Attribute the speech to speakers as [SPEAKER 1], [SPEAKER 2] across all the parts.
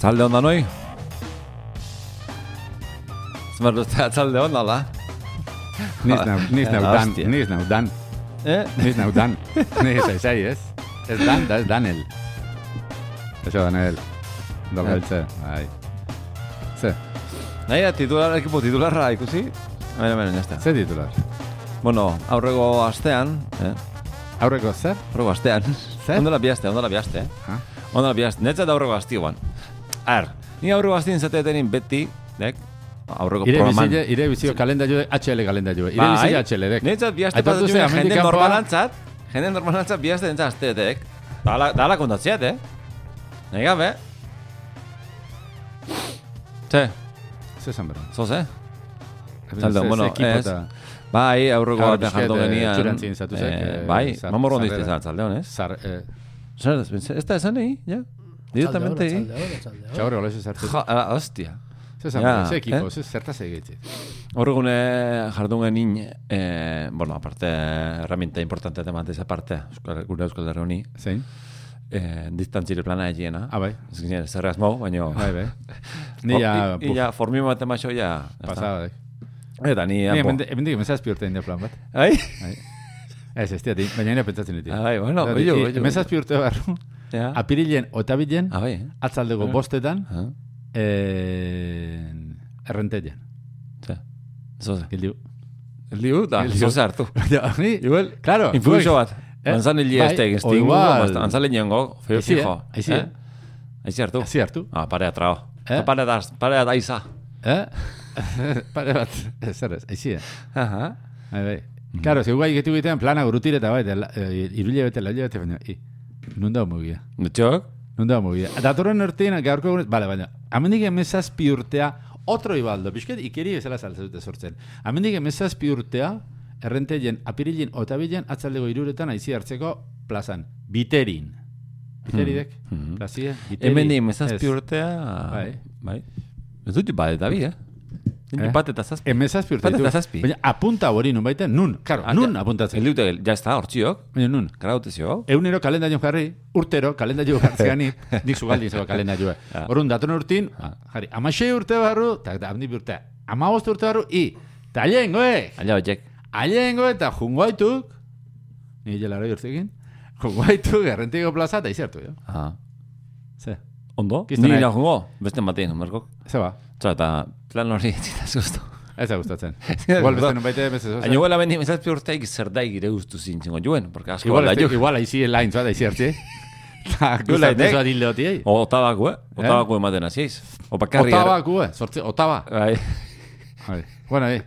[SPEAKER 1] Talde hon da noi? Zmartu, talde hon ala?
[SPEAKER 2] Niz nau, niz nau
[SPEAKER 1] Ah,
[SPEAKER 2] dan,
[SPEAKER 1] hostia.
[SPEAKER 2] niz nau dan,
[SPEAKER 1] Eh?
[SPEAKER 2] niz nau dan. Niz ez, ez, ez. Ez dan, da ez Danel. Eso, Danel. Dokel, ze, bai. Ze,
[SPEAKER 1] Nahi da, titular, ekipo titularra ikusi? Baina, baina, jazta.
[SPEAKER 2] ze titular?
[SPEAKER 1] Bueno, aurrego astean, eh?
[SPEAKER 2] Aurreko zer?
[SPEAKER 1] Aurrego astean.
[SPEAKER 2] Zer?
[SPEAKER 1] Ondola bihazte, ondola bihazte, eh?
[SPEAKER 2] Ah,
[SPEAKER 1] Onda bihazte, netzat aurreko azti guan. Ar, ni aurreko aztien zateetenin beti, dek, aurreko
[SPEAKER 2] Ire
[SPEAKER 1] programan.
[SPEAKER 2] bizile, ire bizio kalendario, HL kalendario. Ire
[SPEAKER 1] Bai.
[SPEAKER 2] bizile HL, dek.
[SPEAKER 1] Netzat bihazte
[SPEAKER 2] Aipatu
[SPEAKER 1] pasatu
[SPEAKER 2] ze,
[SPEAKER 1] jende
[SPEAKER 2] hemendik kanpoa-
[SPEAKER 1] normalantzat, jende normalantzat bihazte nintzen asteetek. Dala, dala kontatziat, eh? Nahi gabe. Ze,
[SPEAKER 2] Ze esan berra.
[SPEAKER 1] zoz, eh?
[SPEAKER 2] Ze-
[SPEAKER 1] Zaldo,
[SPEAKER 2] ze
[SPEAKER 1] bueno,
[SPEAKER 2] ekipo
[SPEAKER 1] ez.
[SPEAKER 2] eta
[SPEAKER 1] Bai, aurreko
[SPEAKER 2] Gaur
[SPEAKER 1] batean
[SPEAKER 2] pixket,
[SPEAKER 1] jartu
[SPEAKER 2] eh,
[SPEAKER 1] genian.
[SPEAKER 2] itxurantzien zatuzek,
[SPEAKER 1] eh,
[SPEAKER 2] eh,
[SPEAKER 1] bai,
[SPEAKER 2] zar-
[SPEAKER 1] mamorron
[SPEAKER 2] zarrera.
[SPEAKER 1] dizte zalde honez.
[SPEAKER 2] Zar, eh,
[SPEAKER 1] Zer, ez da esan nahi, ja?
[SPEAKER 3] Atxalde
[SPEAKER 1] Directamente
[SPEAKER 3] hon,
[SPEAKER 1] egin.
[SPEAKER 3] atxalde hon, atxalde hon.
[SPEAKER 2] txaurre, hola, ze zertu.
[SPEAKER 1] Ja, ah, hostia.
[SPEAKER 2] Ze esan
[SPEAKER 1] Ja,
[SPEAKER 2] berra, ze ekipo,
[SPEAKER 1] eh?
[SPEAKER 2] ze zertaz egitzi.
[SPEAKER 1] Horregune jardun genin, eh, bueno, aparte, herramienta importante temate esa parte, Euskal, gure Euskal Herri honi,
[SPEAKER 2] Zein?
[SPEAKER 1] eh, distantzire plana egiena.
[SPEAKER 2] Ah, bai.
[SPEAKER 1] Ez ginen, zer asmo, baina...
[SPEAKER 2] Bai, bai. Ni
[SPEAKER 1] Oh,
[SPEAKER 2] ja,
[SPEAKER 1] I, ia, formimo bat emaxo, ia... ya está.
[SPEAKER 2] pasada, dek.
[SPEAKER 1] Eta ni...
[SPEAKER 2] Ni
[SPEAKER 1] apo.
[SPEAKER 2] hemen- hemendik hemen zazpi urte india plan bat.
[SPEAKER 1] Ai?
[SPEAKER 2] Ez, ez diatik, baina nire pentsatzen ditu.
[SPEAKER 1] Ai, bueno, oio, oio, oio.
[SPEAKER 2] Hemen zazpi urte barru,
[SPEAKER 1] Ja.
[SPEAKER 2] apirilen otabilen,
[SPEAKER 1] Ah, bai, eh?
[SPEAKER 2] atzaldego bostetan,
[SPEAKER 1] Ah,
[SPEAKER 2] eh, errenterian.
[SPEAKER 1] ze. Zoze.
[SPEAKER 2] Gildiu.
[SPEAKER 1] El diu, da,
[SPEAKER 2] El diu.
[SPEAKER 1] zoze hartu.
[SPEAKER 2] Ja, ni,
[SPEAKER 1] Igual,
[SPEAKER 2] claro.
[SPEAKER 1] Influxo
[SPEAKER 2] zuek-
[SPEAKER 1] bat.
[SPEAKER 2] Eh?
[SPEAKER 1] Antzan hil
[SPEAKER 2] Bai,
[SPEAKER 1] ez tegin,
[SPEAKER 2] o
[SPEAKER 1] estingo,
[SPEAKER 2] igual.
[SPEAKER 1] antzan hil niengo, feo
[SPEAKER 2] Aizi, eh?
[SPEAKER 1] fijo.
[SPEAKER 2] Aizi, eh?
[SPEAKER 1] Aizi hartu.
[SPEAKER 2] Hazi hartu.
[SPEAKER 1] Ah, pare atrao.
[SPEAKER 2] Eh?
[SPEAKER 1] Eh? Pare da, pare da iza.
[SPEAKER 2] Eh? Pare bat, zer ez, aizia.
[SPEAKER 1] Aha.
[SPEAKER 2] Bai, bai. Claro, zeu gai getu egitean plana gurutire eta bai, dela- eh, irule bete, laile bete, baina, i, nun da mugia.
[SPEAKER 1] Nutxok?
[SPEAKER 2] Non da mugia. Datorren urtean, gaurko egunez, bale, baina, amendik emezazpi urtea, otro ibaldo, pixket ikeri bezala saltze dute sortzen. Amendik emezazpi urtea, errenteien, apirilin, otabilen, atzaldego iruretan aizi hartzeko plazan. Biterin. Biteridek?
[SPEAKER 1] Mhm.
[SPEAKER 2] Plazie? Biteri.
[SPEAKER 1] Hemen nire mezazpi
[SPEAKER 2] Ez.
[SPEAKER 1] urtea...
[SPEAKER 2] Bai.
[SPEAKER 1] Bai. Ez dut bat eta bi, eh?
[SPEAKER 2] Eh?
[SPEAKER 1] Nik Bat eta zazpi.
[SPEAKER 2] Emezazpi urte.
[SPEAKER 1] Bat eta
[SPEAKER 2] ditu.
[SPEAKER 1] zazpi.
[SPEAKER 2] Baina apunta hori nun baita, nun, karo,
[SPEAKER 1] Ah,
[SPEAKER 2] nun
[SPEAKER 1] ja.
[SPEAKER 2] apuntatzen.
[SPEAKER 1] El diute, ja está, hortziok.
[SPEAKER 2] Baina nun.
[SPEAKER 1] Grautezio.
[SPEAKER 2] Eunero kalendarion jarri, urtero kalendario jartzean ni, nik zugaldin zego kalendarioa.
[SPEAKER 1] Ah.
[SPEAKER 2] Horun, datorren urtin, jarri, amaxei urte barru, eta da, handi urte, amabost urte barru, i, eta aliengoek,
[SPEAKER 1] Alla horiek.
[SPEAKER 2] aliengoek eta jungoaituk, ni jelaroi urtekin, jungoaituk, errentiko plaza, eta izertu, jo.
[SPEAKER 1] Ah.
[SPEAKER 2] Ze,
[SPEAKER 1] Ondo?
[SPEAKER 2] Kiztena-
[SPEAKER 1] Ni lagungo, beste batean, Markok.
[SPEAKER 2] ze ba,
[SPEAKER 1] Tza, eta plan hori ez guztu.
[SPEAKER 2] ez da gustatzen. Igual beste nun baite, beste zozen.
[SPEAKER 1] Baina huela bendi mezazpi urteik zer da gire guztu zintzingo joen, porque asko
[SPEAKER 2] Igual,
[SPEAKER 1] alda
[SPEAKER 2] ez-
[SPEAKER 1] jo.
[SPEAKER 2] igual, aizi lain, zoa, da izertzi. Eta
[SPEAKER 1] Igual,
[SPEAKER 2] gustatzen
[SPEAKER 1] nek-
[SPEAKER 2] zoa dildo hoti, eh?
[SPEAKER 1] O otabako, eh? Otabako ematen aziz. O bakarri. er-
[SPEAKER 2] Otaba, gue, eh, sortzi, otaba.
[SPEAKER 1] Bai,
[SPEAKER 2] Bai. Bueno, eh.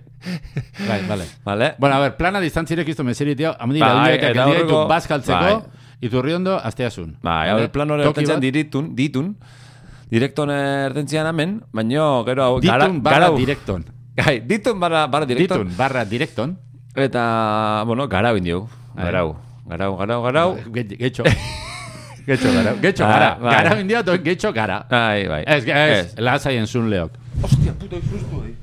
[SPEAKER 2] Bai, vale.
[SPEAKER 1] vale?
[SPEAKER 2] Bueno, a ver, plana distantzirek izto meserit dio, amandi
[SPEAKER 1] Bai,
[SPEAKER 2] bai, eta
[SPEAKER 1] eta
[SPEAKER 2] kandia ditu
[SPEAKER 1] aurreko-
[SPEAKER 2] bazkaltzeko, iturri ondo, azteasun.
[SPEAKER 1] Bai, hau plan hori hortentzen diritun, ditun, direkton ertentzian amen, baino gero hau... gara-
[SPEAKER 2] Ditun barra
[SPEAKER 1] garau-
[SPEAKER 2] direkton.
[SPEAKER 1] Gai, ditun barra, barra direkton.
[SPEAKER 2] Ditun barra direkton.
[SPEAKER 1] Eta, bueno, garau indio.
[SPEAKER 2] Bai.
[SPEAKER 1] Garau. Garau, garau, garau.
[SPEAKER 2] Ge- Getxo. Getxo gara. Getxo gara.
[SPEAKER 1] Ah, bai.
[SPEAKER 2] Gara india, to getxo gara.
[SPEAKER 1] Ai, bai.
[SPEAKER 2] Ez, ez, lasai entzun leok.
[SPEAKER 1] Hostia puta, ikustu, eh?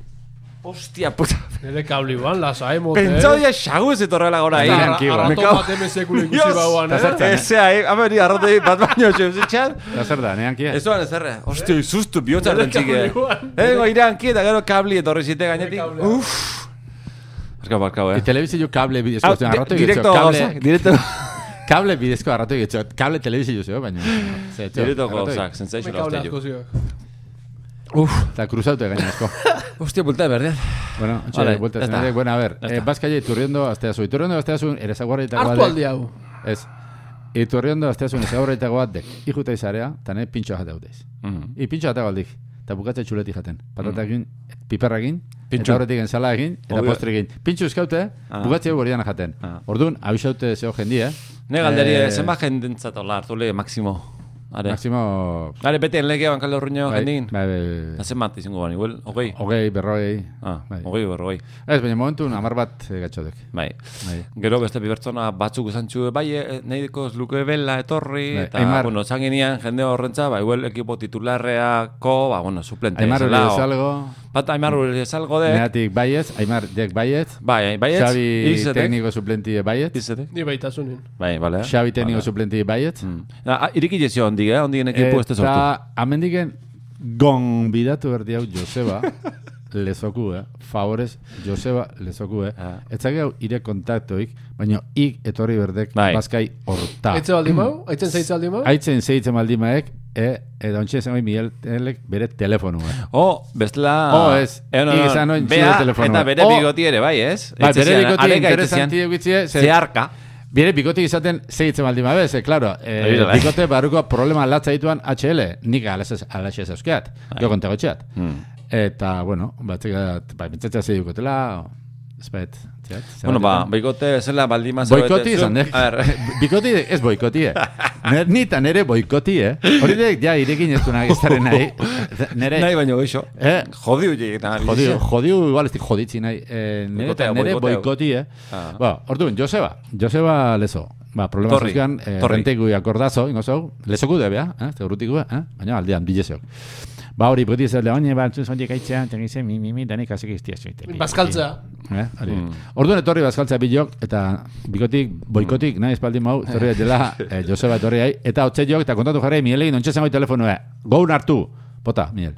[SPEAKER 1] Hostia puta.
[SPEAKER 3] Nere kabli ban, lasai, motel.
[SPEAKER 1] Pentsau dia xagu ez etorrela gora
[SPEAKER 3] Eta
[SPEAKER 1] ahí.
[SPEAKER 2] Bai,
[SPEAKER 3] arra-
[SPEAKER 2] tranquilo.
[SPEAKER 3] arraton
[SPEAKER 2] Me
[SPEAKER 1] cago-
[SPEAKER 3] bat MSQ-lo ikusi bauan, eh?
[SPEAKER 2] zertzen, eh?
[SPEAKER 1] Ezea, eh? Habe hori arrotei bat baino, xeuz etxan.
[SPEAKER 2] Eta zer da, nean kia?
[SPEAKER 1] Ez duan ez erre. Hostia, izustu bihotza
[SPEAKER 3] Nere
[SPEAKER 1] ertentzik, eh?
[SPEAKER 3] kableguan.
[SPEAKER 1] Ego iranki eta gero kabli etorri zite gainetik.
[SPEAKER 3] kablea.
[SPEAKER 1] Uff. Barkau, barkau, eh?
[SPEAKER 2] Telebizio kable bidezko.
[SPEAKER 1] Hau,
[SPEAKER 2] zen,
[SPEAKER 1] di-
[SPEAKER 2] arratu
[SPEAKER 1] Directo
[SPEAKER 2] getxo,
[SPEAKER 1] gauza,
[SPEAKER 2] kable-
[SPEAKER 1] directo
[SPEAKER 2] Kable bidezko arratu getxo. Kable telebizio zeo, baina. ze, txo,
[SPEAKER 1] Directo
[SPEAKER 2] arratoi.
[SPEAKER 1] gauza,
[SPEAKER 3] Me
[SPEAKER 1] sensation
[SPEAKER 3] kabla
[SPEAKER 1] hostia.
[SPEAKER 3] asko zio.
[SPEAKER 1] Uff,
[SPEAKER 2] Eta kruzautu egain asko.
[SPEAKER 1] hostia, bulta berdean.
[SPEAKER 2] Bueno, che,
[SPEAKER 1] Vale,
[SPEAKER 2] vuelta
[SPEAKER 1] ya
[SPEAKER 2] a
[SPEAKER 1] está.
[SPEAKER 2] Bueno, a ver,
[SPEAKER 1] Ya
[SPEAKER 2] eh,
[SPEAKER 1] está.
[SPEAKER 2] vas calle Iturriondo hasta su Iturriondo hasta su Eresaguarra eta
[SPEAKER 3] Hartu aldi hau.
[SPEAKER 2] Es. Iturriondo hasta su Eresaguarra eta guadek. Ijute izarea, tane pintxo jate daudez.
[SPEAKER 1] Mm.
[SPEAKER 2] I pintxo jate galdik. Ta bukatze txuleti jaten. Patatekin, piperrakin,
[SPEAKER 1] Pintxo.
[SPEAKER 2] eta horretik ensala egin, eta
[SPEAKER 1] Obvio.
[SPEAKER 2] postre egin. Pintxo euskaute,
[SPEAKER 1] Ah.
[SPEAKER 2] bukatze gordiana jaten.
[SPEAKER 1] Ah.
[SPEAKER 2] Orduan, abisaute zeo jendia.
[SPEAKER 1] Ne galderi,
[SPEAKER 2] Eh,
[SPEAKER 1] eh, zenbat jendentzat hola hartu le, Maximo. Are,
[SPEAKER 2] Maximo...
[SPEAKER 1] are bete enlege bankalde horruño
[SPEAKER 2] bai,
[SPEAKER 1] jendin.
[SPEAKER 2] bai, bai,
[SPEAKER 1] Da zenbat izango ban, igual, hogei.
[SPEAKER 2] Ogei, berrogei.
[SPEAKER 1] Ah,
[SPEAKER 2] bai.
[SPEAKER 1] hogei, berrogei.
[SPEAKER 2] Ez, baina momentun amar bat eh, gatxodek.
[SPEAKER 1] Bai.
[SPEAKER 2] Bai.
[SPEAKER 1] Gero beste bi pertsona batzuk esantzu bai, eh, nahi deko ez luke bela etorri,
[SPEAKER 2] Bai,
[SPEAKER 1] eta,
[SPEAKER 2] Aimar.
[SPEAKER 1] bueno, esan genian jende horrentza, ba, igual ekipo titularreako, ba, bueno, suplente.
[SPEAKER 2] Aimar hori
[SPEAKER 1] bezala, o-
[SPEAKER 2] bezalgo,
[SPEAKER 1] Bat Aimar hori salgo de,
[SPEAKER 2] Neatik baietz, Aimar Jack baietz,
[SPEAKER 1] bai, bai, ez,
[SPEAKER 2] Xabi
[SPEAKER 1] izetek,
[SPEAKER 2] tekniko suplentie baietz,
[SPEAKER 1] izetek.
[SPEAKER 3] Ni baitasunin.
[SPEAKER 1] Bai, Ah, bale. Mm.
[SPEAKER 2] Xabi tekniko suplentie baietz,
[SPEAKER 1] Na, iriki jezio ondik, eh, ondik ekipo ez da sortu.
[SPEAKER 2] eta amendiken gonbidatu berdi hau Joseba lezokue, favorez Joseba lezokue,
[SPEAKER 1] Ah.
[SPEAKER 2] etzak hau ire kontaktoik, baina ik etorri berdek
[SPEAKER 1] Bai.
[SPEAKER 2] bazkai horta.
[SPEAKER 3] Aitze baldin mau? Aitzen zaitze baldin mau?
[SPEAKER 2] Aitzen zeitzen maldimaek, e, eta ontsi esan hori Miguel Telek bere eh." telefonua.
[SPEAKER 1] Oh, bestela...
[SPEAKER 2] Oh, ez.
[SPEAKER 1] Eh, no, no,
[SPEAKER 2] Nik izan nuen
[SPEAKER 1] Bea,
[SPEAKER 2] txide telefonoa.
[SPEAKER 1] eta bere
[SPEAKER 2] Oh.
[SPEAKER 1] bigoti ere, bai, ez? eh,
[SPEAKER 2] Bai,
[SPEAKER 1] Etxe
[SPEAKER 2] bere
[SPEAKER 1] zian,
[SPEAKER 2] bikoti
[SPEAKER 1] areka
[SPEAKER 2] interesanti
[SPEAKER 1] etxe zian.
[SPEAKER 2] egitzie, ze-
[SPEAKER 1] Zeharka.
[SPEAKER 2] Bire bikote izaten zeitzen baldin babez, eh, klaro,
[SPEAKER 1] Hori bai.
[SPEAKER 2] eh,
[SPEAKER 1] dela.
[SPEAKER 2] bikote barruko problema latza dituan HL, nik alaxe zauzkeat,
[SPEAKER 1] Bai.
[SPEAKER 2] jo kontegotxeat.
[SPEAKER 1] Hmm.
[SPEAKER 2] Eta, bueno, batzek, bai, mintzatzea zei dukotela, espait, txat,
[SPEAKER 1] Bueno, ba, boikote bezala baldima zaudete
[SPEAKER 2] Boikoti
[SPEAKER 1] zu.
[SPEAKER 2] izan, eh. dek.
[SPEAKER 1] A ber,
[SPEAKER 2] Bikoti, ez boikoti, eh? Ner, nitan ere boikoti, eh? Hori dek, ja, irekin ez du nahi, ez daren nahi. Nere,
[SPEAKER 1] nahi baino geixo.
[SPEAKER 2] Eh?
[SPEAKER 1] Jodi horiek nahi.
[SPEAKER 2] Jodiu, jodiu igual ez dit joditzi nahi. Eh, nire
[SPEAKER 1] Boikotea,
[SPEAKER 2] eta nire
[SPEAKER 1] boikotea.
[SPEAKER 2] boikoti, eh?
[SPEAKER 1] Ah.
[SPEAKER 2] Ba, orduan, Joseba. Joseba lezo. Ba, problema
[SPEAKER 1] Torri,
[SPEAKER 2] zuzkan, eh,
[SPEAKER 1] torri.
[SPEAKER 2] renteku akordazo, ingo zau, lezoku debea, eh? Ze urrutiko, eh? Baina aldean, bilezeok. Ba, hori, beti ez da, oine, ba, zuz ondik aitzea, eta gizia, mi, mi, mi, danik hasik iztia zuite.
[SPEAKER 3] Bazkaltza.
[SPEAKER 2] Eh? Hori.
[SPEAKER 1] Mm.
[SPEAKER 2] Orduan etorri bazkaltza bilok, eta bikotik, boikotik, nahi espaldin mau, etorri dela eh, Joseba etorri hai, eta hotze jok, eta kontatu jarri, Miguel egin, ontsa zango telefonua, goun hartu, pota, Miguel.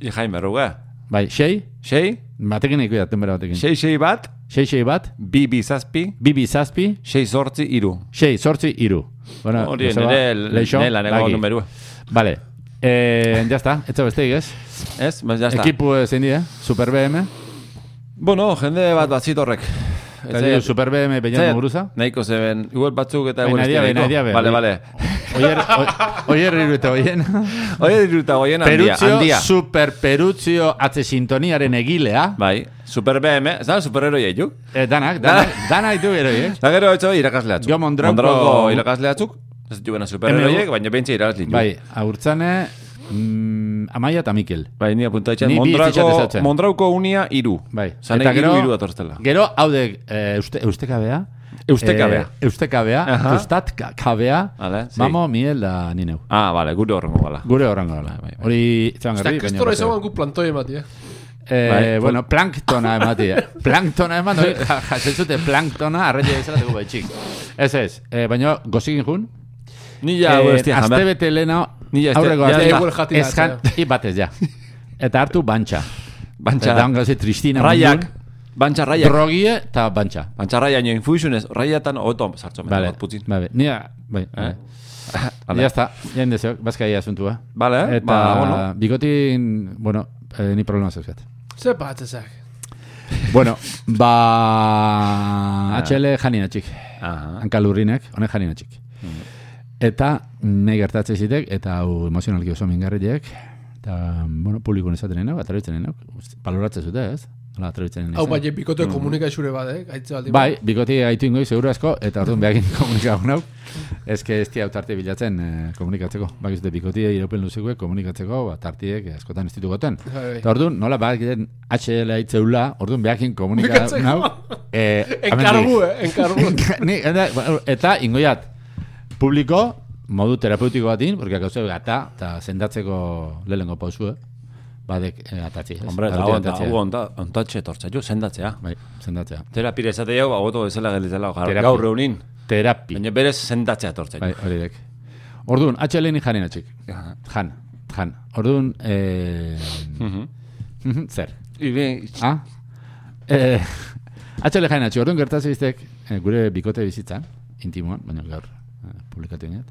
[SPEAKER 1] I Jaime, ruga.
[SPEAKER 2] Bai, sei,
[SPEAKER 1] Sei,
[SPEAKER 2] batekin ikuia, tenbera batekin.
[SPEAKER 1] sei, sei bat,
[SPEAKER 2] Sei, sei bat,
[SPEAKER 1] bi, bi, zazpi,
[SPEAKER 2] bibi zazpi,
[SPEAKER 1] sei, sortzi, iru.
[SPEAKER 2] sei, sortzi, iru. Bueno,
[SPEAKER 1] Hori,
[SPEAKER 2] Joseba,
[SPEAKER 1] nire nire laneko
[SPEAKER 2] lagi.
[SPEAKER 1] numerua.
[SPEAKER 2] Vale. Eh, ya está, etza besteik ez.
[SPEAKER 1] Ez, Ba, ya está.
[SPEAKER 2] Ekipu zein dira, Super BM.
[SPEAKER 1] Bueno, jende bat bat zitorrek.
[SPEAKER 2] Eta diu, Super BM Beñan Muguruza.
[SPEAKER 1] Nahiko zeben, igual batzuk eta
[SPEAKER 2] Baina
[SPEAKER 1] igual
[SPEAKER 2] dia, baina dia, be.
[SPEAKER 1] Vale, vale.
[SPEAKER 2] Oier, o- oier iru eta oien.
[SPEAKER 1] Oie diruta goien handia,
[SPEAKER 2] Peruzio,
[SPEAKER 1] handia.
[SPEAKER 2] Super Peruzio atze sintoniaren egilea.
[SPEAKER 1] Bai, super BM, ez da superheroi eiuk?
[SPEAKER 2] Eh, danak, danak, danak ditu gero, eh?
[SPEAKER 1] Da gero etxe irakasle atzuk.
[SPEAKER 2] Jo Mondrago-
[SPEAKER 1] irakasle atzuk, ez dituena superheroiek, baina bentsi irakasle ditu.
[SPEAKER 2] Bai, aurtzane, mm, Amaia eta Mikel.
[SPEAKER 1] Bai, ni apunta etxean,
[SPEAKER 2] Ni bi fitxat
[SPEAKER 1] Mondrago,
[SPEAKER 2] ezatzen.
[SPEAKER 1] Mondrauko unia iru.
[SPEAKER 2] Bai.
[SPEAKER 1] Zan
[SPEAKER 2] Eta
[SPEAKER 1] gero...
[SPEAKER 2] gero-
[SPEAKER 1] iru atortzela.
[SPEAKER 2] Gero, hau de, eh, euste, eustekabea.
[SPEAKER 1] Eustekabea.
[SPEAKER 2] Eh, eustekabea,
[SPEAKER 1] Aha.
[SPEAKER 2] eustatkabea.
[SPEAKER 1] Hala, sí.
[SPEAKER 2] Mamo, Miel da ni neu.
[SPEAKER 1] Ah, bale, gure horrengo bala.
[SPEAKER 2] Gure horrengo gala.
[SPEAKER 1] bai, bai.
[SPEAKER 2] Hori, etxean
[SPEAKER 3] Eta
[SPEAKER 2] garbi,
[SPEAKER 3] kristora
[SPEAKER 2] baina-
[SPEAKER 3] izan gu plantoi emati, eh?
[SPEAKER 2] Eh,
[SPEAKER 1] Bai,
[SPEAKER 2] bueno, planktona emati. eh. planktona eman, hori ja- jasen zuten planktona, arretia izan dugu baitxik. Ez ez, eh, baina gozikin jun.
[SPEAKER 1] Ni ja,
[SPEAKER 2] eh,
[SPEAKER 1] eh, bestia,
[SPEAKER 2] aste
[SPEAKER 1] jamber.
[SPEAKER 2] bete lehena,
[SPEAKER 1] Ni ja, este-
[SPEAKER 2] aurreko
[SPEAKER 1] ja,
[SPEAKER 2] aste,
[SPEAKER 1] ja,
[SPEAKER 3] igual jatina
[SPEAKER 2] ez jan,
[SPEAKER 3] atzea.
[SPEAKER 2] i batez, ja. Eta hartu bantxa. Eta
[SPEAKER 1] Bantxa,
[SPEAKER 2] daun gauze tristina.
[SPEAKER 1] raiak,
[SPEAKER 2] mundun,
[SPEAKER 1] bantxa raiak.
[SPEAKER 2] Drogie eta bantxa.
[SPEAKER 1] Bantxa raiak, nio infusionez, raiatan Oh, otom sartzen.
[SPEAKER 2] Vale,
[SPEAKER 1] Bale, putzin. Eh?
[SPEAKER 2] vale. Nia, bai, bai. Ya está, ya endezeo, bazkaia asuntua.
[SPEAKER 1] Bale,
[SPEAKER 2] Eta,
[SPEAKER 1] ba, bueno.
[SPEAKER 2] bikotin, bueno, eh, ni problema zeuzkat.
[SPEAKER 3] Ze patzezak.
[SPEAKER 2] Bueno, ba...
[SPEAKER 1] Ah.
[SPEAKER 2] HL janina txik.
[SPEAKER 1] Aha.
[SPEAKER 2] Hankalurrinek, honek janina txik.
[SPEAKER 1] Mm.
[SPEAKER 2] Eta, nahi gertatzen zitek, eta hau emozionalki oso mingarriek, eta, bueno, publikun esaten enau, atrebitzen enau, baloratzen zute, ez? Hala, atrebitzen enau.
[SPEAKER 3] Hau bai, bikote komunikaxure bat, eh? Aitze baldin
[SPEAKER 2] Mm. Bai, bikoti gaitu ingoiz, seguru asko, eta orduan behakin komunikago nau. Ez que ez tia tarte bilatzen eh, komunikatzeko. Bak izute, bikoti iraupen luzikoek komunikatzeko, ba, tartiek askotan ez ditugoten.
[SPEAKER 3] Bai, bai.
[SPEAKER 2] Eta orduan, nola bakiten HL itzeula, orduan behakin komunikago
[SPEAKER 3] Komunikatzeko.
[SPEAKER 2] nau. Eh,
[SPEAKER 3] Enkargu,
[SPEAKER 2] hemendik.
[SPEAKER 3] eh? Enkargu.
[SPEAKER 2] Ni, eta, eta ingoiat, publiko, modu terapeutiko batin, porque gauze gata, eta sendatzeko lehenko pausue, badek eh, atatzi. ez?
[SPEAKER 1] Hombre, eta
[SPEAKER 2] Barrutik
[SPEAKER 1] hau eta
[SPEAKER 2] atatzea.
[SPEAKER 1] hau onta- ontatxe etortza jo, sendatzea.
[SPEAKER 2] Bai, sendatzea.
[SPEAKER 1] Tera pire esate jau, bagoto bezala gelditzela gaur,
[SPEAKER 2] Terapia.
[SPEAKER 1] gaur reunin.
[SPEAKER 2] Terapi.
[SPEAKER 1] Baina berez sendatzea etortza
[SPEAKER 2] Bai,
[SPEAKER 1] jo.
[SPEAKER 2] hori dek. Orduan, atxelen janen atxik.
[SPEAKER 1] Aha.
[SPEAKER 2] Jan, jan. Orduan, eh...
[SPEAKER 1] Mhm.
[SPEAKER 2] mhm, zer?
[SPEAKER 1] Ibe-
[SPEAKER 2] Ah? Eh, atxelen janen atxik. Orduan gertatzen iztek, eh, gure bikote bizitzan, intimoan, baina gaur eh, publikatu inet.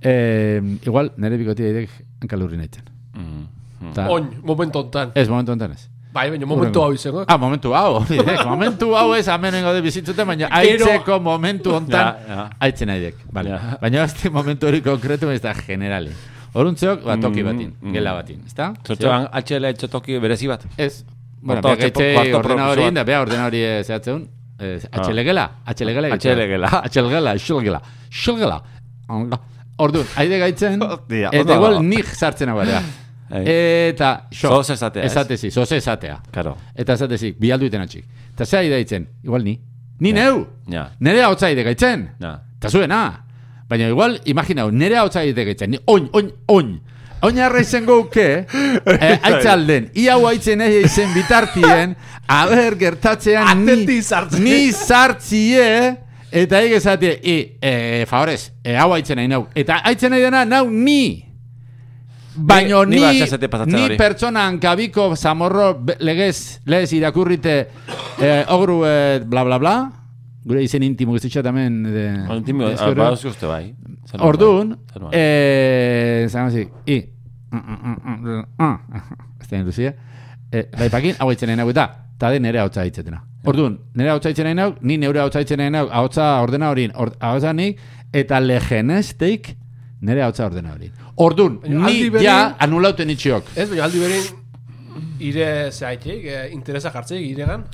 [SPEAKER 2] Eh, igual, nire bikote idek hankalurri nahitzen.
[SPEAKER 1] Mhm.
[SPEAKER 2] Ta,
[SPEAKER 3] Hmm. Oin, momentu ontan.
[SPEAKER 2] Ez, momentu enten ez.
[SPEAKER 3] Bai, baina momentu hau izango.
[SPEAKER 2] Ah, momentu hau, hori dek. Momentu hau ez amenengo de bizitzuten, baina
[SPEAKER 3] Gero-
[SPEAKER 2] aitzeko momentu hontan
[SPEAKER 1] Ja, ja.
[SPEAKER 2] aitzen nahi dek. Vale.
[SPEAKER 1] Ja.
[SPEAKER 2] Baina este momentu hori konkretu ez da generali. Horuntzeok, ba, toki batin,
[SPEAKER 1] Mm, mm.
[SPEAKER 2] gela batin, ezta?
[SPEAKER 1] Zortxoan HL etxotoki berezi bat.
[SPEAKER 2] Ez, bueno,
[SPEAKER 1] Kuarto
[SPEAKER 2] bea gaitxe
[SPEAKER 1] etxe- kuarto
[SPEAKER 2] ordena
[SPEAKER 1] prokusoa.
[SPEAKER 2] hori, da, bea ordena hori eh, zehatzeun, eh, HL gela, HL gela.
[SPEAKER 1] HL Ah. gela.
[SPEAKER 2] HL gela, HL gela, HL gela. Onga. Orduan, haide gaitzen,
[SPEAKER 1] Hostia, ondo
[SPEAKER 2] eta igual
[SPEAKER 1] dago.
[SPEAKER 2] nik sartzen hau bera.
[SPEAKER 1] Ei.
[SPEAKER 2] Eta, xo,
[SPEAKER 1] Sos esatea, ez?
[SPEAKER 2] Esatezi, zoze esatea.
[SPEAKER 1] Karo.
[SPEAKER 2] Eta ez atezik, bialdu iten atxik. Eta zea idaitzen, igual ni. Ni neu!
[SPEAKER 1] Ja.
[SPEAKER 2] Nere hau tzaide gaitzen!
[SPEAKER 1] Ja.
[SPEAKER 2] Eta zuena! Baina igual, imaginau, nere hau tzaide gaitzen. Ni oin, oin, oin! Oin arra izango uke, eh, aitzalden, iau aitzen ez izen bitartien, aber gertatzean ni,
[SPEAKER 3] Atetik sartze.
[SPEAKER 2] ni sartzie, eta ege esatie, i, eh, favorez, eh, hau aitzen nahi nau. Eta aitzen nahi dena, nau ni! Baino
[SPEAKER 1] Ni-
[SPEAKER 2] ni,
[SPEAKER 1] ni bat
[SPEAKER 2] ni,
[SPEAKER 1] esate pasatzen hori.
[SPEAKER 2] pertsona hankabiko zamorro be- legez, lez irakurrite eh, ogru eh, bla bla bla, gure izen intimo gizitxa tamen. De,
[SPEAKER 1] Antimo,
[SPEAKER 2] de eh, zure.
[SPEAKER 1] ba, uste bai. Zan nuen,
[SPEAKER 2] Orduan,
[SPEAKER 1] bai. Zan nuen.
[SPEAKER 2] eh, zan hasi, i, mm, mm, mm, mm, ah, ez da Lucia, eh, baipakin, hau itzen nahi eta, eta de nere hau hitzetena. Orduan, nere hau itzen nahi nahu, ni neure hau itzen nahi nahu, hau ordena horin, or, hau nik, eta legenesteik nere hau ordena horin. Orduan,
[SPEAKER 3] Baina
[SPEAKER 2] ni
[SPEAKER 3] aldi berean-
[SPEAKER 2] ja anulauten itxiok.
[SPEAKER 3] Ez, baina aldi berin ire zehaitik, eh, interesa jartzeik iregan.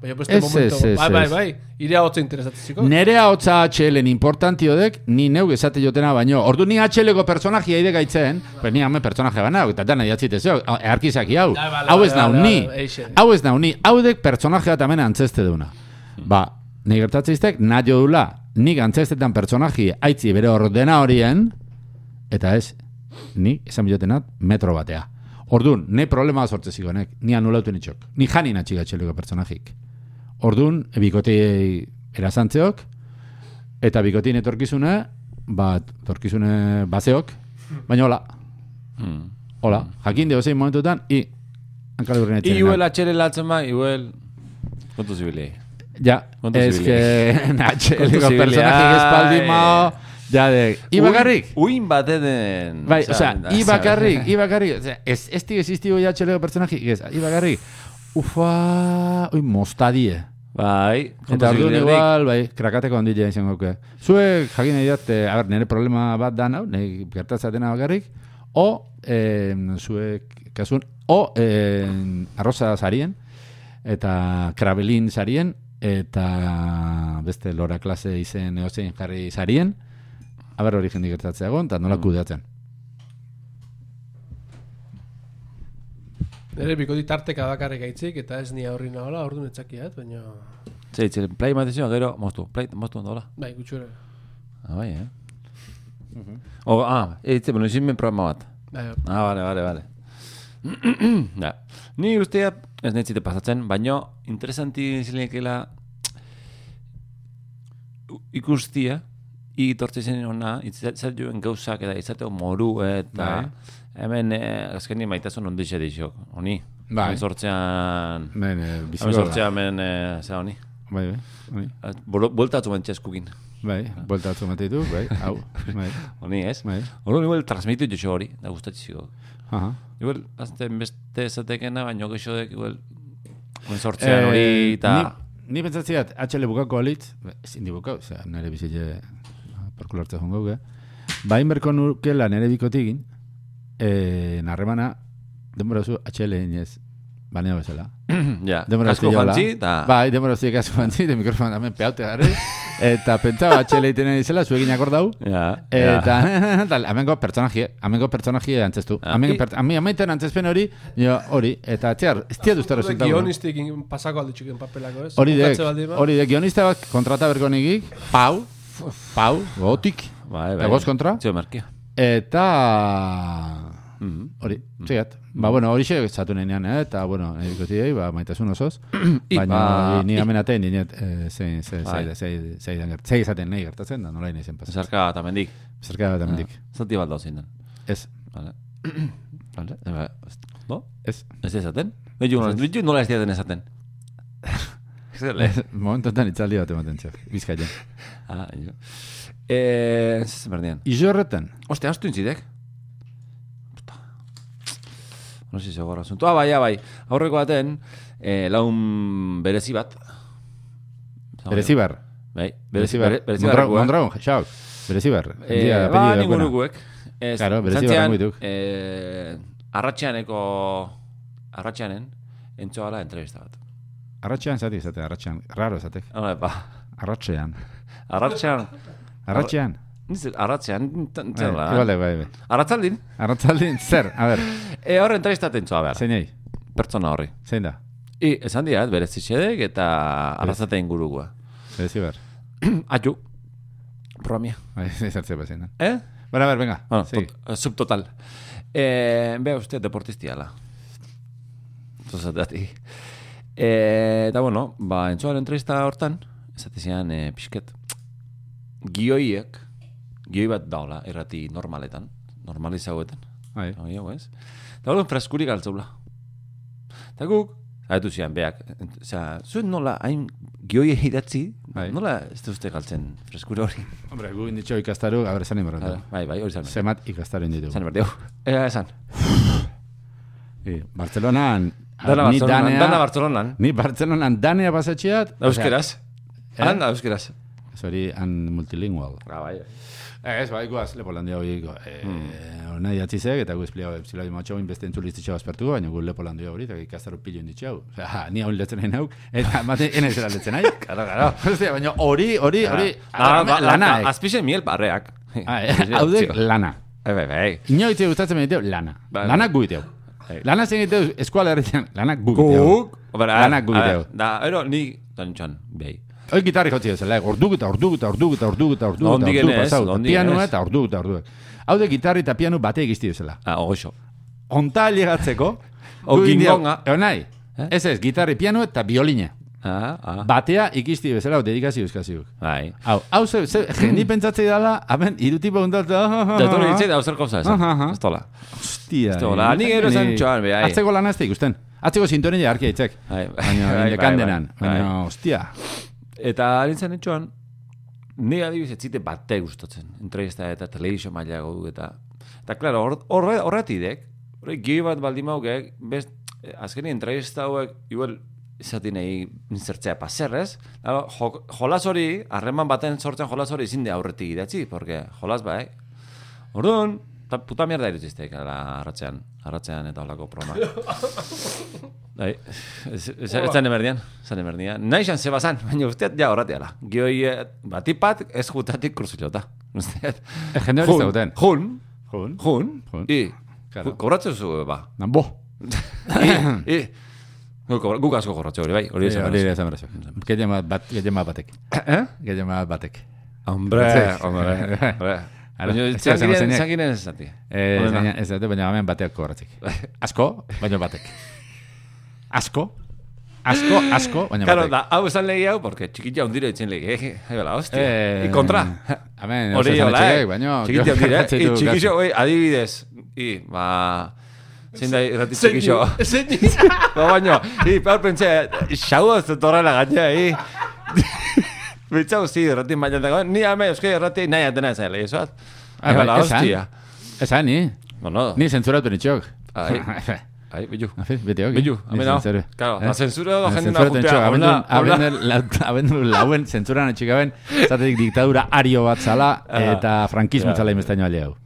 [SPEAKER 3] Baina beste
[SPEAKER 2] Ez,
[SPEAKER 3] momento.
[SPEAKER 2] ez, ez,
[SPEAKER 3] bai, bai,
[SPEAKER 2] ez.
[SPEAKER 3] bai. Ire hau interesatzeko.
[SPEAKER 2] Nere hau atxelen importantiodek, ni neu esate jotena baino. Ordu ni atxeleko personajia ide gaitzen, pues ni hame personaje bana, eta dana jatzitezeo, earkizaki hau.
[SPEAKER 3] Da, bale,
[SPEAKER 2] Hau ez
[SPEAKER 3] bale,
[SPEAKER 2] nau
[SPEAKER 3] bale,
[SPEAKER 2] ni.
[SPEAKER 3] bale, eixe.
[SPEAKER 2] Hau ez nau ni. Hau dek personajea tamen antzeste duna. Ba, ni gertatzeiztek, nahi dula, nik antzestetan personaji aitzi bere ordena horien, eta ez, ni esan bilotenat metro batea. Ordun, ne problema sortzezik honek, ni anulautu nitxok. Ni janin atxigatxeleko personajik. Ordun, bikote erazantzeok, eta bikotin etorkizune, bat, etorkizune bazeok, baina hola,
[SPEAKER 1] Hmm.
[SPEAKER 2] hola, jakin deo zein momentutan, i, hankal urren
[SPEAKER 1] Iuel atxele latzen ba, iuel... Kontu zibilei.
[SPEAKER 2] Ja,
[SPEAKER 1] Kontu
[SPEAKER 2] ez que,
[SPEAKER 1] Kontu
[SPEAKER 2] natxeleko
[SPEAKER 1] zibilei.
[SPEAKER 2] personajik espaldi
[SPEAKER 1] Ai.
[SPEAKER 2] mao, ja de, i bakarrik,
[SPEAKER 1] Uin bateden...
[SPEAKER 2] Bai, osea,
[SPEAKER 1] da,
[SPEAKER 2] i bakarrik, i bakarrik, osea, ez, ez tig existigo ja txelego pertsonaji, ez, i bakarrik, ufa, oi, mostadie.
[SPEAKER 1] Bai, kontu
[SPEAKER 2] Eta orduan
[SPEAKER 1] zibilei.
[SPEAKER 2] igual, bai, krakateko handilea izango nuke. Zuek jakin nahi dat, eh, a ber, nire problema bat da nau, nire gertatzea dena bakarrik, o, eh, zuek, kasun, o, eh, arroza zarien, eta krabelin zarien, eta beste lora klase izen eozein jarri zarien, aber hori jendik gertatzea egon, eta
[SPEAKER 1] Mm.
[SPEAKER 2] nola kudeatzen.
[SPEAKER 3] Nere bikoti tarteka bakarrik aitzik, eta ez ni aurri nahola, ordu netzakiat, baina...
[SPEAKER 1] Zeitzen, play matezioa, gero, moztu, play, moztu ondola.
[SPEAKER 3] Bai, gutxura.
[SPEAKER 1] Ah, bai, eh? Oh, ah, eitzen, bueno, izin ben programa bat.
[SPEAKER 3] Bai,
[SPEAKER 1] Ah, bale, bale, bale. da. Ni ustea, ez netzite pasatzen, baino, interesanti zilekela ikustia, itortze zen ona, izatzen joen gauzak eta izateo moru eta hemen eh, azkenin maitasun ondixe dixok, honi.
[SPEAKER 2] Bai.
[SPEAKER 1] Hemen sortzean...
[SPEAKER 2] Ben, eh, biziko
[SPEAKER 1] Hemen
[SPEAKER 2] da.
[SPEAKER 1] sortzean, hemen, eh, zera honi.
[SPEAKER 2] Bai, bai, bai,
[SPEAKER 1] Bueltatu ben txeskukin.
[SPEAKER 2] bai, buelta atzo mate ditu, bai, hau, bai,
[SPEAKER 1] Honi, ez?
[SPEAKER 2] bai,
[SPEAKER 1] Horren igual transmitu joxo hori, da gustatziko.
[SPEAKER 2] aha.
[SPEAKER 1] Igual, azten beste esatekena, baino gexodek, igual, un
[SPEAKER 2] Eh,
[SPEAKER 1] sortzean hori, eta...
[SPEAKER 2] Ni, ni pentsatziat, atxele bukako alitz, ba, ezin di bukau, zera, nire bizitze porkulartza jongo, ge? Bain berko nukela nire bikotigin, eh, narremana, denbora zu atxele inez, baneo bezala.
[SPEAKER 1] ja,
[SPEAKER 2] Denbora
[SPEAKER 1] kasko
[SPEAKER 2] hasi joala.
[SPEAKER 1] jantzi, eta...
[SPEAKER 2] Bai, denbora hasi kasko jantzi, de mikrofoan hemen peaute garri, eta pentsaba atxele itenen izela, zuekin akordau,
[SPEAKER 1] Ja,
[SPEAKER 2] Eh,
[SPEAKER 1] ja.
[SPEAKER 2] Eta, tal, amengo pertsonajie, amengo pertsonajie antzestu.
[SPEAKER 1] Ah,
[SPEAKER 2] Amengo
[SPEAKER 1] i-
[SPEAKER 2] per, ami amaitan antzezpen hori, jo, hori, eta txar, ez tiat uste
[SPEAKER 3] Hori
[SPEAKER 2] resultatu.
[SPEAKER 3] guionistik in- pasako alditxuken papelako, ez?
[SPEAKER 2] Hori dek,
[SPEAKER 3] Bukatze baldin ba.
[SPEAKER 2] hori dek, guionista bat kontrata berko nigik, pau, pau, gotik,
[SPEAKER 1] Bai, bai.
[SPEAKER 2] eta goz kontra,
[SPEAKER 1] Txio merkia.
[SPEAKER 2] eta...
[SPEAKER 1] Mhm.
[SPEAKER 2] Hori, txegat. Ba, bueno, hori xe zatu nenean, eh? eta, bueno, ebikotiei, ba, maitasun osoz.
[SPEAKER 1] I-
[SPEAKER 2] Baina,
[SPEAKER 1] ba,
[SPEAKER 2] ni
[SPEAKER 1] i-
[SPEAKER 2] amenatein, dinet, eh, zein, zein,
[SPEAKER 1] Bai.
[SPEAKER 2] zein, zein, zein, zein, izaten nahi gertatzen, da, nola nahi zen pasatzen.
[SPEAKER 1] Zarka eta mendik.
[SPEAKER 2] Zerka bat amendik.
[SPEAKER 1] Zati bat dauzien den.
[SPEAKER 2] Ez,
[SPEAKER 1] Vale. Vale. eh, ba, ez- No?
[SPEAKER 2] ez.
[SPEAKER 1] Ez esaten? Bitu nola, bitu nola ez diaten esaten. Zerle.
[SPEAKER 2] Momentotan itzaldi bat ematen txak, bizkaia.
[SPEAKER 1] Ah, jo. Eh, ez berdian.
[SPEAKER 2] Izo horretan,
[SPEAKER 1] Oste, astu intzidek? No sé, zego asunto. Ah, bai, ah, bai. Aurreko baten, eh, laun berezi bat.
[SPEAKER 2] berezibar.
[SPEAKER 1] Bai, berezi,
[SPEAKER 2] Berezibar.
[SPEAKER 1] bere, berezi
[SPEAKER 2] Mondragon,
[SPEAKER 1] barrakoa.
[SPEAKER 2] Mondragon, xauk. Berezibar.
[SPEAKER 1] Eh, ba, ningunukuek. Ez,
[SPEAKER 2] Claro, berezi
[SPEAKER 1] izan zean,
[SPEAKER 2] barrakoituk.
[SPEAKER 1] Eh, arratxeaneko, arratxeanen, entzo gala entrevista bat.
[SPEAKER 2] Arratxean zati izate, arratxean. Raro izate.
[SPEAKER 1] Hala, ba,
[SPEAKER 2] Arratxean.
[SPEAKER 1] arratxean,
[SPEAKER 2] Arratxean.
[SPEAKER 1] niz, arratxean, tan-
[SPEAKER 2] Bai,
[SPEAKER 1] tan-
[SPEAKER 2] Igual, bai, bai.
[SPEAKER 1] Arratzaldin,
[SPEAKER 2] Arratzaldin, zer, a ber,
[SPEAKER 1] eh, hor entrevista tentzoa behar,
[SPEAKER 2] zein nahi,
[SPEAKER 1] pertsona horri.
[SPEAKER 2] zein da?
[SPEAKER 1] I, esan dira, berez itxedek eta arrazate ingurugua.
[SPEAKER 2] Berezibar.
[SPEAKER 1] Atxu. Promia.
[SPEAKER 2] Bai, izartzea bat zein da.
[SPEAKER 1] Eh?
[SPEAKER 2] Bara, ber, venga,
[SPEAKER 1] Bueno,
[SPEAKER 2] segi.
[SPEAKER 1] tot- eh, subtotal. Eh, Bea uste deportistiala. Zozatati. Eh, eta bueno, ba, entzuaren entrevista hortan, esatezian eh, pixket, gioiek, gioi bat daula, errati normaletan, normalizauetan,
[SPEAKER 2] Bai.
[SPEAKER 1] Hau jau, ez? Eta hori fraskurik altzaula. Eta guk, zaitu zian, beak, zera, zuen nola hain gioi idatzi,
[SPEAKER 2] Bai.
[SPEAKER 1] nola ez duzte galtzen fraskura hori.
[SPEAKER 2] Hombre, gu inditxo ikastaro, gaur esan
[SPEAKER 1] Hala,
[SPEAKER 2] imbarratu.
[SPEAKER 1] Bai, bai, hori zan.
[SPEAKER 2] Zemat ikastaro inditu.
[SPEAKER 1] Zan berdeu. Ea, esan.
[SPEAKER 2] Eh, Bartzelonan,
[SPEAKER 1] Dana
[SPEAKER 2] ni
[SPEAKER 1] Bartzelonan, dana
[SPEAKER 2] danea,
[SPEAKER 1] Bartzelonan.
[SPEAKER 2] ni Bartzelonan danea pasatxeat.
[SPEAKER 1] Euskeraz. Han, da euskeraz.
[SPEAKER 2] Zori, han multilingual.
[SPEAKER 1] eh? Ah, bai.
[SPEAKER 2] Eh, Ez, bai, guaz, lepolandia hori, eh,
[SPEAKER 1] Hmm.
[SPEAKER 2] hona idatzizek, eta gu espliago, epsilai matxau, inbeste entzuliztitxau aspertu, baina gu lepolandia hori, eta ikastaro pilo inditxau. Osea, ni hau letzen nahi nauk, eta mate, enez era letzen nahi.
[SPEAKER 1] Gara, gara.
[SPEAKER 2] Ostia, baina hori, hori, hori,
[SPEAKER 1] Ah, ba-
[SPEAKER 2] lana, eh. Ah,
[SPEAKER 1] ah, Azpixe miel barreak.
[SPEAKER 2] Hau dek lana.
[SPEAKER 1] Eh, bai, bai.
[SPEAKER 2] Inoite gustatzen beniteu, lana.
[SPEAKER 1] Bai,
[SPEAKER 2] Lana
[SPEAKER 1] bai.
[SPEAKER 2] gu iteu. Lana zen iteu, eskuala herritzen, lana gu iteu.
[SPEAKER 1] Guk. Bara, a-
[SPEAKER 2] Lanak guk
[SPEAKER 1] a-
[SPEAKER 2] deu.
[SPEAKER 1] Da, ero, ni, bai. da nintxan, behi.
[SPEAKER 2] Hoi gitarri jotzi duzela, orduk eta orduk eta orduk eta orduk eta orduk
[SPEAKER 1] Nondik
[SPEAKER 2] eta orduk
[SPEAKER 1] ere ez,
[SPEAKER 2] pasau, eta
[SPEAKER 1] nondik ere
[SPEAKER 2] pianoa
[SPEAKER 1] ez.
[SPEAKER 2] eta orduk eta orduk. Hau de gitarri eta piano bate egizti duzela.
[SPEAKER 1] Ah, ogoxo.
[SPEAKER 2] Onta llegatzeko,
[SPEAKER 1] O
[SPEAKER 2] gu egin diau,
[SPEAKER 1] gingonga.
[SPEAKER 2] egon Eh, nahi,
[SPEAKER 1] Eh?
[SPEAKER 2] ez ez, gitarri, piano eta biolina.
[SPEAKER 1] Ah, ah.
[SPEAKER 2] Batea ikizti bezala, hau dedikazio euskaziuk.
[SPEAKER 1] Bai.
[SPEAKER 2] Hau, hau ze, ze, jendi pentsatzei dala, hemen irutipo guntalta,
[SPEAKER 1] Da torri ditzei da zer gauza esan.
[SPEAKER 2] Aha, aha.
[SPEAKER 1] Ez tola.
[SPEAKER 2] Hostia.
[SPEAKER 1] Ez dola,
[SPEAKER 2] eh.
[SPEAKER 1] nik gero esan
[SPEAKER 2] Ni-
[SPEAKER 1] txoan, behai.
[SPEAKER 2] Atzeko lan azte ikusten. Atzeko sintonen jarkia itzek.
[SPEAKER 1] Bai, bai,
[SPEAKER 2] Baina,
[SPEAKER 1] bai,
[SPEAKER 2] indekan
[SPEAKER 1] bai,
[SPEAKER 2] denan.
[SPEAKER 1] bai.
[SPEAKER 2] Baina, hostia.
[SPEAKER 1] Eta nintzen etxoan, ni adibidez etzite bate gustatzen. Entrevista eta telebizio maila godu eta... Eta, klaro, hor- horre, horretidek, horre gehi bat baldin maukek, best, eh, azkeni entrevista hauek, igual, izatin egin zertzea paserrez, Claro, jo, jolas hori, harreman baten sortzen jolas hori izin de aurretik idatzi, porque jolas bai. Orduan, ta puta mierda irutzizteik, ala, arratzean, arratzean eta holako promak. Bai, ez ez- ez zan emerdian, zan emerdian. Nahi zan zeba zan, baina usteat ja horratiala. Gioi eh, batipat ez jutatik kursulota. Usteat.
[SPEAKER 2] Eh, Jende hori zauten.
[SPEAKER 1] jun,
[SPEAKER 2] Jun.
[SPEAKER 1] jun,
[SPEAKER 2] Jun.
[SPEAKER 1] i,
[SPEAKER 2] Claro.
[SPEAKER 1] claro. kobratzen zu, ba.
[SPEAKER 2] Nan, bo.
[SPEAKER 1] I, i, guk, kobra- guk asko kobratzen hori, bai, hori
[SPEAKER 2] Eh,
[SPEAKER 1] esan.
[SPEAKER 2] Hori ere
[SPEAKER 1] behar
[SPEAKER 2] esan berezio. Gehien bat, bat, gehien bat batek.
[SPEAKER 1] duzu. Eh?
[SPEAKER 2] Gehien bat batek.
[SPEAKER 1] Hombre,
[SPEAKER 2] Ez.
[SPEAKER 1] hombre, hombre.
[SPEAKER 2] Ara,
[SPEAKER 1] Baina,
[SPEAKER 2] ez esan
[SPEAKER 1] zan
[SPEAKER 2] zenek.
[SPEAKER 1] giren ez zati.
[SPEAKER 2] Eh,
[SPEAKER 1] Horrena.
[SPEAKER 2] baina- ez dut, baina hemen bateak kobratzek. Asko, baina batek. Asko, asko, asko, baina
[SPEAKER 1] Claro,
[SPEAKER 2] batek.
[SPEAKER 1] da, hau esan legi hau, porque txikitia hundiro itzen legi, eh? Ebela, hostia.
[SPEAKER 2] Eh,
[SPEAKER 1] I kontra.
[SPEAKER 2] hemen,
[SPEAKER 1] Hori
[SPEAKER 2] oso esan
[SPEAKER 1] hola,
[SPEAKER 2] etxekek,
[SPEAKER 1] eh?
[SPEAKER 2] baino,
[SPEAKER 1] Txikitia hundiro, eh?
[SPEAKER 2] jartzen
[SPEAKER 1] I
[SPEAKER 2] du
[SPEAKER 1] txikixo, oi, adibidez. I, ba... Zein da irrati txikixo.
[SPEAKER 3] Zein
[SPEAKER 1] Ba, baino, i, peor pentsa, xau ez torrela gaina, i. Betxau, zi, irrati mailan dago, ni ame, euskei irrati nahi atena esan legi, zoaz.
[SPEAKER 2] Ah,
[SPEAKER 1] Ebela,
[SPEAKER 2] bai, esan.
[SPEAKER 1] hostia.
[SPEAKER 2] Esan, ni.
[SPEAKER 1] Bueno,
[SPEAKER 2] Ni Ah, zentzuratu nitxok.
[SPEAKER 1] Ai. Ai, bilu.
[SPEAKER 2] Afe, bete hoki.
[SPEAKER 1] Bilu, amena. Claro,
[SPEAKER 2] Eh?
[SPEAKER 1] la zensura da jende da jutea. Hola, hola.
[SPEAKER 2] Abendu lauen, zentzuran etxikaben, zatetik diktadura ario bat zala, eta frankismo zala imestaino alde hau.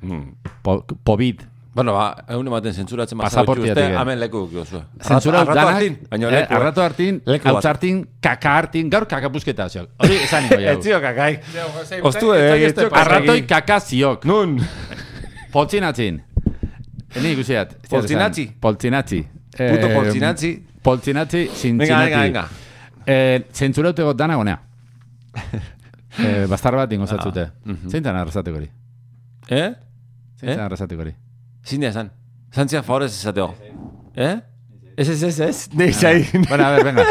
[SPEAKER 2] Po- Pobit.
[SPEAKER 1] Mm. Bueno, ba, egun ematen zentsuratzen
[SPEAKER 2] Pasaportea
[SPEAKER 1] uste,
[SPEAKER 2] tige.
[SPEAKER 1] hemen leku dugu zuen.
[SPEAKER 2] Zentzura hau danak,
[SPEAKER 1] baina
[SPEAKER 2] eh,
[SPEAKER 1] leku. eh.
[SPEAKER 2] arrato hartin,
[SPEAKER 1] Leku bat.
[SPEAKER 2] hautz hartin, kaka hartin, gaur kakapuzketa ziok. Hori esan niko jau.
[SPEAKER 1] Etzio kakaik.
[SPEAKER 3] zein-
[SPEAKER 1] Oztu,
[SPEAKER 3] zein-
[SPEAKER 1] eh,
[SPEAKER 3] zein-
[SPEAKER 1] etziok
[SPEAKER 2] Arratoi kaka ziok.
[SPEAKER 1] Nun.
[SPEAKER 2] Poltzin atzin. Eni ikusiat.
[SPEAKER 1] Poltzinatzi?
[SPEAKER 2] Poltzinatzi.
[SPEAKER 1] Puto
[SPEAKER 2] Eh,
[SPEAKER 1] poltzinatzi.
[SPEAKER 2] Poltzinatzi,
[SPEAKER 1] Venga,
[SPEAKER 2] zintzinati.
[SPEAKER 1] venga, venga.
[SPEAKER 2] Eh, zentzureuteko dana gonea. eh, bastar bat ingozatzute. Zein zan arrasateko hori?
[SPEAKER 1] Eh? Ah,
[SPEAKER 2] Zein
[SPEAKER 1] Eh?
[SPEAKER 2] zan arrasateko hori?
[SPEAKER 1] Zine esan. Zantzia favorez ezateo. Eh? Ah. Ez, ez, ez, ez. Neiz ahi.
[SPEAKER 2] Bueno, a ver, venga.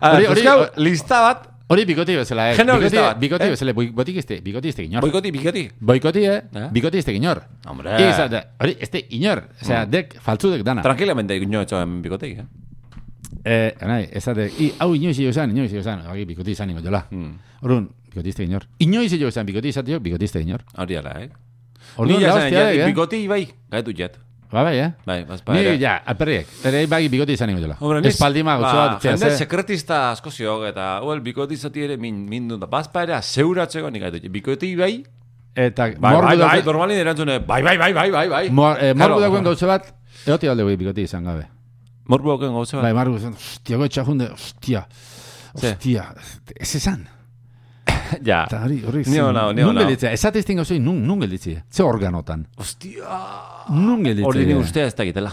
[SPEAKER 1] Hori,
[SPEAKER 2] Hori-
[SPEAKER 1] hori,
[SPEAKER 2] hori-
[SPEAKER 1] Ah, lista bat.
[SPEAKER 2] Hori bikoti bezala, eh?
[SPEAKER 1] Genero
[SPEAKER 2] Bikoti-
[SPEAKER 1] lista bat,
[SPEAKER 2] Bikoti
[SPEAKER 1] eh?
[SPEAKER 2] bezala, boi- botiki este, bikoti este inor.
[SPEAKER 1] Boikoti, pikoti.
[SPEAKER 2] Boikoti, eh?
[SPEAKER 1] Eh?
[SPEAKER 2] Bikoti este inor.
[SPEAKER 1] Hombre. Mm.
[SPEAKER 2] I, za- da- hori, este inor. Osea, dek, faltzudek dana.
[SPEAKER 1] Tranquilamente, ino etxo hemen bikoteik, eh?
[SPEAKER 2] Eh, nahi, ez date, i, hau inoiz jo zan, inoiz jo zan, hori bikoti izan ingo jola.
[SPEAKER 1] Mm.
[SPEAKER 2] Orduan, este bikotiste inor. Inoiz jo zan, bikoti izatio, bikotiste inor.
[SPEAKER 1] Hori ala, eh?
[SPEAKER 2] este Orduan, da, hostia, dek, eh?
[SPEAKER 1] Bikoti, bai. Gaitu jet.
[SPEAKER 2] Ba, bai, eh?
[SPEAKER 1] Bai, bazpa.
[SPEAKER 2] Ni, ja, alperriek, ere bagi bikoti izan ingo jola.
[SPEAKER 1] Hombre, niz-
[SPEAKER 2] Espaldima gozoa,
[SPEAKER 1] ba,
[SPEAKER 2] txea,
[SPEAKER 1] jende
[SPEAKER 2] ze-
[SPEAKER 1] sekretista asko ziok, eta, huel, bikoti zati ere min, mindu da. Bazpa ere, aseuratzeko nik gaitu. Bikoti, bai,
[SPEAKER 2] Eta,
[SPEAKER 1] Bai,
[SPEAKER 2] morgu
[SPEAKER 1] bai, bai,
[SPEAKER 2] dago-
[SPEAKER 1] normalin erantzune, bai, bai, bai, bai, bai, bai.
[SPEAKER 2] mor- eh,
[SPEAKER 1] Claro,
[SPEAKER 2] morgu dagoen
[SPEAKER 1] claro.
[SPEAKER 2] gauza bat, eoti alde bai bikoti izan gabe.
[SPEAKER 1] Morbu dagoen gauza bat.
[SPEAKER 2] Bai, margu izan, hostia, goe txajunde, hostia,
[SPEAKER 1] Ze?
[SPEAKER 2] hostia, este ez esan.
[SPEAKER 1] Ja.
[SPEAKER 2] Eta hori, hori,
[SPEAKER 1] Ni ona, ni
[SPEAKER 2] nun
[SPEAKER 1] ona.
[SPEAKER 2] gelditzea, esatezten gauzei, nun, nun gelditzea, ze organotan,
[SPEAKER 1] Ostia.
[SPEAKER 2] nun gelditzea.
[SPEAKER 1] Ah, Hori ni ustea ez dakitela.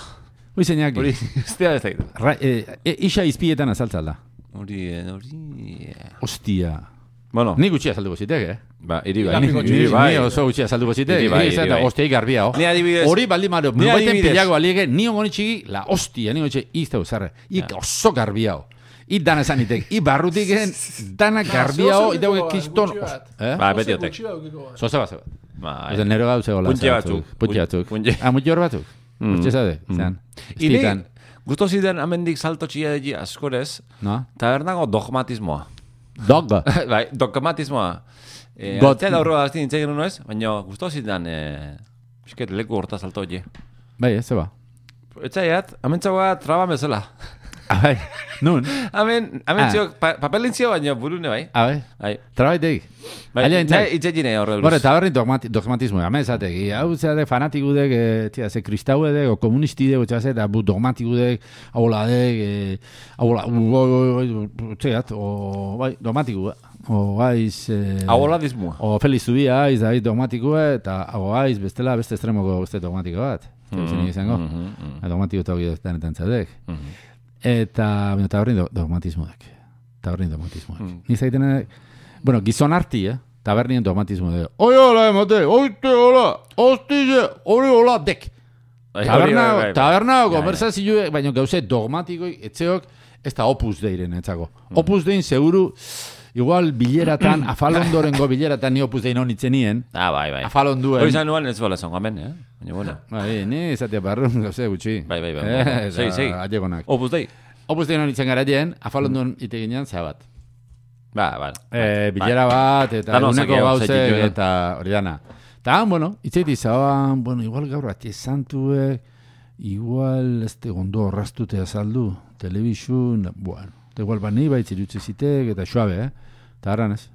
[SPEAKER 2] Hoi zeinak,
[SPEAKER 1] Hori ustea ez dakitela.
[SPEAKER 2] Ra, e, e, isa izpietan azaltzal da.
[SPEAKER 1] Hori, eh, hori... eh.
[SPEAKER 2] Ostia.
[SPEAKER 1] Bueno,
[SPEAKER 2] Ni gutxi azalduko zitek, eh?
[SPEAKER 1] ba, iri
[SPEAKER 3] Ila
[SPEAKER 1] bai.
[SPEAKER 2] Ni,
[SPEAKER 3] Ni-
[SPEAKER 2] ni,
[SPEAKER 1] Iri bai.
[SPEAKER 2] ni oso gutxi azalduko zitek.
[SPEAKER 1] Ni
[SPEAKER 2] Ni
[SPEAKER 1] bai,
[SPEAKER 2] bai,
[SPEAKER 1] ni bai.
[SPEAKER 2] Osteik garbia, ho.
[SPEAKER 1] Ni adibidez-
[SPEAKER 2] Hori baldin maro,
[SPEAKER 1] Ni
[SPEAKER 2] baiten
[SPEAKER 1] adibidez-
[SPEAKER 2] pilago aliege, ni ongonitxiki, la ostia, ni ongonitxiki, izte usarre. Ik oso garbia, ho. I dana zanitek, i barrutiken, dana garbiao,
[SPEAKER 3] zeozer
[SPEAKER 2] i dauek
[SPEAKER 3] gutxi
[SPEAKER 2] kiston...
[SPEAKER 3] bat,
[SPEAKER 2] os-
[SPEAKER 3] gutxi bat.
[SPEAKER 2] Eh?
[SPEAKER 1] Ba,
[SPEAKER 3] Oso
[SPEAKER 1] beti otek.
[SPEAKER 3] gutxi daukiko bat.
[SPEAKER 2] Zoze bat, zoze bat.
[SPEAKER 1] Ba,
[SPEAKER 2] Oze, nero gauze hola.
[SPEAKER 1] Puntxe
[SPEAKER 2] zera
[SPEAKER 1] batzuk.
[SPEAKER 2] Puntxe batzuk.
[SPEAKER 1] Puntxe-
[SPEAKER 2] Ah, mutxor batzuk. Puntxe zade, zean. Iztitan,
[SPEAKER 1] Gusto zidan amendik salto txia degi askorez,
[SPEAKER 2] no?
[SPEAKER 1] tabernago dogmatismoa.
[SPEAKER 2] Dogba.
[SPEAKER 1] bai, dogmatismoa. Eh,
[SPEAKER 2] Got-
[SPEAKER 1] Atzea daurro azti nintzen genuen ez, baina gusto zidan, eh, bisket leku horta salto hori.
[SPEAKER 2] Bai, ez zeba.
[SPEAKER 1] Etzaiat, amentzagoa traba bezala.
[SPEAKER 2] Abai, nun.
[SPEAKER 1] Amen,
[SPEAKER 2] Ah.
[SPEAKER 1] amen ziok, pa, papelintzio baina burune bai.
[SPEAKER 2] Abai,
[SPEAKER 1] Bai,
[SPEAKER 2] trabaitek.
[SPEAKER 1] bai,
[SPEAKER 2] Alia, entzai.
[SPEAKER 1] itxegine horre
[SPEAKER 2] Bore,
[SPEAKER 1] buruz.
[SPEAKER 2] eta horri dogmati, dogmatismo, hame esatek, i, hau zeate fanatikudek, e, txea, ze kristaudek, o komunistidek, o txea, eta bu dogmatikudek, hauladek, e, haula, u- oi, oi, oi, bu- txeat, o, bai, dogmatiku, o, aiz, e,
[SPEAKER 1] Ahola dizmoa.
[SPEAKER 2] o, Feliz Zubia, aiz, da, dogmatiku, eta, o, aiz, bestela, beste estremoko, beste dogmatiko bat, mm -hmm, izango, mm -hmm. dogmatiko eta hori denetan txadek.
[SPEAKER 1] Mhm.
[SPEAKER 2] Eta, bueno, eta horri do- dogmatismoak. Eta horri dogmatismoak. Mm. Ni zaiten, bueno, gizon arti, eh? Tabernien dogmatismo de, oi hola emate, oite hola, hostize, hori hola dek.
[SPEAKER 1] Bai, hori, bai, bai,
[SPEAKER 2] Taberna,
[SPEAKER 1] bai.
[SPEAKER 2] taberna,
[SPEAKER 1] Ja, ja.
[SPEAKER 2] konversazioek, baina gauze dogmatikoi, etxeok, ez da opus deiren etzako.
[SPEAKER 1] Mm.
[SPEAKER 2] Opus dein, seguru, igual bileratan, afalondorengo bileratan, ni opus dein honitzenien,
[SPEAKER 1] Ah, bai, bai.
[SPEAKER 2] afalonduen.
[SPEAKER 1] Hori zan nuan ez bola zango amen, eh? Baina, bueno.
[SPEAKER 2] Bai, ni izatea barrun gauze gutxi.
[SPEAKER 1] Bai, bai, bai.
[SPEAKER 2] Eh,
[SPEAKER 1] Segi, segi.
[SPEAKER 2] Aiegonak.
[SPEAKER 1] Opus dei.
[SPEAKER 2] Opus dein honitzen garaien, afalondon iteginean zabat.
[SPEAKER 1] Ba, ba.
[SPEAKER 2] Eh, bilera bat, eta
[SPEAKER 1] Dano
[SPEAKER 2] uneko
[SPEAKER 1] zaki, hau
[SPEAKER 2] gauze,
[SPEAKER 1] zaitut joan.
[SPEAKER 2] eta hori dana. Eta, han, bueno, itzaiti zaban, bueno, igual gaur ati esantuek, igual ez tegondo horraztute azaldu, telebizun, bueno, eta igual bani baitz irutze zitek, eta suabe, eh? Eta harran ez.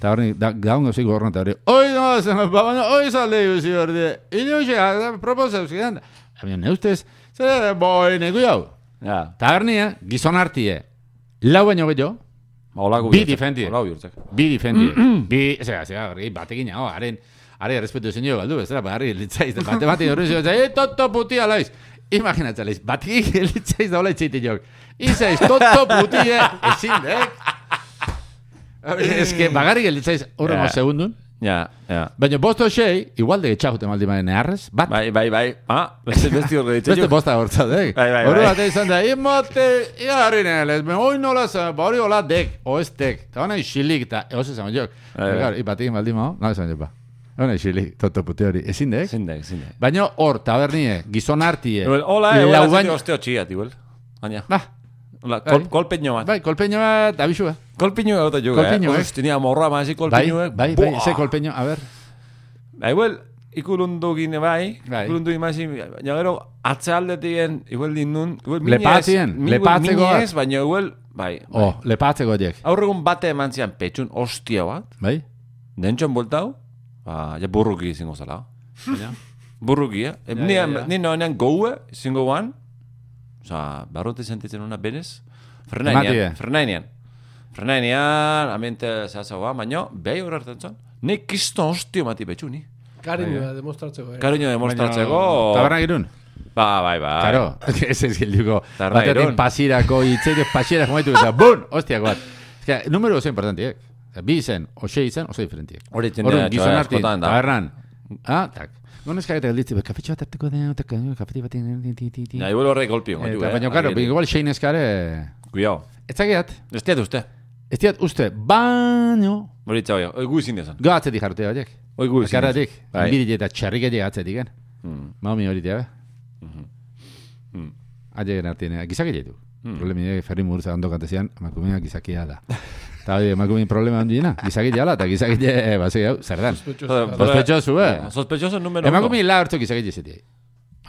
[SPEAKER 2] Eta horren, da, daun gauzei gorna, eta hori, oi, no, zen, ba, baina, oi, zalde guzi hori, de, iluxe, proposa, euskidan, baina, ne ustez, zer, boi, neku jau.
[SPEAKER 1] Ja,
[SPEAKER 2] Eta hernia, gizon hartie, eh, lau baino gehiago,
[SPEAKER 1] holako
[SPEAKER 2] Bi
[SPEAKER 1] bihurtzek.
[SPEAKER 2] defendi.
[SPEAKER 1] Holako bihurtzek.
[SPEAKER 2] Bi difendi. bi, zera, zera, hori, batekin hau, haren, haren errespetu ezin jo galdu, ba, bezala, barri litzaiz, bate bate horri zio, e, toto putia laiz. Imaginatza laiz, batekin litzaiz daula itxeite jok. Izaiz, toto putia, ezin, dek. Ez que bagarri gelitzaiz horrengo
[SPEAKER 1] Ja.
[SPEAKER 2] segundun,
[SPEAKER 1] Ja, ja.
[SPEAKER 2] baina bosto sei, igual de etxajuten maldi baren eharrez, bat,
[SPEAKER 1] Bai, bai, bai. Ah, beste beste horre ditzen.
[SPEAKER 2] beste bosta hortza, dek.
[SPEAKER 1] Bai, bai,
[SPEAKER 2] Horre
[SPEAKER 1] bai.
[SPEAKER 2] bate izan da, imote, iarri nelez, me hoi nola zan, hori hola dek, oestek, eta hona isilik, eta ehoz esan jok.
[SPEAKER 1] Bai, bai.
[SPEAKER 2] Gaur, ipatik baldin mao, nola esan jok ba. Hona isilik, toto pute hori, ezin dek?
[SPEAKER 1] Zindek, zindek.
[SPEAKER 2] Baina hor, tabernie, gizon hartie,
[SPEAKER 1] Igual, Bai, hola, eh, hola,
[SPEAKER 2] lauan-
[SPEAKER 1] zindek osteo txia, tiguel. Baina,
[SPEAKER 2] Ba,
[SPEAKER 1] hola,
[SPEAKER 2] Bai.
[SPEAKER 1] kol, kolpeño bat.
[SPEAKER 2] bai, kolpeño bat, abisua.
[SPEAKER 1] Kolpeño bat jo, eh?
[SPEAKER 2] Kolpeño, eh?
[SPEAKER 1] Tenia morra mazi
[SPEAKER 2] Bai,
[SPEAKER 1] kolpeño, eh?
[SPEAKER 2] bai, bai, ze kolpeño, a ber.
[SPEAKER 1] Ba, igual, ikulundu gine bai,
[SPEAKER 2] Bai.
[SPEAKER 1] ikulundu imasi, baina gero, atzealdetien, igual dinun, igual minez,
[SPEAKER 2] Lepatien, lepatzeko bat.
[SPEAKER 1] minez, baina igual, bai, bai.
[SPEAKER 2] Oh, lepatzeko diek,
[SPEAKER 1] Aurregun bate eman zian petxun ostia bat,
[SPEAKER 2] bai?
[SPEAKER 1] dentxon bueltau, ba, ja burruki izango zala.
[SPEAKER 2] Baina.
[SPEAKER 1] Burruki, eh? Ja,
[SPEAKER 2] ja,
[SPEAKER 1] nien,
[SPEAKER 2] ja.
[SPEAKER 1] nien noenean goue, izango guan, oza, barrote sentitzen una benez,
[SPEAKER 2] Ematie.
[SPEAKER 1] frenainean, frenainean. Frenainean, amente zehazagoa, baina, behi horre hartzen zan, nik kiston ostio mati petxu, ni.
[SPEAKER 3] Kariñoa demostratzeko. eh.
[SPEAKER 1] Kariño demostratzeko...
[SPEAKER 2] Taberna girun.
[SPEAKER 1] Ba, bai, bai.
[SPEAKER 2] Claro, ez ez gilduko.
[SPEAKER 1] Tarra
[SPEAKER 2] Batetik
[SPEAKER 1] iron.
[SPEAKER 2] pasirako, itzetik pasira jomaitu eta bun, hostiak bat. Ez que, número oso importantiek. ¿eh? Bi izen, oxe izen, oso diferentiek.
[SPEAKER 1] Hori txendea, txoa,
[SPEAKER 2] Horren, gizon arti,
[SPEAKER 1] askotan da.
[SPEAKER 2] tabernan. Ah, tak. Gonez kagete galditzi, "Be, kafetxo bat hartuko da, eta kafetxo bat hartuko
[SPEAKER 1] Ja,
[SPEAKER 2] da.
[SPEAKER 1] igual horre golpio. eh?
[SPEAKER 2] Eta baina, karo, igual xein eskare...
[SPEAKER 1] Cuidao.
[SPEAKER 2] Ez zakiat,
[SPEAKER 1] Ez diat uste.
[SPEAKER 2] ez diat uste, baino...
[SPEAKER 1] Moritza hoi, oi gu izin dezan.
[SPEAKER 2] Go atzetik jarrute horiek.
[SPEAKER 1] Oi gu izin dezan. Mm.
[SPEAKER 2] Bakarratik,
[SPEAKER 1] Bai.
[SPEAKER 2] bidile eta txarriketik atzetik, eh? Mami Hmm. hori tebe. Aien artien, eh, gizakia ditu. Problemi ferri murza ondo kantezian, emakumea gizakia da. Eta hori, emakumeen problema handiena, gizakia da, eta gizakia, basi, hau, zer dan.
[SPEAKER 1] Joder,
[SPEAKER 3] Sospechoso.
[SPEAKER 2] Sospechoso, eh?
[SPEAKER 1] Sospechoso número uno.
[SPEAKER 2] Emakumeen la hartu gizakia zitea.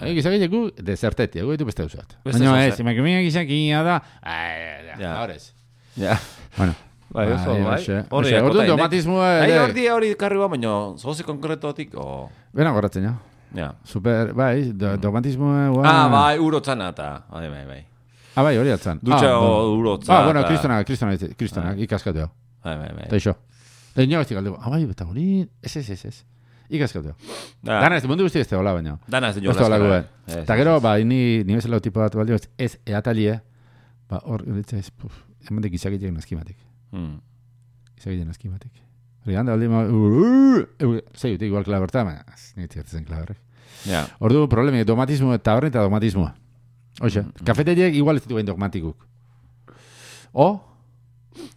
[SPEAKER 2] Hori gizakia gu, desertetia, gu ditu beste duzat.
[SPEAKER 1] Beste
[SPEAKER 2] Baina
[SPEAKER 1] gauza.
[SPEAKER 2] ez, emakumea gizakia da, ai, ai,
[SPEAKER 1] Ja.
[SPEAKER 2] ai, horrez.
[SPEAKER 1] Ja.
[SPEAKER 2] Bueno,
[SPEAKER 1] Bai, oso,
[SPEAKER 2] Bai,
[SPEAKER 1] bai.
[SPEAKER 2] hoxe.
[SPEAKER 1] Hori,
[SPEAKER 2] Hoxe, orduan
[SPEAKER 1] akota inek.
[SPEAKER 2] dogmatismoa
[SPEAKER 1] Hai
[SPEAKER 2] ere-
[SPEAKER 1] hori hori karri ba, baina zozi konkretotik, o...
[SPEAKER 2] bena gorratzen, ja.
[SPEAKER 1] Ja.
[SPEAKER 2] Super, bai, do, dogmatismoa... guau.
[SPEAKER 1] Ah, bai, urotzana eta. Bai, bai, bai.
[SPEAKER 2] Ah, bai, hori atzan.
[SPEAKER 1] Dutxa
[SPEAKER 2] ah, bueno.
[SPEAKER 1] urotza
[SPEAKER 2] Ah, bueno,
[SPEAKER 1] eta-
[SPEAKER 2] kristonak, kristonak, itzi- kristonak, ikaskatu hau.
[SPEAKER 1] Bai, bai, bai.
[SPEAKER 2] Eta iso. Eta ino gazti galdego, ah, bai, eta hori, ez, ez, ez, ez. Ikaskatu hau.
[SPEAKER 1] Da,
[SPEAKER 2] Dana, ez, mundu guzti ez hola baina.
[SPEAKER 1] Dana ez
[SPEAKER 2] Ez
[SPEAKER 1] dut
[SPEAKER 2] da hola guen. Eta gero, bai, ni, ni bezala tipo bat baldio, ez, ez, eatalie, ba, ¿eh? hor, galitza ez, puf, eman dek izakiteak nazkimatik. Izakiteak nazkimatek. Hori handa, aldi, ma, "Uh, zei, utik, igual klaberta, baina, ez, nire txertzen klaberrek.
[SPEAKER 1] Ja.
[SPEAKER 2] Ordu problemi, dogmatismo eta horren eta dogmatismoa. Hoxe, kafeteriek igual ez ditu gain dogmatikuk. O,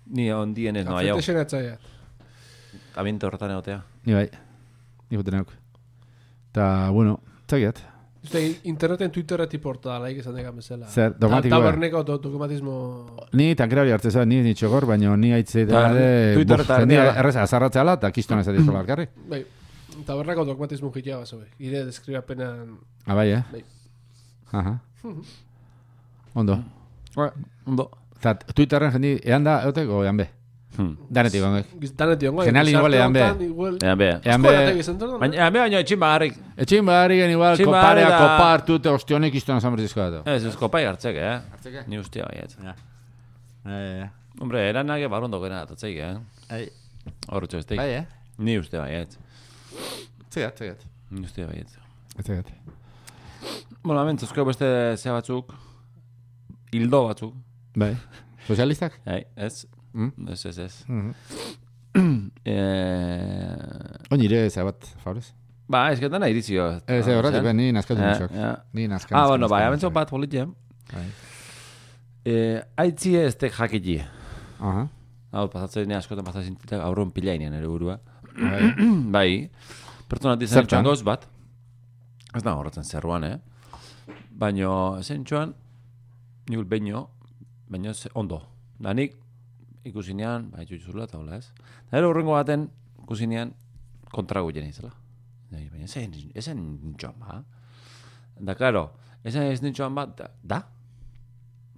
[SPEAKER 1] Ni ondien ez noa jau.
[SPEAKER 3] Afete xenatzaiat.
[SPEAKER 1] Abiente horretan egotea.
[SPEAKER 2] ni bai, ni goten neuk. Ta, bueno, txakiat.
[SPEAKER 3] Uste, interneten Twittera tipo portalaik esan dekan bezala.
[SPEAKER 2] Zer,
[SPEAKER 3] Ta-
[SPEAKER 2] dogmatikoa.
[SPEAKER 3] Taberneko do- dokumatismo...
[SPEAKER 2] Ni tankerari hartze zan, ni nitxogor, baina ni
[SPEAKER 1] Ta,
[SPEAKER 2] haitze dela de...
[SPEAKER 1] Twitter Mm.
[SPEAKER 2] buf,
[SPEAKER 1] eta
[SPEAKER 2] jendea
[SPEAKER 1] erdea.
[SPEAKER 2] Erreza, azarratzeala, eta kiston ez adizola alkarri.
[SPEAKER 3] Bai, tabernako dogmatismo jitia bazo, bai. Gire deskribapenan...
[SPEAKER 2] Abai, eh?
[SPEAKER 3] Bai.
[SPEAKER 2] Aha. Ondo.
[SPEAKER 1] Ondo.
[SPEAKER 2] Eta Twitterren jendi, ean da, eoteko, ean be.
[SPEAKER 1] Hmm.
[SPEAKER 2] Danetik, gongek.
[SPEAKER 3] Giztanet dion, bai.
[SPEAKER 2] Genali igual edan be.
[SPEAKER 1] Ea, bea.
[SPEAKER 2] Ean be,
[SPEAKER 3] Ean be...
[SPEAKER 1] Baina, ea, baina, etxin bagarrik.
[SPEAKER 2] etxin barri gen igual,
[SPEAKER 1] Etxin
[SPEAKER 2] koparea,
[SPEAKER 1] barri da-
[SPEAKER 2] kopa hartu, eta ostionek kiston azan bertizko dato.
[SPEAKER 1] Ez, ez kopai hartzek, eh?
[SPEAKER 2] Hartzeke?
[SPEAKER 1] Ni ustea baiet.
[SPEAKER 2] Eh,
[SPEAKER 1] Hombre, eranak ebarondo gena datatzeik, eh?
[SPEAKER 2] eh,
[SPEAKER 1] Horro txosteik.
[SPEAKER 2] bai, eh?
[SPEAKER 1] Ni uste baiet.
[SPEAKER 2] Tzegat, tzegat.
[SPEAKER 1] Ni uste baiet.
[SPEAKER 2] Tzegat.
[SPEAKER 1] Bueno, hemen, zuzko beste ze batzuk. Hildo batzuk.
[SPEAKER 2] Bai. Sozialistak?
[SPEAKER 1] Hai, ez?
[SPEAKER 2] Mm.
[SPEAKER 1] Ez, ez, ez.
[SPEAKER 2] Mhm.
[SPEAKER 1] Eh,
[SPEAKER 2] Onire zabat, favorez.
[SPEAKER 1] Ba, ez ketan nahi dizio.
[SPEAKER 2] Ez, horretik, ben, ni nazkatu nixok.
[SPEAKER 1] Ah, Eh, eh.
[SPEAKER 2] Ni nazkatu
[SPEAKER 1] Ah, bueno, bai, abentzo bat politxe.
[SPEAKER 2] Bai.
[SPEAKER 1] Eh, aitzie ez tek jakiti.
[SPEAKER 2] Aha.
[SPEAKER 1] Hau, pasatzen nire askotan pasatzen zitak aurron pilainean ere burua.
[SPEAKER 2] Bai.
[SPEAKER 1] bai, pertsona dizan
[SPEAKER 2] Zertan?
[SPEAKER 1] txangoz bat. Ez da horretzen zeruan, eh? Baina, zen txuan, nikul baino, baino ze- ondo. Da nik, ikusinean, bai, jujuzula eta hola ez. Da ero horrengo baten, ikusinean, kontrago jen izela. Baina, zen, ezen txuan ba. Da, karo, ezen ez nintxuan bat, da? da?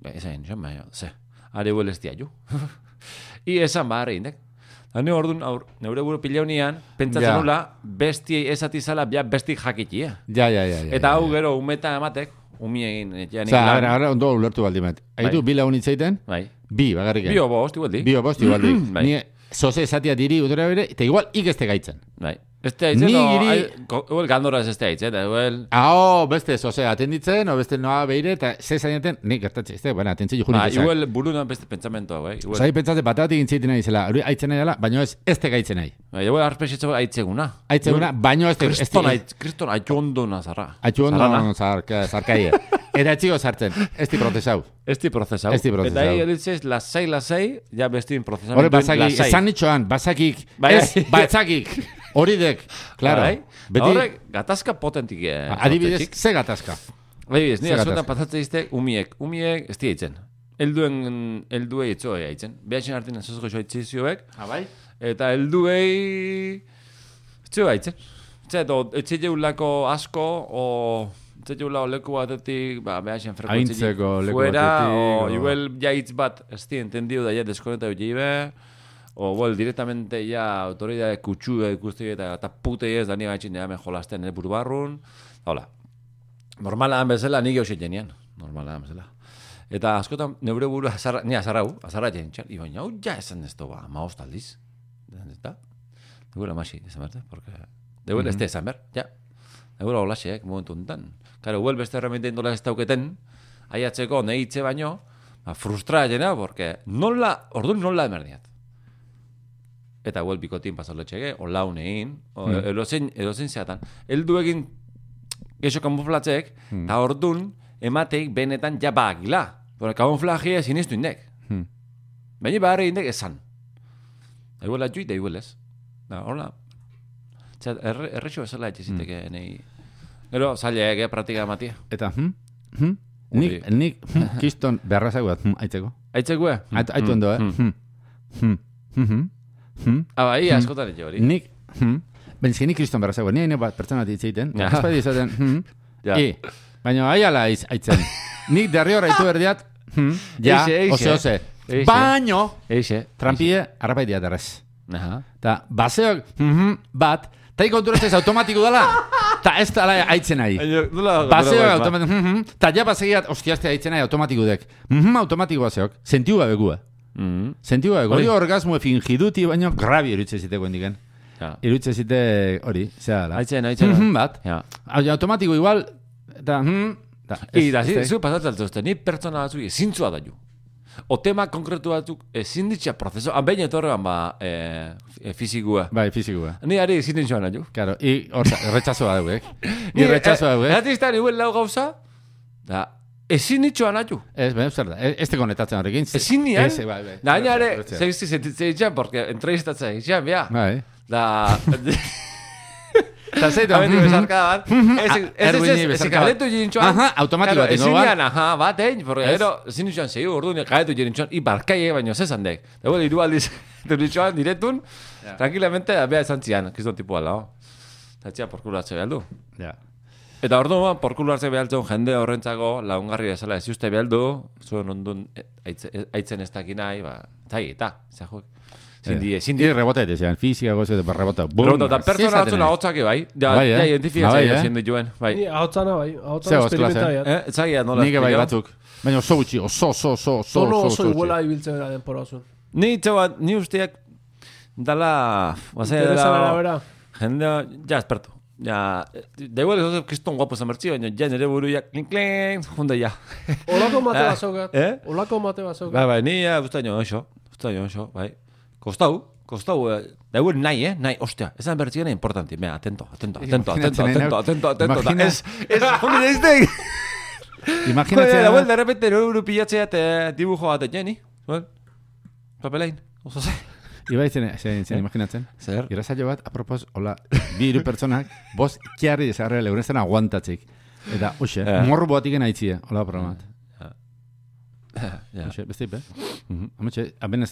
[SPEAKER 1] Ba, Ezen nintxuan, baina, ze. Are huel ez diaio. I esan ba, indek. Da ni orduan, aur, neure buru pileunian, pentsatzen
[SPEAKER 2] Ja.
[SPEAKER 1] nula, bestiei esatizala, ja bestik jakitia.
[SPEAKER 2] Ja, ja, ja. ja,
[SPEAKER 1] Eta
[SPEAKER 2] ja,
[SPEAKER 1] hau gero umeta ematek, umi egin etxean
[SPEAKER 2] Osa, a
[SPEAKER 1] lan.
[SPEAKER 2] ver, ahora ondo ulertu baldi met. Aitu bi lagun hitz egiten,
[SPEAKER 1] Bai.
[SPEAKER 2] bi, bagarrik.
[SPEAKER 1] Bio bost, igualdi.
[SPEAKER 2] Bio bost igualdi.
[SPEAKER 1] Bai.
[SPEAKER 2] Ni zoze esatia diri udora bere, eta igual ikeste gaitzen.
[SPEAKER 1] Bai. Este haitze,
[SPEAKER 2] Ni
[SPEAKER 1] no,
[SPEAKER 2] giri-
[SPEAKER 1] ai- ko- huel gandora ez este eh, haitze, eta huel...
[SPEAKER 2] Ao, beste zoze atenditzen, o beste noa beire, eta ze zainaten, nik gertatzen, ez da, bueno, atentzi jurin
[SPEAKER 1] Ba,
[SPEAKER 2] ah,
[SPEAKER 1] huel burunan beste pentsamento hau, bai. Huel,
[SPEAKER 2] Zai pentsatzen batatik intzeiten nahi zela, hori aitzen nahi dela, baino ez, ez te gaitzen nahi.
[SPEAKER 1] bai, huel arpexetxe aitzeguna.
[SPEAKER 2] Aitzen guna, baino ba, ez te... ez te-
[SPEAKER 1] Kriston aitz, kriston aitzondona zarra.
[SPEAKER 2] Atxu
[SPEAKER 1] Zarrana.
[SPEAKER 2] ondo zarka- zarkaie. Eta etxiko sartzen, ez di protesau.
[SPEAKER 1] Ez di prozesau.
[SPEAKER 2] Ez di prozesau.
[SPEAKER 1] Eta hi, elitzez, lasai, lasai, ja bestin prozesamentu.
[SPEAKER 2] Hore, bazaki, esan nitxoan, bazakik,
[SPEAKER 1] Bai.
[SPEAKER 2] ez, batzakik, hori dek, klaro. Beti, Ba,
[SPEAKER 1] Horrek, gatazka potentik. Eh,
[SPEAKER 2] adibidez,
[SPEAKER 1] sortzetik.
[SPEAKER 2] ze gatazka.
[SPEAKER 1] Adibidez, ni
[SPEAKER 2] Ze
[SPEAKER 1] askotan
[SPEAKER 2] gatazka?
[SPEAKER 1] pasatzen izte umiek, umiek ez diaitzen. Elduen, eldue itzoe haitzen. Behatzen hartin azuzko soitzizioek,
[SPEAKER 2] Abai?
[SPEAKER 1] eta elduei... Etxe haitzen. Etxe, edo, etxe jeulako asko, o... Etxe jeula leku batetik, ba, behatzen frekuentzi.
[SPEAKER 2] Aintzeko leku
[SPEAKER 1] fuera,
[SPEAKER 2] batetik,
[SPEAKER 1] o...
[SPEAKER 2] o-
[SPEAKER 1] Igual jaitz bat, ez di, entendio da, ja, deskoneta hori be, o, well, directamente ja, autoridade kutxua ikusti eta, eta putei ez, da ni gaitxin, ja, hemen jolasten, nire buru barrun. Hola, normala han bezala, nik eusik genian. Normala han bezala. Eta askotan, neure buru azarra, ni azarrau, azarra jen, txar, ibain, hau ja esan ez ba, doa, ma hostaldiz. Eta, deguela masi, esan berte, porque, deguela mm -hmm. este esan ber, ja. Deguela holaxeek, momentu enten. Karo, huel beste herramienta indola ez dauketen, aiatzeko nehitze baino, ba, frustra jena, porque nola, ordu nola emerdiat. Eta huel bikotin pasaletxege, o launein, o, mm. edozein, edozein zeatan. Eldu egin geixo kamuflatzeek, eta ordun emateik benetan ja bagila. Bona, kamuflajea sinistu indek.
[SPEAKER 2] Hmm.
[SPEAKER 1] Baina barri indek esan. Eguela jui da iguel ez. Da, hola. Txat, erre- errexo bezala etxeziteke mm. nei. Gero, zaileak eh, praktika ematia.
[SPEAKER 2] Eta, hm? Hm? Nik, nik, hm, kiston beharrazak bat, hm, aitzeko.
[SPEAKER 1] Aitzekue?
[SPEAKER 2] Ait, aitu ondo, eh? Hm, hm, hm, hm, hm,
[SPEAKER 1] Mm. Ah, bai, askotan etxe hori.
[SPEAKER 2] nik, hm, benzik nik kriston beharrazak bat, nire bat pertsona bat hitz egiten,
[SPEAKER 1] Ja.
[SPEAKER 2] ez badi izaten, hm,
[SPEAKER 1] Ja.
[SPEAKER 2] i, baina aiala aiz, aitzen. Nik derri hor aitu berdiat, hm, ja,
[SPEAKER 1] Eixe, eixe.
[SPEAKER 2] oze, oze.
[SPEAKER 1] Eixe.
[SPEAKER 2] Baino,
[SPEAKER 1] Eixe.
[SPEAKER 2] trampie, arrapaitia derrez.
[SPEAKER 1] Aha.
[SPEAKER 2] Ta, baseok, mhm, bat, ta ikonturaztez automatiko dela, ta ez dala aitzen nahi. E. Paseo automatiko, mhm, mhm. Ta ja pasegiat, ostia, este haitzen nahi automatiko dek. Mhm, automatiko paseok. Sentiu gabe gua.
[SPEAKER 1] Mm.
[SPEAKER 2] Sentiu gabe.
[SPEAKER 1] Hori.
[SPEAKER 2] Hori orgasmo fingiduti, baino grabi irutze ziteko indiken.
[SPEAKER 1] Ja.
[SPEAKER 2] Irutze zite hori, zera dela.
[SPEAKER 1] Aitzen, aitzen.
[SPEAKER 2] Mhm, bat.
[SPEAKER 1] Ja.
[SPEAKER 2] Hau, ja, automatiko igual, eta, mhm, ta, ez-
[SPEAKER 1] Ida,
[SPEAKER 2] ez-
[SPEAKER 1] zu pasatzen altuzte, ni pertsona batzuk ezintzua da ju. O tema konkretu batzuk ezin ditxea prozeso, han behin etorrean ba, e, e, fizikua.
[SPEAKER 2] Bai, fizikoa.
[SPEAKER 1] Ni ari ezin ditxuan da ju.
[SPEAKER 2] Claro, i, horta, retxazoa dauk, eh? I retxazoa dauk, eh?
[SPEAKER 1] Zatiztan, igual lau gauza, da, Ezin nitxoan atu.
[SPEAKER 2] Ez, baina zer da, e- ez te konektatzen horrekin. ze-
[SPEAKER 1] Ezin nian.
[SPEAKER 2] Ez, bai, bai.
[SPEAKER 1] Da gaina ere,
[SPEAKER 2] Hortzea.
[SPEAKER 1] sexy sentitzen itxan, porque entrevistatzen itxan, bea.
[SPEAKER 2] Bai.
[SPEAKER 1] Da...
[SPEAKER 2] Eta zeitu,
[SPEAKER 1] Eta beti
[SPEAKER 2] mhm.
[SPEAKER 1] bezarka bat. Ez,
[SPEAKER 2] Ah,
[SPEAKER 1] ez, ez,
[SPEAKER 2] erruini
[SPEAKER 1] ez, ez,
[SPEAKER 2] bezarka bat.
[SPEAKER 1] galetu jintxoan.
[SPEAKER 2] Aha, automatiko bat
[SPEAKER 1] Ezin
[SPEAKER 2] ingo bat.
[SPEAKER 1] nian, aha, bat, egin, porque
[SPEAKER 2] Ez.
[SPEAKER 1] gero, ezin nitxoan segi, orduan galetu jintxoan, i barkaie baino zezan dek. Da, bueno, iru aldiz, nitxoan direktun, tranquilamente, da, bea esan zian, kiston tipua lao. oh. Eta txia porkulatze behaldu.
[SPEAKER 2] Ja.
[SPEAKER 1] Eta orduan, porkulu hartze behaltzen jende horrentzako, laungarri bezala ez uste behaldu, zuen ondun eh, aitze- eh, aitzen ez dakin nahi, ba, eta eta, zajuek. Zindi,
[SPEAKER 2] Eh,
[SPEAKER 1] ezin
[SPEAKER 2] y
[SPEAKER 1] die.
[SPEAKER 2] rebota ete zean, fizika gozo eta rebota. Bum,
[SPEAKER 1] Pero eta
[SPEAKER 2] así
[SPEAKER 1] pertsona
[SPEAKER 2] esaten
[SPEAKER 1] batzuna
[SPEAKER 2] ari.
[SPEAKER 1] hotzak bai, ja,
[SPEAKER 2] Bai, eh?
[SPEAKER 1] ja, identifikatzea
[SPEAKER 2] Bai, eh?
[SPEAKER 1] bai, duen, bai.
[SPEAKER 3] Ni ahotzana bai,
[SPEAKER 2] Ze
[SPEAKER 3] ahotzana
[SPEAKER 2] hoz klase,
[SPEAKER 3] experimenta
[SPEAKER 1] Eh, etzagia nola.
[SPEAKER 2] Nik bai
[SPEAKER 1] esplikau.
[SPEAKER 2] batzuk. Baina oso gutxi, oso, oso, oso, oso,
[SPEAKER 3] Tono
[SPEAKER 2] oso,
[SPEAKER 3] oso
[SPEAKER 2] oso
[SPEAKER 3] iguala
[SPEAKER 2] gutxi.
[SPEAKER 3] ibiltzen gara denpora osun.
[SPEAKER 1] Ni itxe bat, ni usteak dala... Bazea
[SPEAKER 3] Interesan
[SPEAKER 1] dala...
[SPEAKER 3] arabera.
[SPEAKER 1] Jende, ja, espertu. Ja, eh, da igual, ez dut kriston guapo zamertzi, baina ja nire buru ja, klink, klink, jonda ja.
[SPEAKER 3] Olako mate
[SPEAKER 1] Ah,
[SPEAKER 3] bazaukat.
[SPEAKER 1] eh?
[SPEAKER 3] Olako mate bazaukat.
[SPEAKER 1] Bai, bai, ni ja, ustaino oso, ustaino oso, bai. Kostau, kostau, eh, da igual nahi, eh, nahi, ostia, esan bertzi gana importanti, mea, atento, atento, atento, atento,
[SPEAKER 2] Imaginatzen nahi
[SPEAKER 1] atento,
[SPEAKER 2] nauk.
[SPEAKER 1] atento, atento, da,
[SPEAKER 2] Imagina-
[SPEAKER 1] ez, ez, honi daiztek. Joder, la
[SPEAKER 2] Imaginatzea,
[SPEAKER 1] vuelta, de repente, no buru pilatzea, eta dibujo bat, jeni, well, papelain, oso ze.
[SPEAKER 2] Ibai zen, zen, zen, imaginatzen.
[SPEAKER 1] Zer?
[SPEAKER 2] Irrazaio bat, apropos, hola, bi hiru pertsonak, bost kiarri desarrela leuren zen aguantatzik. Eta, hoxe,
[SPEAKER 1] Ja.
[SPEAKER 2] morro boatik enaitzie, hola programat.
[SPEAKER 1] Ja.
[SPEAKER 2] Hoxe, beste eh? ipe. Hametxe,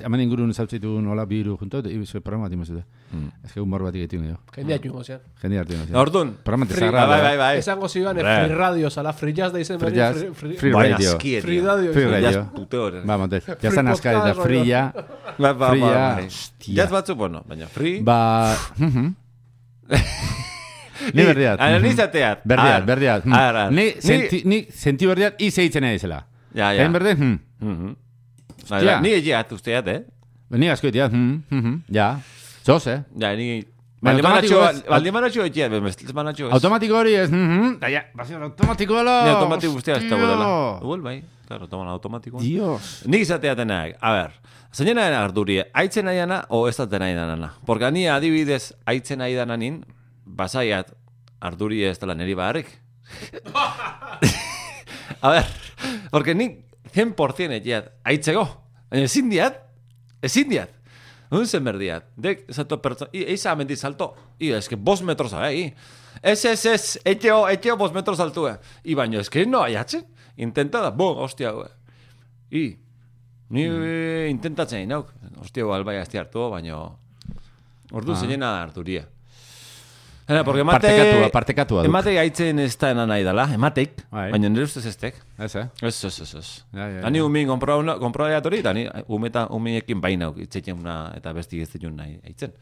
[SPEAKER 2] hamen ingurun zautzitu hola bi hiru junto, eta ibizue programat imazute.
[SPEAKER 1] Mm.
[SPEAKER 2] Ez que un morro batik etu gehiago.
[SPEAKER 3] Jendea jungo zean.
[SPEAKER 2] Jende hartu gehiago.
[SPEAKER 1] Ordun.
[SPEAKER 2] Programat
[SPEAKER 3] Free-
[SPEAKER 2] desarrela.
[SPEAKER 1] Bai, bai, bai.
[SPEAKER 3] Esango ziban, eh,
[SPEAKER 1] Bre.
[SPEAKER 3] free radio, zala, free jazz da izen.
[SPEAKER 2] Free
[SPEAKER 3] baina
[SPEAKER 2] jazz,
[SPEAKER 3] free-
[SPEAKER 2] free-
[SPEAKER 1] Baina
[SPEAKER 2] radio.
[SPEAKER 1] aski,
[SPEAKER 3] Free
[SPEAKER 1] tío.
[SPEAKER 3] radio.
[SPEAKER 2] Free
[SPEAKER 3] izen.
[SPEAKER 1] Ya
[SPEAKER 2] radio.
[SPEAKER 1] es puteor.
[SPEAKER 2] Ba, Montes, ya zan askar eta
[SPEAKER 3] podcast,
[SPEAKER 2] fria.
[SPEAKER 1] eh. Ba, ba,
[SPEAKER 2] Free,
[SPEAKER 1] ba,
[SPEAKER 2] ja,
[SPEAKER 1] bai.
[SPEAKER 2] hostia.
[SPEAKER 1] Jazz batzuk, bueno, baina free.
[SPEAKER 2] Ba, mhm. Ni berdiat.
[SPEAKER 1] Analizateat. Ah,
[SPEAKER 2] Berdiat,
[SPEAKER 1] Ar,
[SPEAKER 2] berdiat. hm.
[SPEAKER 1] ar, ar.
[SPEAKER 2] Ni, senti, ni senti berdiat, i seitzen nahi zela.
[SPEAKER 1] Ja, ja.
[SPEAKER 2] Egin berde, hm.
[SPEAKER 1] Mhm.
[SPEAKER 2] Hostia.
[SPEAKER 1] Ni egia atu usteat, eh?
[SPEAKER 2] Ni asko itiat, hm, hm, ja. Zoz, eh?
[SPEAKER 1] Ja, ni...
[SPEAKER 2] Baina
[SPEAKER 1] Baldemanatxo,
[SPEAKER 2] automatiko ez-
[SPEAKER 1] baldemanatxo egia, baldemanatxo ez.
[SPEAKER 2] Automatiko hori ez, hm, hm, da ja, bazio automatiko alo.
[SPEAKER 1] Ni automatiko ustea ez dago dela.
[SPEAKER 2] hostia.
[SPEAKER 1] Igual, bai. Claro, toman automatiko.
[SPEAKER 2] Dios.
[SPEAKER 1] Nik izateatenak, a ber, zeinen ari ardurie, aitzen aiana o ez daten aidanana. Porque ni adibidez aitzen aidananin, bazaiat ardurie ez dela niri baharrik. a ber, porque nik 100% etiat aitzego, baina ezin diat, ezin diat. Un zen berdiat, dek, zato pertsa, i, eiza amendi salto, i, eske, bos metros abe, i. Ez, ez, ez, etxeo, etxeo bos metros saltua. I baino, eske, no aiatzen, intenta da, bo, hostia, ue. I, ni e, intentatzen egin nauk. Hostia, igual, bai, azti hartu, baino... Ordu ah. zeinena harturia. Ena, porque emate...
[SPEAKER 2] Partekatua, partekatua duk.
[SPEAKER 1] Emate gaitzen ez da ena nahi dala, emateik.
[SPEAKER 2] Bai.
[SPEAKER 1] Baina nire ustez ez tek.
[SPEAKER 2] Ez, eh?
[SPEAKER 1] Ez, ez, ez, ez.
[SPEAKER 2] Ja, ja,
[SPEAKER 1] Da ni umin kompra una- kompra aleatori, da ni umeta umiekin bai nauk itzetien una eta besti ez ditun nahi eitzen.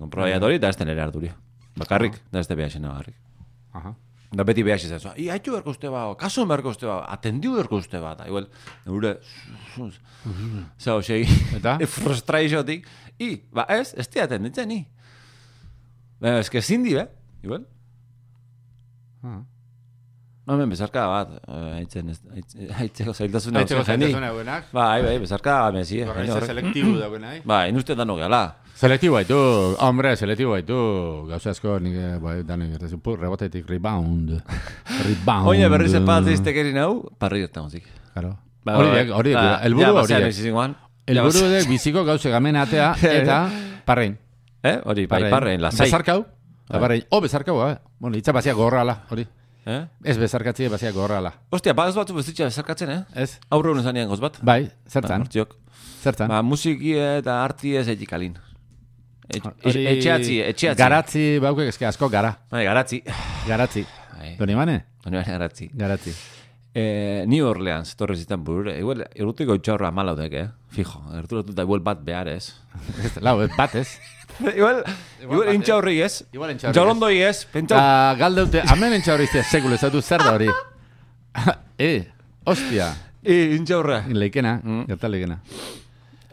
[SPEAKER 1] Kompra aleatori, da ez den ere harturia. Bakarrik,
[SPEAKER 2] Ah.
[SPEAKER 1] da ez da behaxena bakarrik.
[SPEAKER 2] Aha.
[SPEAKER 1] Da beti behar izan zua, i, haitu berko uste ba, kaso berko uste ba, atendiu berko uste ba, da, igual, neure, zau, segi,
[SPEAKER 2] Eta?
[SPEAKER 1] frustraixotik, i, ba, ez, ez te atenditzen, ni. Baina, eske ezin di, eh, igual.
[SPEAKER 2] Ah.
[SPEAKER 1] Hemen bezarka bat, eh, haitzen, ez- haitz- haitzeko zailtasuna.
[SPEAKER 2] Aitzeko
[SPEAKER 1] hautzen jeni.
[SPEAKER 2] zailtasuna dauenak.
[SPEAKER 1] Bai, bai, bezarka, mezi, eh, jende horrek.
[SPEAKER 2] selektibu dauen, eh?
[SPEAKER 1] Ba, inuste dano gehala.
[SPEAKER 2] Selektibo haitu, hombre, selektibo haitu. Gauza asko, nik, eh, bai, danik, eta zu, pur, rebotetik, rebound. Rebound.
[SPEAKER 1] Oina berriz epat iztekerin hau, parri gertan guzik.
[SPEAKER 2] Claro. Hori dek, hori dek, Ba, elburu
[SPEAKER 1] Ah, ja,
[SPEAKER 2] hori
[SPEAKER 1] bazean
[SPEAKER 2] dek.
[SPEAKER 1] bizi zingoan. Ja,
[SPEAKER 2] Elburu
[SPEAKER 1] bazean-
[SPEAKER 2] dek biziko gauze gamen atea eta parrein.
[SPEAKER 1] Eh, hori, bai, parrein, lasai.
[SPEAKER 2] Bezarkau. Eta parrein, o bezarkau, eh? Bueno, itza bazia gorrala, hori.
[SPEAKER 1] Eh?
[SPEAKER 2] Ez bezarkatzi, bazia e gorrala.
[SPEAKER 1] Ostia, ba, ez batzu bezitxea bezarkatzen, eh?
[SPEAKER 2] Ez?
[SPEAKER 1] Aurre honen zanean goz bat.
[SPEAKER 2] Bai, zertan,
[SPEAKER 1] Hortziok.
[SPEAKER 2] zertan.
[SPEAKER 1] Ba, musiki eta arti ez egik alin. Et,
[SPEAKER 2] Hori-
[SPEAKER 1] e- etxeatzi, etxeatzi.
[SPEAKER 2] Garatzi, baukek, eske asko gara.
[SPEAKER 1] Bai, garatzi.
[SPEAKER 2] Garatzi.
[SPEAKER 1] Bai,
[SPEAKER 2] Doni mane?
[SPEAKER 1] Doni bane garatzi.
[SPEAKER 2] Garatzi.
[SPEAKER 1] Eh, New Orleans, torre zitan burure. Igual, erutiko itxaurra malaudek, eh? Fijo, erutiko da igual bat behar ez.
[SPEAKER 2] Ez, Lau, ez, bat ez.
[SPEAKER 1] igual, igual
[SPEAKER 2] bat,
[SPEAKER 1] intxaurri ez.
[SPEAKER 2] Igual intxaurri ez.
[SPEAKER 1] Intxaurondo ez, pentsa.
[SPEAKER 2] Ta galdeute, amen entxaurriztia sekulo ez dut zer da hori. E, ostia,
[SPEAKER 1] Eh, intxaurra.
[SPEAKER 2] leikena,
[SPEAKER 1] Mm.
[SPEAKER 2] gertal leikena.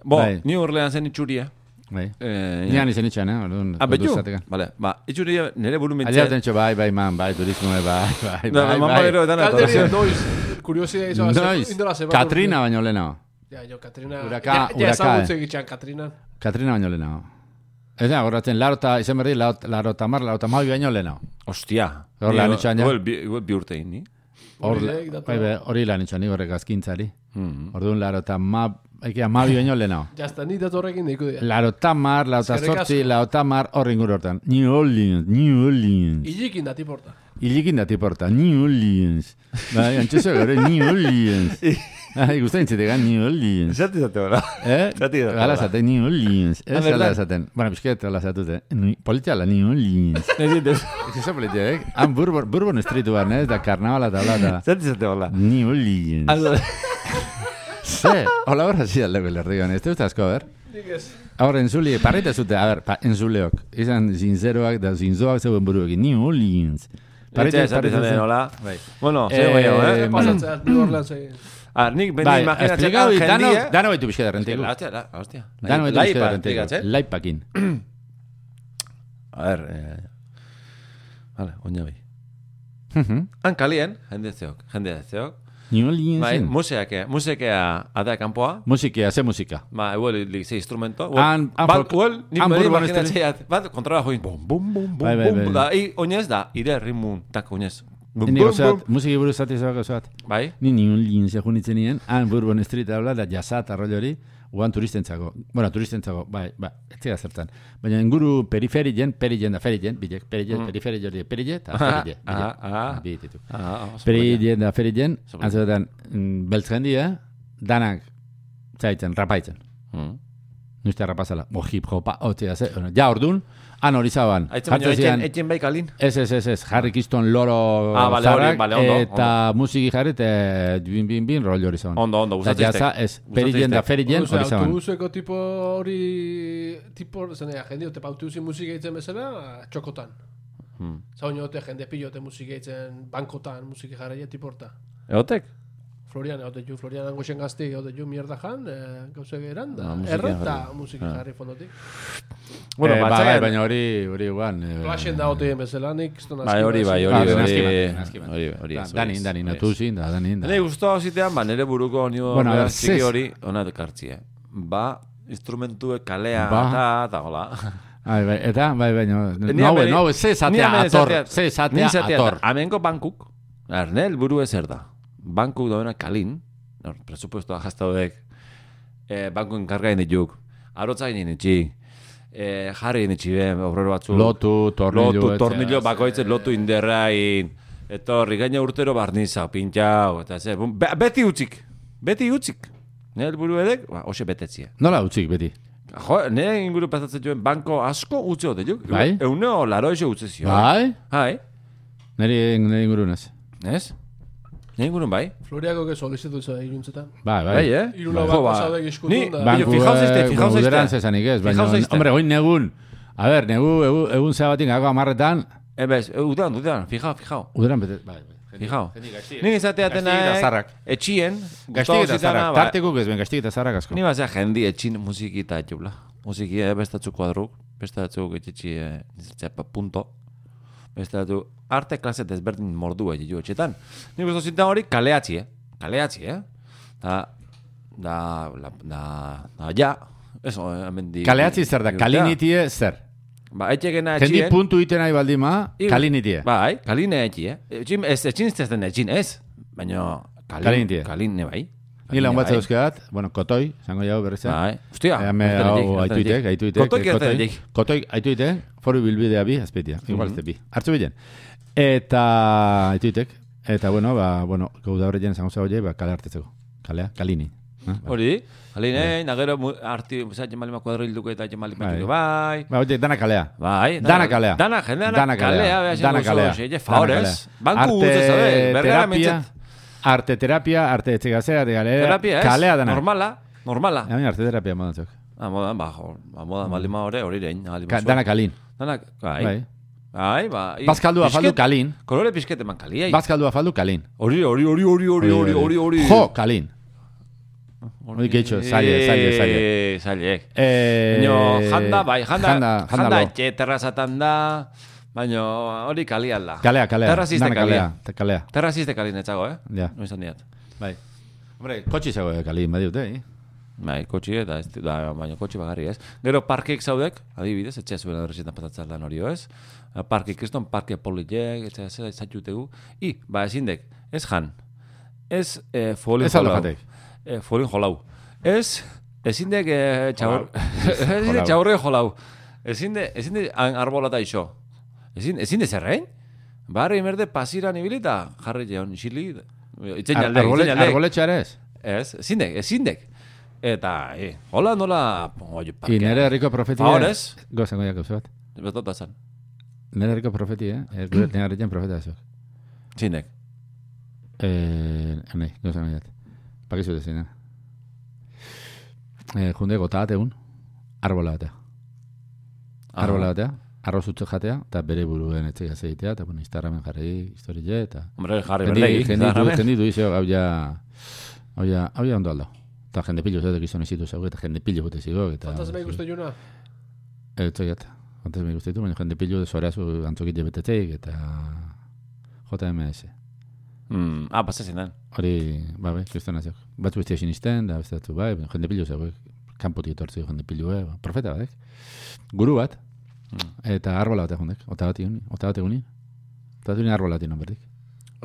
[SPEAKER 1] Bo,
[SPEAKER 2] Bai.
[SPEAKER 1] New Orleansen itxuria.
[SPEAKER 2] Bai.
[SPEAKER 1] Eh,
[SPEAKER 2] Nian izen itxan, eh? orduan,
[SPEAKER 1] Ah, betu?
[SPEAKER 2] kontu zatekan.
[SPEAKER 1] Vale, ba, itxuria nire buru
[SPEAKER 2] Allá
[SPEAKER 1] mentxe.
[SPEAKER 2] tencho, bai, bai, man, bai, turismo, bai, bai,
[SPEAKER 1] Da,
[SPEAKER 2] bai,
[SPEAKER 1] mamá, pero
[SPEAKER 2] bai.
[SPEAKER 1] dana
[SPEAKER 3] Kalderia, noiz. Kuriosidea izan.
[SPEAKER 2] Noiz, Katrina baino lehenago.
[SPEAKER 3] Ja, jo, Katrina.
[SPEAKER 2] Huraka-
[SPEAKER 3] ja, ja
[SPEAKER 2] huraka,
[SPEAKER 3] ezagutzen
[SPEAKER 2] eh.
[SPEAKER 3] gitxan, Katrina.
[SPEAKER 2] Katrina baino lehenago. Ez da, gorratzen, larota, izen berri, larota, larota mar, larota mabi baino lehenago.
[SPEAKER 1] Hostia.
[SPEAKER 2] Hor lan
[SPEAKER 1] Ni-
[SPEAKER 2] etxean, ja.
[SPEAKER 1] Igual bi igual bi urte egin, ni?
[SPEAKER 2] Hor,
[SPEAKER 3] Horiek datu-
[SPEAKER 2] bai, bai, hori lan itxuan, horrek azkintzari.
[SPEAKER 1] Mm.
[SPEAKER 2] Orduan, laro eta ma, ekia, ma baino lehenago.
[SPEAKER 3] Jazta, ni datu horrekin deiko dira.
[SPEAKER 2] Laro tamar, laro eta
[SPEAKER 3] Eskerrik
[SPEAKER 2] sortzi,
[SPEAKER 3] asko.
[SPEAKER 2] laro tamar, horri inguru hortan. New Orleans, New Orleans.
[SPEAKER 3] Ilikin dati porta.
[SPEAKER 2] Ilikin da tiporta, New Orleans. Bai, antxezo gero, New Orleans. Ai, guztain zitegan, New Orleans.
[SPEAKER 1] Zati zate hola.
[SPEAKER 2] Eh?
[SPEAKER 1] Zati da,
[SPEAKER 2] Hala
[SPEAKER 1] hala.
[SPEAKER 2] zaten, New Orleans.
[SPEAKER 1] Ah,
[SPEAKER 2] Ez
[SPEAKER 1] verdad?
[SPEAKER 2] hala zaten. Bueno, bizket, hala zatute. Ni- Politia la New Orleans. Ez ezo politia, eh? Han Bourbon, Bourbon Street barne, ez da karnavala eta hola da.
[SPEAKER 1] Zati zate hola.
[SPEAKER 2] New Orleans. Ze, hola horra zidaldeko lerdigan, ez dut asko, ber?
[SPEAKER 3] Nik ez.
[SPEAKER 2] Hor, entzule, parreta zute, a ber, pa, entzuleok. Izan zinzeroak da zinzoak zeuen buruekin, New Orleans.
[SPEAKER 1] Paritxe esaten
[SPEAKER 2] zuten-
[SPEAKER 1] zaten hola.
[SPEAKER 2] Bai.
[SPEAKER 1] Bueno, zer
[SPEAKER 2] Eh,
[SPEAKER 1] gehiago, eh?
[SPEAKER 2] Em,
[SPEAKER 3] Pasatzea, New Orleans egin.
[SPEAKER 1] Ah, nik beti
[SPEAKER 2] Bai,
[SPEAKER 1] imaginatzen
[SPEAKER 2] esplikau,
[SPEAKER 1] angel
[SPEAKER 2] dano,
[SPEAKER 1] die.
[SPEAKER 2] dano baitu bizketa renteko.
[SPEAKER 1] Hostia, la- ¿eh? hostia. Bai,
[SPEAKER 2] Dano baitu
[SPEAKER 1] Laipa,
[SPEAKER 2] bizketa
[SPEAKER 1] explikatzen.
[SPEAKER 2] renteko. Laipakin.
[SPEAKER 1] A ver, eh... Vale, oinabi.
[SPEAKER 2] Mhm.
[SPEAKER 1] Hankalien, jende zeok, jende zeok.
[SPEAKER 2] New
[SPEAKER 1] Bai,
[SPEAKER 2] Orleans.
[SPEAKER 1] museak, musekea atea kanpoa.
[SPEAKER 2] Musika, ze musika.
[SPEAKER 1] Ba, huel, ze instrumento.
[SPEAKER 2] Han- han
[SPEAKER 1] bat,
[SPEAKER 2] folk-
[SPEAKER 1] huel, nik
[SPEAKER 2] han
[SPEAKER 1] bere
[SPEAKER 2] bourbon
[SPEAKER 1] imaginatzeat. Bat, kontrara join. Bum, bum, bum, bum,
[SPEAKER 2] Bai, bai, bai.
[SPEAKER 1] bum. Da, hi, oinez da, ire rimun, tak oinez. Bum,
[SPEAKER 2] Ni
[SPEAKER 1] bum,
[SPEAKER 2] gozat,
[SPEAKER 1] bum.
[SPEAKER 2] musiki buruz zati zebak gozat.
[SPEAKER 1] Bai,
[SPEAKER 2] Ni New Orleans egun itzen nien, han Bourbon Street habla da jazat arrollo hori, guan turistentzako. Bueno, turistentzako, bai, bai, ez zera zertan. Baina inguru periferien, perien da ferien, bilek, perien, periferien hori, perien, eta ferien.
[SPEAKER 1] Mm. aha, aha.
[SPEAKER 2] Bi ditu.
[SPEAKER 1] Ah, oso baina.
[SPEAKER 2] Perien da ferien,
[SPEAKER 1] Sobre.
[SPEAKER 2] antzaten, beltzen dira, mm, danak, zaitzen, rapaitzen.
[SPEAKER 1] Mm.
[SPEAKER 2] Nuste rapazala, o hip hopa, otzea, ze, bueno, ja ordun, han hori zaban.
[SPEAKER 1] Aitzen baino,
[SPEAKER 2] Jartzen zidan-
[SPEAKER 1] etxen, etxen bai kalin.
[SPEAKER 2] Ez, ez, ez, ez, jarri kiston loro
[SPEAKER 1] Ah, vale, hori, vale, ondo,
[SPEAKER 2] eta musiki jarri, eta eh, bin, bin, bin, rollo hori zaban.
[SPEAKER 1] Ondo, ondo,
[SPEAKER 2] Eta
[SPEAKER 1] gustatzen
[SPEAKER 2] jaza,
[SPEAKER 1] zaiztek.
[SPEAKER 2] ez,
[SPEAKER 1] Gustatzen
[SPEAKER 2] perien da
[SPEAKER 1] zaiztek.
[SPEAKER 2] ferien
[SPEAKER 3] Orduan,
[SPEAKER 2] hori zaban.
[SPEAKER 3] autobuseko tipo hori... Tipo, zenea, jende ote pautuzin musika egiten bezala, txokotan.
[SPEAKER 1] Hmm.
[SPEAKER 3] Zaun ote jende pilote musika egiten, bankotan musika jarraia tipo horta.
[SPEAKER 1] Egotek?
[SPEAKER 3] Florian, hau ju, Florian hango zen gazte, hau ju mierda jan, eh, gauze geran, da,
[SPEAKER 1] Ah, musika
[SPEAKER 3] erra eta
[SPEAKER 1] jarri. Ah.
[SPEAKER 3] musika jarri fondotik.
[SPEAKER 1] Bueno,
[SPEAKER 2] Eh, ba,
[SPEAKER 1] batxagan-
[SPEAKER 2] bai, baina hori, hori guan. eh,
[SPEAKER 3] Flashen da ote bezala, nik zton
[SPEAKER 1] Bai, hori, bai,
[SPEAKER 2] Ah,
[SPEAKER 1] hori,
[SPEAKER 2] ben,
[SPEAKER 1] hori,
[SPEAKER 2] aski bat,
[SPEAKER 1] eh,
[SPEAKER 2] aski bat.
[SPEAKER 1] hori, hori.
[SPEAKER 2] Da,
[SPEAKER 1] ez, hori,
[SPEAKER 2] Dani,
[SPEAKER 1] ez,
[SPEAKER 2] Dani,
[SPEAKER 1] hori, ez.
[SPEAKER 2] natu zin, da, Dani, da.
[SPEAKER 1] Nei gustó zitean, ba, nere buruko nio
[SPEAKER 2] Bueno, a
[SPEAKER 1] bueno,
[SPEAKER 2] ver,
[SPEAKER 1] txiki
[SPEAKER 2] zez-
[SPEAKER 1] hori, ona kartzie. Ba, instrumentue kalea,
[SPEAKER 2] Ba.
[SPEAKER 1] eta, eta, hola.
[SPEAKER 2] Ai, bai, eta, bai, baina,
[SPEAKER 1] Ni
[SPEAKER 2] no,
[SPEAKER 1] ameri-
[SPEAKER 2] no, ze
[SPEAKER 1] ni
[SPEAKER 2] esatea
[SPEAKER 1] ameri
[SPEAKER 2] ator,
[SPEAKER 1] esatea-
[SPEAKER 2] ze
[SPEAKER 1] ni
[SPEAKER 2] esatea
[SPEAKER 1] esatea
[SPEAKER 2] ator.
[SPEAKER 1] da. Hemengo bankuk, arne, helburu zer da. Bankuk dauena kalin, hor, presupuestoa jaztaudek, eh, bankuen kargain dituk, arotzainen itxi, eh, jarri itxi ben, obrero batzu.
[SPEAKER 2] Lotu, tornillo. eh.
[SPEAKER 1] lotu,
[SPEAKER 2] etxea.
[SPEAKER 1] tornillo, bakoitzen lotu inderrain, etorri, gaina urtero barniza, pintxau, eta ze, bum, be- beti utzik, beti utzik. Nire helburu edek, ba, hoxe betetzia.
[SPEAKER 2] Nola utzik beti?
[SPEAKER 1] Jo, nire inguru pasatzen joen banko asko utzi hote juk.
[SPEAKER 2] Bai.
[SPEAKER 1] Euneo laro eixo utzi zio.
[SPEAKER 2] Bai?
[SPEAKER 1] Hai,
[SPEAKER 2] Neri, neri ingurunez.
[SPEAKER 1] ez? Nire ingurun bai.
[SPEAKER 3] Floriako que solizitu zuen iluntzetan.
[SPEAKER 2] Bai, bai.
[SPEAKER 1] Bai, eh?
[SPEAKER 3] Hiru lau
[SPEAKER 1] Bai.
[SPEAKER 3] bat
[SPEAKER 1] Jo, ba.
[SPEAKER 3] pasaudek eskutun
[SPEAKER 1] Ni-
[SPEAKER 3] da.
[SPEAKER 1] Billo,
[SPEAKER 2] Banku,
[SPEAKER 1] fijaos
[SPEAKER 2] eh,
[SPEAKER 1] este, fijaos este.
[SPEAKER 2] guderan zezanik ez, baina,
[SPEAKER 1] Fijaos este.
[SPEAKER 2] hombre, goin negun, a ber, negu, egu, egun zabatik gako amarretan,
[SPEAKER 1] Eh, bez, eh, udan, udan, fijao, fijao.
[SPEAKER 2] uderan bete, bai, bai.
[SPEAKER 1] Fijao. Nik izatea tena,
[SPEAKER 2] Gaztik eta
[SPEAKER 1] eh,
[SPEAKER 2] zarrak.
[SPEAKER 1] etxien,
[SPEAKER 2] Gaztik
[SPEAKER 1] gustavo
[SPEAKER 2] eta
[SPEAKER 1] zitana,
[SPEAKER 2] zarrak,
[SPEAKER 1] ba.
[SPEAKER 2] tartekuk ez ben, gaztik eta zarrak asko.
[SPEAKER 1] Ni bazea jendi etxin musikita etxubla. Musiki, eh, bestatzu kuadruk, bestatzu etxetxi, eh, zepa punto. Bestatu, arte klase desberdin mordu egin jo etxetan. Nik gustavo zitana hori kaleatzi, eh? Kaleatzi, eh? Da, da, la, da, da, ja, eso, eh, hemen di...
[SPEAKER 2] Kaleatzi zer da,
[SPEAKER 1] di-
[SPEAKER 2] kalinitie zer.
[SPEAKER 1] Ba, etxegena
[SPEAKER 2] Jendi eh.
[SPEAKER 1] etxien...
[SPEAKER 2] puntu iten nahi baldin ma, kalinitie.
[SPEAKER 1] Bai, kaline etxi, eh? Etxin, ez, etxin ez den etxin, ez? Baina, kalin,
[SPEAKER 2] Kalinitie.
[SPEAKER 1] Kaline bai.
[SPEAKER 2] eh. Ni
[SPEAKER 1] Kaline
[SPEAKER 2] lan batza
[SPEAKER 1] bai.
[SPEAKER 2] euskerat, bueno, kotoi, zango jau berrizea.
[SPEAKER 1] Bai. Ostia,
[SPEAKER 2] Hemen hau aituitek, aituitek.
[SPEAKER 1] Kotoik ez
[SPEAKER 2] kotoi-
[SPEAKER 1] denik.
[SPEAKER 2] Kotoi, aituitek, foru bilbidea bi, azpeitia. Igual ez bi. Artzu bilen. Eta aituitek. Eta, bueno, ba, bueno, gau da horretan zango zago ba, kale hartetzeko. Kalea, kalini. Ah, ba.
[SPEAKER 1] Hori, alinein, agero mu- arti, zera, jemalima kuadrilduko eta jemalima
[SPEAKER 2] Bai.
[SPEAKER 1] bai. bai.
[SPEAKER 2] Ba, oite, dana kalea.
[SPEAKER 1] Bai,
[SPEAKER 2] Dana kalea.
[SPEAKER 1] Dana, jendean
[SPEAKER 2] Dana
[SPEAKER 1] kalea,
[SPEAKER 2] kalea.
[SPEAKER 1] beha zen
[SPEAKER 2] Dana
[SPEAKER 1] gozo,
[SPEAKER 2] kalea.
[SPEAKER 1] xe,
[SPEAKER 2] Dana
[SPEAKER 1] faores,
[SPEAKER 2] kalea.
[SPEAKER 1] banku
[SPEAKER 2] Arte
[SPEAKER 1] utzi zabe, bergara
[SPEAKER 2] terapia,
[SPEAKER 1] mentzat.
[SPEAKER 2] Arte terapia, arte etxegazea, arte galea.
[SPEAKER 1] Terapia, ez?
[SPEAKER 2] Kalea dana.
[SPEAKER 1] Normala, normala.
[SPEAKER 2] Hemen arte terapia modatzok.
[SPEAKER 1] Ah, modan, ba, jo, ba, modan, balima hori, hori dein. ahalik
[SPEAKER 2] Ka,
[SPEAKER 1] bazo.
[SPEAKER 2] dana kalin.
[SPEAKER 1] Dana, bai.
[SPEAKER 2] Bai.
[SPEAKER 1] Bai, ba. i-
[SPEAKER 2] Bazkaldua faldu
[SPEAKER 1] pixket-
[SPEAKER 2] kalin.
[SPEAKER 1] Kolore pixket eman kalia.
[SPEAKER 2] Bazkaldua faldu kalin.
[SPEAKER 1] Hori, hori, hori, hori, hori, hori, hori, hori.
[SPEAKER 2] Jo, kalin. hori gehitxo, zaile, zaile, zaile.
[SPEAKER 1] Eh, Zailek.
[SPEAKER 2] Eh,
[SPEAKER 1] Baina, janda, bai, janda, janda,
[SPEAKER 2] janda lo.
[SPEAKER 1] etxe, terrazatan da, baina hori kalian da.
[SPEAKER 2] Kalea, kalea.
[SPEAKER 1] Terraziste
[SPEAKER 2] Dana
[SPEAKER 1] kalia.
[SPEAKER 2] Kalea, ta- kalea.
[SPEAKER 1] Terraziste kalien etxago, eh?
[SPEAKER 2] Ja.
[SPEAKER 1] No izan diat.
[SPEAKER 2] Bai. Hombre, kotxe zago kali, badiut, eh?
[SPEAKER 1] Bai, kotxi eta ez, da, baina kotxi bagarri, ez? Gero parkeik zaudek, adibidez, etxe zuen adresetan pasatzen Eh, lan hori, ez? Parke kriston, parke polilek, etxe zera izatutegu. I, ba, ezin dek, Ez jan. Ez eh, folin
[SPEAKER 2] Ez aldo
[SPEAKER 1] jolau.
[SPEAKER 2] jatek.
[SPEAKER 1] Eh, folin jolau. Ez, ezin dek eh, txaur... ezin
[SPEAKER 2] Jolau.
[SPEAKER 1] dek txaurre jolau. Ezin de, ezin de an- arbolata iso. Ezin, ezin de zerrein? Barri merde pasiran ibilita. Jarri jeon, xili... Itzen
[SPEAKER 2] Ar-
[SPEAKER 1] jaldek,
[SPEAKER 2] arbole-
[SPEAKER 1] itzen jaldek.
[SPEAKER 2] Arboletxeara ez.
[SPEAKER 1] Ez, ezin dek, ezin dek. Eta, eh, hola nola... Oio,
[SPEAKER 2] I nere herriko profeti. eh.
[SPEAKER 1] Ahora ez.
[SPEAKER 2] Gozango jak bat.
[SPEAKER 1] Betota zan.
[SPEAKER 2] Nere herriko profeti, eh? Ez gure nere herrian profeta ez.
[SPEAKER 1] Ezin dek.
[SPEAKER 2] Eh, nahi, gozango jak. Pakizu dezina. Eh, junde gota ateun. Arbola batea.
[SPEAKER 1] Ah.
[SPEAKER 2] Arbola batea. Arrozutxo jatea, eta bere buruen etxe egitea, eta bueno, Instagramen jarri, historie, eta...
[SPEAKER 1] Hombre, jarri
[SPEAKER 2] Jenditu,
[SPEAKER 1] berdegi.
[SPEAKER 2] jenditu,
[SPEAKER 1] zarrame.
[SPEAKER 2] jenditu, izio, hau ja, hau ja, hau ja ondo aldo. Eta jende pilo zatek izan ezitu zauke, eta jende pilo gote zigo, eta...
[SPEAKER 3] Fantasma ikusten juna.
[SPEAKER 2] Eto jat, fantasma ikusten ditu, baina jende pilo zorazu antzokite beteteik, eta... JMS.
[SPEAKER 1] Mm, ah, pasa zindan.
[SPEAKER 2] Hori, ba, be, kriston aziok. Batzu bestia sinisten, da beste batzu bai, baina jende pilo zauke, kanpotik etortzi jende pilo, eh, ba, profeta batek. Guru bat,
[SPEAKER 1] Hmm.
[SPEAKER 2] eta arbola bat egondek, ota bat eguni, ota bat eguni, ota bat eguni arbola bat eguni,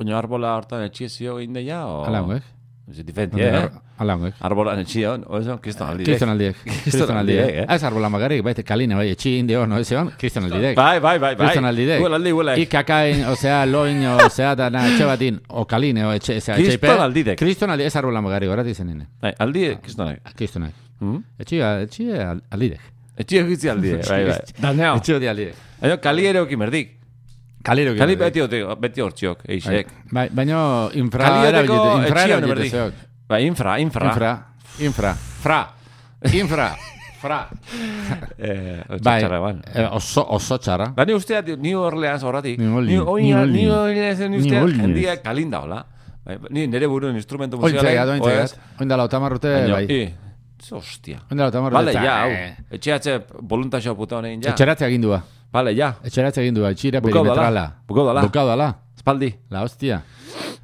[SPEAKER 1] Oño arbola hortan etxiezio egin deia, o...
[SPEAKER 2] Alangek.
[SPEAKER 1] Ez diferentia, eh?
[SPEAKER 2] Alangek.
[SPEAKER 1] Arbolan etxion, oso, kriston aldi.
[SPEAKER 2] Kriston aldiek. Kriston aldiek.
[SPEAKER 1] aldiek, eh?
[SPEAKER 2] Ah, Ez arbolan bakarrik, baita kalina, bai, etxi indeo, no, ez egon, kriston aldiek.
[SPEAKER 1] Bai, bai, bai, bai.
[SPEAKER 2] Kriston aldidek.
[SPEAKER 1] Huel aldi, huel aldi.
[SPEAKER 2] Ikakain, osea, loin, osea, dana, etxe batin, o kaline, o etxe, etxe, etxe,
[SPEAKER 1] Kriston aldidek.
[SPEAKER 2] Kriston aldiek, ez arbolan bakarrik, horat izen nene.
[SPEAKER 1] Bai, aldi, kriston aldi.
[SPEAKER 2] Kristonak.
[SPEAKER 1] Mm?
[SPEAKER 2] Etxe, etxe al- aldidek.
[SPEAKER 1] Etxio egitzi aldi, bai, bai. Daneo.
[SPEAKER 2] Etxe hori aldidek.
[SPEAKER 1] Año, kali ere oki merdik.
[SPEAKER 2] Kalero
[SPEAKER 1] Kali beti, ote- beti hortziok, eixek.
[SPEAKER 2] Bai, baino, infra,
[SPEAKER 1] Kalioteko
[SPEAKER 2] erabilite- infra,
[SPEAKER 1] etxion
[SPEAKER 2] erabilite
[SPEAKER 1] berdik.
[SPEAKER 2] zeok.
[SPEAKER 1] Bai, infra, infra.
[SPEAKER 2] Infra, infra, fra, infra, fra.
[SPEAKER 1] Eh,
[SPEAKER 2] Bai,
[SPEAKER 1] txarra, bai.
[SPEAKER 2] eh, oso, oso txarra.
[SPEAKER 1] Ba, ni ustea, di- ni Orleans horratik.
[SPEAKER 2] New Orleans,
[SPEAKER 1] Ni oina,
[SPEAKER 2] New
[SPEAKER 1] ni
[SPEAKER 2] Orleans.
[SPEAKER 1] oina zen
[SPEAKER 2] New
[SPEAKER 1] ustea,
[SPEAKER 2] Orleans.
[SPEAKER 1] jendia kalinda, hola. Bai, Ni nire buruen instrumento
[SPEAKER 2] Ointzegat,
[SPEAKER 1] musikalen, oez,
[SPEAKER 2] ointzegat. Oindala, otamarrute,
[SPEAKER 1] baina,
[SPEAKER 2] bai.
[SPEAKER 1] i, ze hostia.
[SPEAKER 2] Oindala, otamarrute.
[SPEAKER 1] Bale,
[SPEAKER 2] eta-
[SPEAKER 1] ja, hau.
[SPEAKER 2] eh.
[SPEAKER 1] Etxeatze voluntaxo puta honein, ja.
[SPEAKER 2] Etxeratze agindua.
[SPEAKER 1] Bale, ja.
[SPEAKER 2] Etxeratze agindua, etxira
[SPEAKER 1] Bukau dala.
[SPEAKER 2] perimetrala.
[SPEAKER 1] Bukau dala.
[SPEAKER 2] Bukau dala.
[SPEAKER 1] Espaldi.
[SPEAKER 2] La hostia.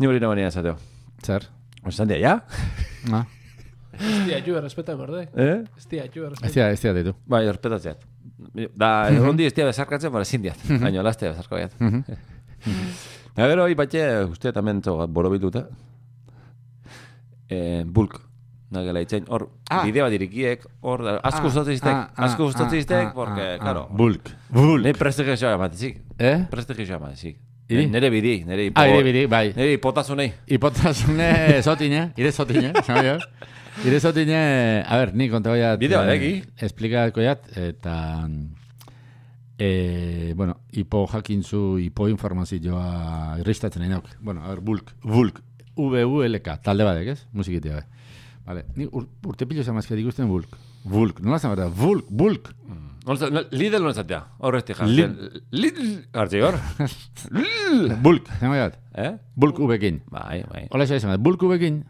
[SPEAKER 1] Ni hori nabanean esateo.
[SPEAKER 2] Zer. Ah,
[SPEAKER 1] Ostan dia, ja?
[SPEAKER 2] Na.
[SPEAKER 3] Estia ju, errespeta berde.
[SPEAKER 1] Eh?
[SPEAKER 3] Estia ju, errespeta.
[SPEAKER 2] Eztia, eztia ditu.
[SPEAKER 1] Bai, errespetatzeat. Da, egondi ez dia bezarkatzen, bara ezin diat. Baina, laste bezarko diat. Da, gero, hori batxe, uste tamen zo, borobilduta. Eh, bulk. Nagela itzen, hor,
[SPEAKER 2] Ah.
[SPEAKER 1] bideo bat irikiek, hor, da, asko gustatzen
[SPEAKER 2] ah,
[SPEAKER 1] iztek,
[SPEAKER 2] ah,
[SPEAKER 1] asko gustatzen
[SPEAKER 2] ah,
[SPEAKER 1] iztek,
[SPEAKER 2] ah,
[SPEAKER 1] porque,
[SPEAKER 2] ah,
[SPEAKER 1] claro.
[SPEAKER 2] Bulk. Bulk.
[SPEAKER 1] Nei prestigioa ematezik.
[SPEAKER 2] Eh?
[SPEAKER 1] Prestigioa ematezik.
[SPEAKER 2] Iri?
[SPEAKER 1] Nere bidi, nere ipo.
[SPEAKER 2] Ah, ire biri, bai.
[SPEAKER 1] Nere hipotazunei.
[SPEAKER 2] Hipotasune zotine, ire zotine, zango jo. Ire zotine, a ber, ni konta goiat.
[SPEAKER 1] Bideo badeki.
[SPEAKER 2] Esplikatko jat, eta... E, eh, bueno, hipo jakintzu, hipo informazioa irristatzen nahi nauk. Bueno, a ber, bulk, bulk, VULK, talde badek, ez? Musikitia, be. Vale, ni ur, urte pilo zamazkiat ikusten bulk. Bulk, nola zan berda, bulk, bulk.
[SPEAKER 1] Nolza, no, Lidl non zatea, horrezti jartzen.
[SPEAKER 2] Lid-
[SPEAKER 1] Lidl, hartzi hor. Lidl.
[SPEAKER 2] Bulk, zango jat,
[SPEAKER 1] Eh?
[SPEAKER 2] bulk ubekin.
[SPEAKER 1] Bai, bai.
[SPEAKER 2] Hola xa izan, bulk ubekin,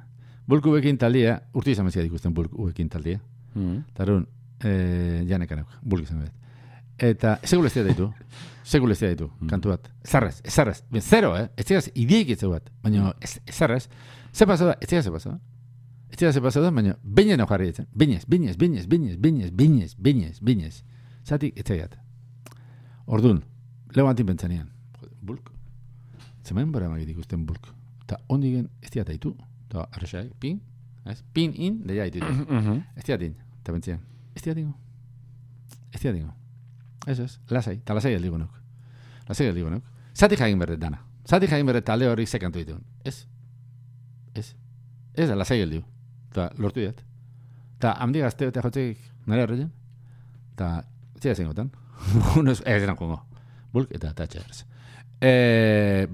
[SPEAKER 2] bulk ubekin taldea, urte izan bezkiat ikusten bulk ubekin taldea.
[SPEAKER 1] Mm.
[SPEAKER 2] Tarun, eh, janek anauk, bulk izan behar. Eta, segul ez dira ditu, segul ez dira ditu, kantu bat. Zarrez, zarrez, ben, zero, eh? Ez dira ideik etze bat, baina ez, zarrez. Ze pasau da, ez dira ze pasau da. Ez dira ze pasau da, baina bine nau jarri ditzen. Binez, binez, binez, binez, binez, binez, binez, binez. Zatik, ez dira Ordun, leo antin pentsanean. Joder, Bulk. Zemen bera magit ikusten bulk. Eta ondigen, ez dira daitu, eta arrexai, pin, ez, pin in, deia daitu.
[SPEAKER 1] Mm-hmm.
[SPEAKER 2] Ez diatin, eta bentzian. Ez diatingo. Ez diatingo. Ez ez, lasai, eta lasai aldi gonok. Lasai aldi gonok. Zatik jakin berret dana. Zatik jakin berret talde horri zekantu ditun. Ez. Ez. Ez da, lasai aldi. Eta lortu diat. Eta hamdi gazte eta jotzek nire horretan. Eta zera zengotan. Unos, ez denan kongo. Bulk eta tatxerz. E,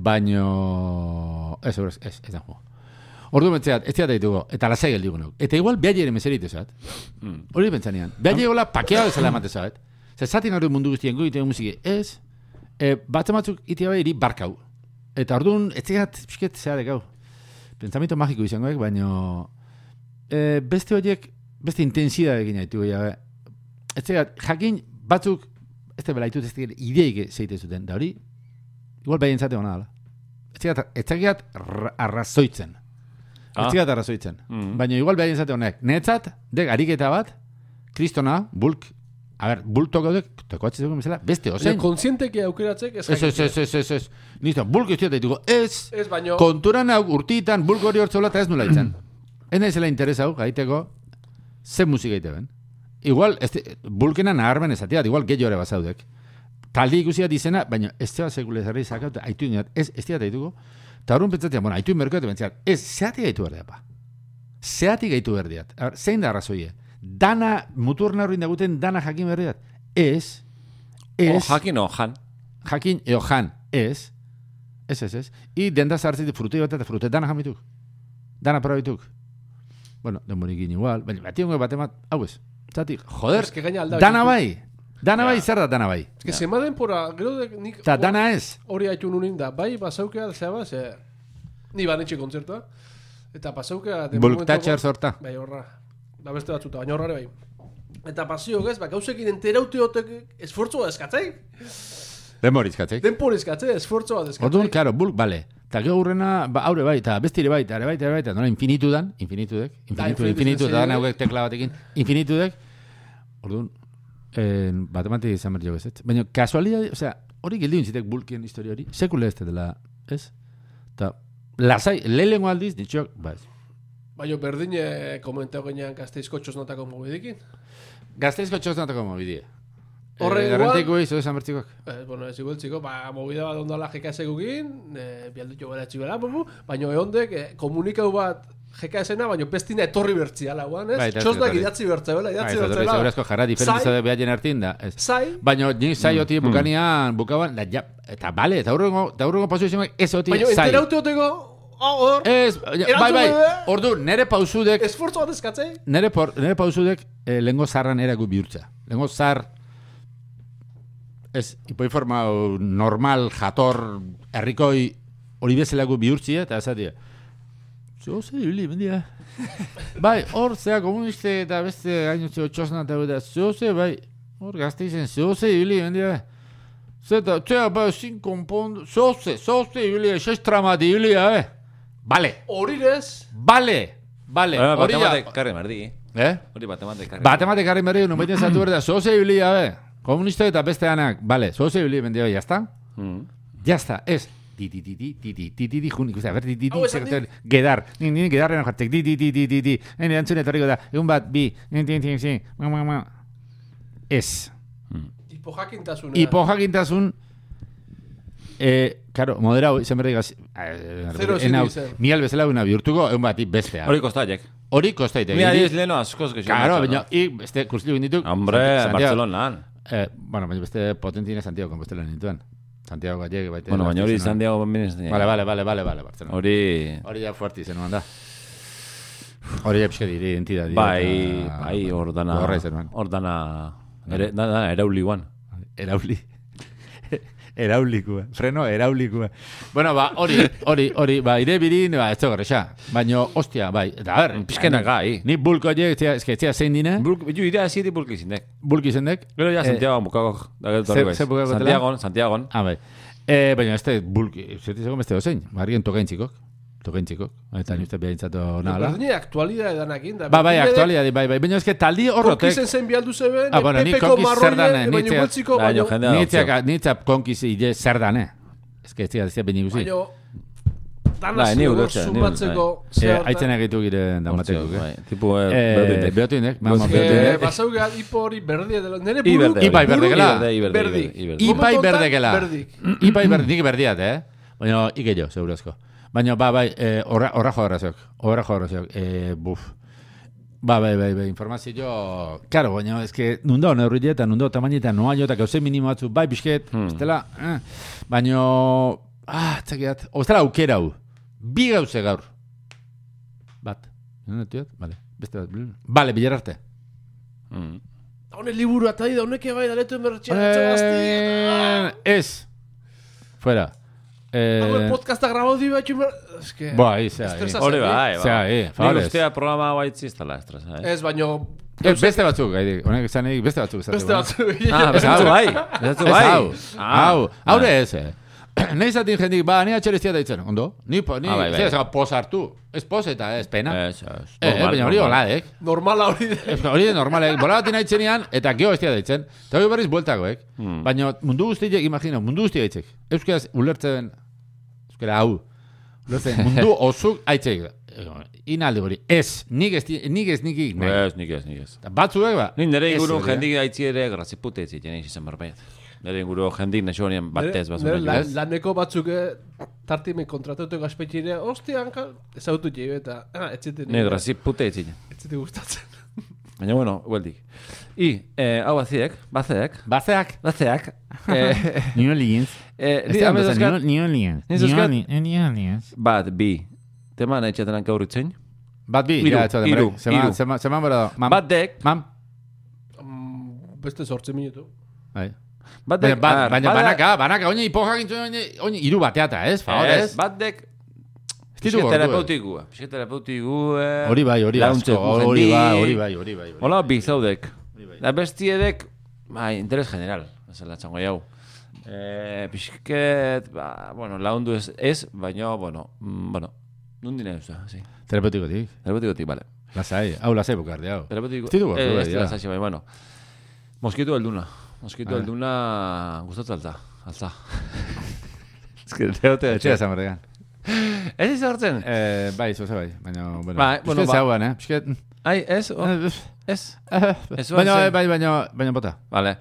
[SPEAKER 2] baino... Ez, ez, ez, ez da kongo. Ordu mentzeat, ez diat ditugu, eta lasai geldi gonok. Eta igual behar ere meseritu zat.
[SPEAKER 1] Mm.
[SPEAKER 2] Hori pentsanean. Behar jegola pakea bezala emate zaet. Zerzatik hori mundu guztien goitean musiki. Ez, e, bat batzuk itia bai iri barkau. Eta orduan, ez zehat, pixket zeharek hau. Pentsamento magiko izangoek, baino... E, beste horiek, beste intensidade egin haitu. Ja, ez zehat, jakin batzuk, ez da belaitut ez zehat, ideik zeite zuten. Da hori, igual behar entzate hona dala. Ez zehat, ez zehat ra- arrazoitzen. Ah.
[SPEAKER 1] Ah.
[SPEAKER 2] Ez zehat arrazoitzen.
[SPEAKER 1] Mhm.
[SPEAKER 2] Baina igual behar entzate honek. Netzat, dek ariketa bat, kristona, bulk, A ber, bultoko dek, tokoatzi zegoen bezala, beste
[SPEAKER 3] Osea,
[SPEAKER 2] ozen.
[SPEAKER 3] kontzienteki aukeratzek ez
[SPEAKER 2] Ez, ez, ez, ez, ez, ez. Nizto, bulk ez ditugu, ez,
[SPEAKER 3] Ez baino-
[SPEAKER 2] konturan hau urtitan, bulk hori hortzola eta ez nula itzan. ez nahi zela interesau, gaiteko, ze musika egite ben. Igual, ez, bulkena naharmen ezatea, igual gehiore bazaudek. Taldi ikusia dizena, baina ez zeba sekule zerri zakauta, aitu inat, ez, ez diat aituko. Eta horren pentsatzen, bueno, aitu inberko eta pentsatzen, ez, zeati gaitu behar diat, ba. Zeati gaitu behar diat. A ber, Zein da arrazoie? Dana, muturna horrin daguten, dana jakin behar diat. Ez, ez,
[SPEAKER 1] O Oh, jakin o jan.
[SPEAKER 2] jakin edo jan, ez. Ez, ez, ez. I denda zartzit frutei bat eta frutei dana jamituk. Dana probituk. Bueno, demorikin igual. Baina, bati hongo bat emat, hau ez. Zatik, joder,
[SPEAKER 3] Es que gaina alda.
[SPEAKER 2] dana bai. Dana
[SPEAKER 1] Ja.
[SPEAKER 2] bai, zer da dana bai.
[SPEAKER 3] Es que sema denpora, gero dek nik...
[SPEAKER 2] Ta
[SPEAKER 3] hor-
[SPEAKER 2] dana ez.
[SPEAKER 3] Hori haitu nunin da, bai, basaukea, zeba, ze... Ni banetxe kontzertua. Eta pasaukea... de
[SPEAKER 2] Bulk
[SPEAKER 3] momentoko-
[SPEAKER 2] toucher sorta.
[SPEAKER 3] Bai, horra. Da beste batzuta, baina horra ere bai. Eta pasio, ez, ba, gauzekin enteraute hotek esfortzua eskatzei.
[SPEAKER 2] Demoriz katzek.
[SPEAKER 3] Denpor eskatze, esfortzua bat eskatzei.
[SPEAKER 2] Orduan, claro, bulk, bale. Ta gero urrena, ba, aure bai, eta beste ere bai, eta are bai, eta are bai, eta nola infinitu dan, infinitu dek, infinitu,
[SPEAKER 3] infinitu,
[SPEAKER 2] infinitu, eta
[SPEAKER 3] zen zen,
[SPEAKER 2] dana hauek tekla batekin, infinitu dek. Orduan, eh, bat emate izan behar jogu ez. Baina, kasualidade, osea, hori gildi untzitek bulkien historia hori, sekule ez dela, ez? Eta, lasai, lehenengo aldiz, ditxok, ba, ez.
[SPEAKER 3] Baina berdin eh, komentau genean gazteizko txosnotako mobidekin.
[SPEAKER 2] Gazteizko txosnatako mobidea.
[SPEAKER 3] Horre
[SPEAKER 2] eh,
[SPEAKER 3] igual-
[SPEAKER 2] Garranteiko izo esan bertzikok.
[SPEAKER 3] Eh, bueno, ez igual, txiko, ba, mobide bat ondala jekasegukin, eh, bialdutxo gara txibela, bubu, baina ehondek eh, komunikau bat jekaesena, baina bestina etorri bertziala, guan, ez?
[SPEAKER 2] Bai, eta ez
[SPEAKER 3] Txosnak
[SPEAKER 2] etorri.
[SPEAKER 3] idatzi
[SPEAKER 2] Ba,
[SPEAKER 3] bertzabela, idatzi
[SPEAKER 2] ez dut,
[SPEAKER 3] bertzabela.
[SPEAKER 2] eurazko jarra diferentza da behaien artin da, ez.
[SPEAKER 3] Zai,
[SPEAKER 2] Baina, ni zai hoti bukanean, bukaban, da, ja, eta bale, eta aurrengo, eta aurrengo pasu izango, ez hoti
[SPEAKER 3] baina
[SPEAKER 2] zai.
[SPEAKER 3] enteraute hoteko, oh, hor,
[SPEAKER 2] Ez, bai, bai,
[SPEAKER 3] behar.
[SPEAKER 2] ordu, nere pausudek,
[SPEAKER 3] esfortzu bat eskatzei.
[SPEAKER 2] nere, por, nere pausudek eh, lengo zarran eragu bihurtza. Lengo zar, ez, ipoiforma normal, jator, herrikoi, hori bezalagu bihurtzia, eta esatia. Zo, ze ibili, mendia. bai, hor, zea komuniste eta beste gainotze txosna eta bera, zo, ze, bai, hor gazteizen, zo, ze ibili, mendia. Zeta, txea, bai, zin konpondu, zo, ze, zo, ze ibili, xex tramati ibili, eh. Bale,
[SPEAKER 3] Hori ez,
[SPEAKER 2] Bale, bale.
[SPEAKER 1] Bueno, bat
[SPEAKER 2] Hori ja...
[SPEAKER 1] ematek karri merdi. eh?
[SPEAKER 2] Eh?
[SPEAKER 1] Hori bat ematek karri.
[SPEAKER 2] Bat ematek harri merri, numaiten zatu berda, zoze ibili, abe. Komunista eta beste anak, bale, zoze ibili, bendia, jazta?
[SPEAKER 1] Mm.
[SPEAKER 2] Jazta, ez. Di, di, di, di, di, di, di, di, di, jun, ikusi, a ber, di, di, di,
[SPEAKER 3] Hau esan
[SPEAKER 2] sekretari, gedar, ni, ni, gedarren jartek, di, di, di, di, di, di, ene, antzun etorriko da, egun bat, bi, ni, ni, ni, ni, ma, ma, ma. Ez.
[SPEAKER 3] hipojakintasuna.
[SPEAKER 2] Hipojakintasun, eh, claro, moderau, izan berri gaz,
[SPEAKER 3] Zero ezin izan.
[SPEAKER 2] ni albezela una bihurtuko, egun bat, bestea.
[SPEAKER 1] Hori kostaiek.
[SPEAKER 2] Hori kostaite.
[SPEAKER 1] Mira, diz leheno askoz gehiago.
[SPEAKER 2] Claro, este
[SPEAKER 1] matxo,
[SPEAKER 2] baina, i, beste kursilu egin dituk.
[SPEAKER 1] Hombre,
[SPEAKER 2] Santiago-
[SPEAKER 1] Barcelonan.
[SPEAKER 2] Eh, bueno, baina beste potentina Santiago Compostela nituen. Santiago Gallego baita.
[SPEAKER 1] Bueno, baina hori
[SPEAKER 2] Barcelona.
[SPEAKER 1] Santiago Bambinez.
[SPEAKER 2] Vale, vale, vale, vale, vale, Barcelona. Hori,
[SPEAKER 1] Hori...
[SPEAKER 2] ja fuerti zenuan da. Hori ja pixka dire identidad.
[SPEAKER 1] Bai, bai, hor dana...
[SPEAKER 2] Horra zenuan.
[SPEAKER 1] Hor dana... Ere, da, da, erauli guan.
[SPEAKER 2] Erauli. Eraulikua. Freno eraulikua. Bueno, ba, hori, hori, hori, ba, ire birin, ba, ez txogarre xa. Baina, ostia, bai, eta a ber.
[SPEAKER 1] Pizkena gai.
[SPEAKER 2] Ni bulko horiek, tia- eske, tia zein dine,
[SPEAKER 1] Bulk, bitu ira hasieti bulk izindek.
[SPEAKER 2] bulki zendek.
[SPEAKER 1] Gero ja
[SPEAKER 2] Eh,
[SPEAKER 1] Santiago bukako. Da gero
[SPEAKER 2] ze-
[SPEAKER 1] torriko ez.
[SPEAKER 2] ze bukako dela?
[SPEAKER 1] Santiagon, Santiagon.
[SPEAKER 2] Ah, bai. E, baina ez da, bulki, zertiz egon beste dozein, barrien tokaintxikok, tokaintxikok, eta mm. nire behintzatu nahala.
[SPEAKER 3] Berdine aktualidade danakin. Da,
[SPEAKER 2] Ba, bai,
[SPEAKER 3] berdine
[SPEAKER 2] aktualidade, bai, bai, baina ezke taldi horrotek,
[SPEAKER 3] Konkizen zen eh, bialdu zeben,
[SPEAKER 2] Ah, bueno, ni
[SPEAKER 3] pepeko
[SPEAKER 2] konkiz zer
[SPEAKER 3] marroie,
[SPEAKER 2] dan,
[SPEAKER 3] baina
[SPEAKER 2] ni tea-
[SPEAKER 3] igualtziko,
[SPEAKER 1] Baina
[SPEAKER 3] baina...
[SPEAKER 1] jendea
[SPEAKER 2] nitzak,
[SPEAKER 1] dauzio.
[SPEAKER 2] nitzak konkiz hile zer dane. Ez que ez dira, ez dira, baina ikusi.
[SPEAKER 3] Baina, dana
[SPEAKER 1] Bai, ni
[SPEAKER 3] zure
[SPEAKER 1] ulertzen, ni
[SPEAKER 3] zumbatzeko
[SPEAKER 2] Eh,
[SPEAKER 3] zer da.
[SPEAKER 2] Aitzen egitu gire daumatekuk, eh?
[SPEAKER 1] Bai, Tipo, eh,
[SPEAKER 2] Eh,
[SPEAKER 1] berdinek.
[SPEAKER 2] Beotu indek, mama,
[SPEAKER 1] Pues,
[SPEAKER 2] beotu
[SPEAKER 3] Eh,
[SPEAKER 2] indek.
[SPEAKER 3] Basauga ipo hori berdia dela. Nere
[SPEAKER 1] I
[SPEAKER 3] buru...
[SPEAKER 1] berde, bai.
[SPEAKER 2] Ibai berdegela.
[SPEAKER 1] Iberde, iberde,
[SPEAKER 3] Berdik.
[SPEAKER 1] iberde, iberde.
[SPEAKER 2] Ipai
[SPEAKER 3] Momentu honetan,
[SPEAKER 2] berdekela.
[SPEAKER 3] berdik.
[SPEAKER 2] Ipai berdik, nik berdiat, eh? Baina, ike jo, segurazko. Baina, ba, bai, eh, horra, horra jo horrazok. Horra jo horrazok. Eh, buf. Ba, bai, bai, bai, informazio... Claro, baina, ez que nundo neurritia eta nundo tamainita noa jo, eta gauze minimo batzu, bai, bisket, hmm. estela, eh. baina, ah, txakiat, ostela aukera hau. Bi gauze gaur. Bat. Nenetiot? Vale. Beste bat. Vale, bilar arte.
[SPEAKER 1] Mm.
[SPEAKER 3] Honek liburu atai da, honek ebai daletu emertxea.
[SPEAKER 2] Eh, ez. Fuera. Eh,
[SPEAKER 3] Hau podcasta grabau di batxu emer... Ez que...
[SPEAKER 1] Ba.
[SPEAKER 2] Bai, zea,
[SPEAKER 3] Estresa
[SPEAKER 2] eh.
[SPEAKER 1] Hori
[SPEAKER 3] zen, eh?
[SPEAKER 1] bai,
[SPEAKER 2] Zea,
[SPEAKER 1] bai.
[SPEAKER 2] eh,
[SPEAKER 1] Nik
[SPEAKER 2] favorez.
[SPEAKER 1] ustea programa baitzi ez dela estresa, eh?
[SPEAKER 3] Ez, baino...
[SPEAKER 2] Eh, beste batzuk, gaidik. Honek esan egin beste batzuk. esate,
[SPEAKER 3] Beste
[SPEAKER 2] bueno.
[SPEAKER 3] batzu.
[SPEAKER 1] Ah,
[SPEAKER 2] Ez
[SPEAKER 1] besatzu
[SPEAKER 2] hau.
[SPEAKER 1] bai.
[SPEAKER 2] Ez
[SPEAKER 1] Besatzu bai.
[SPEAKER 2] hau. Hau. Haure ez, eh. Nei zatin jendik, ba, ni atxerestia daitzen, ondo? Ni, po, ni,
[SPEAKER 1] Ah, bai, bai.
[SPEAKER 2] ez, poz hartu. Ez poz eta ez pena. Eh,
[SPEAKER 1] Ez, ez.
[SPEAKER 2] eh,
[SPEAKER 1] normal,
[SPEAKER 2] baina hori
[SPEAKER 1] normal.
[SPEAKER 2] hola, eh?
[SPEAKER 3] Normala hori
[SPEAKER 1] Eh,
[SPEAKER 3] de.
[SPEAKER 2] Ez, Hori normalek, bola batin aitzenean, eta geho bestia daitzen. Eta hori berriz bueltakoek.
[SPEAKER 1] Hmm.
[SPEAKER 2] Baina mundu guztiek, imagina, mundu guztiek aitzek. Euskaraz ulertzen, euskara hau, ulertzen, mundu osuk aitzek. Inalde hori, ez, nik ez, di- nik ez, nik nik.
[SPEAKER 1] Ez, nik ez, nik ez.
[SPEAKER 2] Eta batzuek, ba.
[SPEAKER 1] Ni nire
[SPEAKER 2] ez
[SPEAKER 1] ingurun
[SPEAKER 2] hori, eh?
[SPEAKER 1] jendik daitzi ere grazipute ez egiten izan berbet. Nire inguru jendik nahi horien batez
[SPEAKER 3] Nere-
[SPEAKER 1] bazun.
[SPEAKER 3] nere
[SPEAKER 1] nahi
[SPEAKER 3] lan-
[SPEAKER 1] ez.
[SPEAKER 3] laneko batzuk eh, tarti me kontratatu gazpetxire, ostia, hanka, ezautu jeu eta, ah, etzite
[SPEAKER 1] Nire grazipute ez egiten.
[SPEAKER 3] etzite gustatzen.
[SPEAKER 1] Baina bueno, gueldik. I, eh, hau baziek, bazeak,
[SPEAKER 2] Bazeak.
[SPEAKER 1] bazeak, eh,
[SPEAKER 2] New Orleans.
[SPEAKER 1] eh,
[SPEAKER 2] Ez
[SPEAKER 1] ni
[SPEAKER 2] da,
[SPEAKER 1] amez
[SPEAKER 2] New
[SPEAKER 1] dauzkat,
[SPEAKER 2] New Orleans.
[SPEAKER 1] Ni dauzkat-
[SPEAKER 2] New Orleans.
[SPEAKER 1] bat, bi, tema nahi txatenan gaur itzein.
[SPEAKER 2] Bat bi,
[SPEAKER 1] Hiru,
[SPEAKER 2] ja, ez da,
[SPEAKER 1] hiru, hiru.
[SPEAKER 2] zeman, zeman, zeman, bera, mam,
[SPEAKER 1] Bat dek,
[SPEAKER 2] mam,
[SPEAKER 3] Mm, Beste sortze minutu.
[SPEAKER 2] bai.
[SPEAKER 1] bat
[SPEAKER 2] Baina,
[SPEAKER 1] dek,
[SPEAKER 2] ba,
[SPEAKER 1] ar,
[SPEAKER 2] baina
[SPEAKER 1] bada-
[SPEAKER 2] banaka, banaka, oine ipoja gintzen, oine, oine iru bateata, ez? Favor,
[SPEAKER 1] Ez,
[SPEAKER 2] ez?
[SPEAKER 1] bat dek,
[SPEAKER 2] Ez ditu gortu, eh?
[SPEAKER 1] psikoterapeutikua. Psikoterapeutikua.
[SPEAKER 2] Hori bai, hori asko, hori bai, hori bai, hori bai. hori.
[SPEAKER 1] Hola, bizaudek. Da bestiedek, bai, interes general, bezala txango jau. Eh, pixket, ba, bueno, laundu ez, ez baina, bueno, mm, bueno, nundi nahi duzu, sí.
[SPEAKER 2] Terapeutikotik.
[SPEAKER 1] Terapeutikotik, bale.
[SPEAKER 2] Lasai, hau lasai bukarde, hau.
[SPEAKER 1] Terapeutiko,
[SPEAKER 2] Ez ditu gortu,
[SPEAKER 1] eh,
[SPEAKER 2] bai,
[SPEAKER 1] ez
[SPEAKER 2] ja.
[SPEAKER 1] dira, zaxi, bai, bueno. Moskitu alduna. Moskitu
[SPEAKER 2] Ah.
[SPEAKER 1] alduna gustatzen alta, alta. Ez que teote,
[SPEAKER 2] Etxea esan berdegan.
[SPEAKER 1] Ez izortzen?
[SPEAKER 2] Eh, bai, zoze bai, baina, bueno.
[SPEAKER 1] Bai, bueno,
[SPEAKER 2] Pisket
[SPEAKER 1] ba.
[SPEAKER 2] zauan, eh? Pisket...
[SPEAKER 1] Ai, ez,
[SPEAKER 2] Ah.
[SPEAKER 1] o, ez. Ez zuen
[SPEAKER 2] Baina,
[SPEAKER 1] zen.
[SPEAKER 2] bai, baina, baina bota.
[SPEAKER 1] Vale.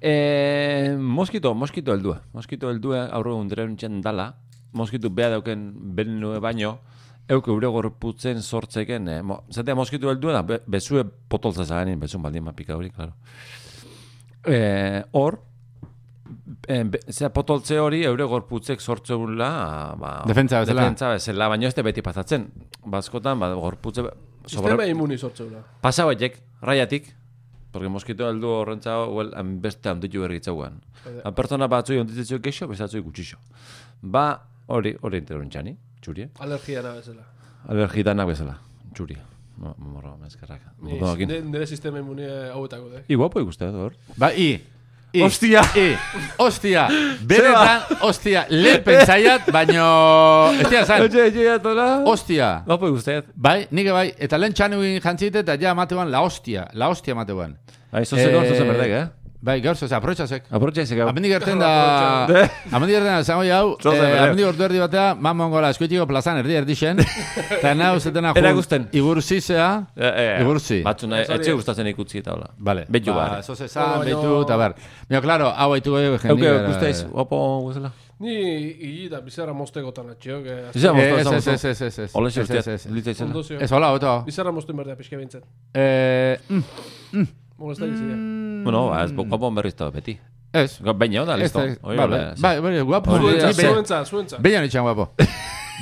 [SPEAKER 1] Eh, moskito, moskito heldua. Moskito heldua aurre undreuntzen dala. Moskitu bea dauken benue baino, euk eure gorputzen sortzeken. Eh, mo, zatea moskitu heldua da, be, bezue potoltza zaganin, bezun baldin ma pika hori, klaro. Eh, hor, eh, be- zera potoltze hori eure gorputzek sortzeula ba,
[SPEAKER 2] Defentsa bezala.
[SPEAKER 1] defentsa bezala, baina ez da beti pasatzen. Bazkotan, ba, gorputze
[SPEAKER 3] Sistema imuni sortzeula.
[SPEAKER 1] Pasa baitek, raiatik, porque mosquito aldu horrentza huel beste handitu berritzauan. A pertsona batzui onditzu kexo, bestatzui gutxixo. Ba, hori, hori interontzani, txuri, eh?
[SPEAKER 3] Alergia na bezala.
[SPEAKER 1] alergitanak bezala, txuri. No, morro, mezkerrak.
[SPEAKER 3] Ni-
[SPEAKER 1] Botoakin.
[SPEAKER 3] nire- Nire sistema imuni eh, hauetako dek.
[SPEAKER 1] I guapo ikustea, hor.
[SPEAKER 2] Ba, i. I.
[SPEAKER 1] Ostia.
[SPEAKER 2] I. Ostia.
[SPEAKER 1] ba-
[SPEAKER 2] Beretan, ostia. Lehen pentsaiat, baino... Estia zan.
[SPEAKER 1] Oye, oye, atola.
[SPEAKER 2] Ostia.
[SPEAKER 1] Guapo ikustea.
[SPEAKER 2] Bai, nike bai, eta lehen txanu egin jantzite, eta ja mateuan la hostia, la hostia mateuan.
[SPEAKER 1] Bai, zoze gaur, zoze berdek, eh?
[SPEAKER 2] Bai, gaur, zoze, aprotxasek.
[SPEAKER 1] Aprotxaiz egau.
[SPEAKER 2] Amendik erten da...
[SPEAKER 1] Bai.
[SPEAKER 2] Amendik erten da, zango jau,
[SPEAKER 1] Zoze berdek.
[SPEAKER 2] amendik ordu erdi batea, man mongola eskuetiko plazan erdi erdi xen, eta nahu zetena
[SPEAKER 1] Erakusten.
[SPEAKER 2] igurzizea,
[SPEAKER 1] Eh,
[SPEAKER 2] igurzi.
[SPEAKER 1] Batzu nahi,
[SPEAKER 3] Ez hori
[SPEAKER 1] eh, etxe
[SPEAKER 3] ez.
[SPEAKER 1] gustatzen ikutzi eta hola.
[SPEAKER 2] Vale.
[SPEAKER 1] Betu
[SPEAKER 2] ba,
[SPEAKER 1] bar.
[SPEAKER 2] zoze zan,
[SPEAKER 3] Baina-
[SPEAKER 2] betu, eta bar. Mio, klaro, hau haitu goio jendik.
[SPEAKER 1] Euke,
[SPEAKER 2] Eh,
[SPEAKER 1] gusteiz, guapo guzela.
[SPEAKER 3] Ni higi da bizarra moztekotan atxeok. eh,
[SPEAKER 1] Zizan,
[SPEAKER 2] Ez,
[SPEAKER 1] moztu,
[SPEAKER 2] ez, ez,
[SPEAKER 1] zizan.
[SPEAKER 2] ez, ez, ez.
[SPEAKER 1] Ole,
[SPEAKER 2] Ez, ez,
[SPEAKER 1] zizan.
[SPEAKER 2] ez.
[SPEAKER 1] Litzaitzela.
[SPEAKER 3] Ondozio.
[SPEAKER 2] Ez, hola, oto.
[SPEAKER 3] Bizarra mozten berdea pixka bintzen.
[SPEAKER 2] Eh, mm,
[SPEAKER 3] Molesta dizidea.
[SPEAKER 1] Bueno, ba, ez guapo berriz da beti.
[SPEAKER 2] Ez.
[SPEAKER 1] Baina da, listo.
[SPEAKER 2] Ez,
[SPEAKER 1] Hori,
[SPEAKER 2] Bai,
[SPEAKER 1] hola,
[SPEAKER 2] bai,
[SPEAKER 1] sí.
[SPEAKER 2] bai, bai, guapo.
[SPEAKER 1] Hori
[SPEAKER 2] Ni
[SPEAKER 1] da,
[SPEAKER 3] Zuentza,
[SPEAKER 1] ze-
[SPEAKER 2] be-
[SPEAKER 3] zuentza, zuentza.
[SPEAKER 2] Beñan itxan guapo.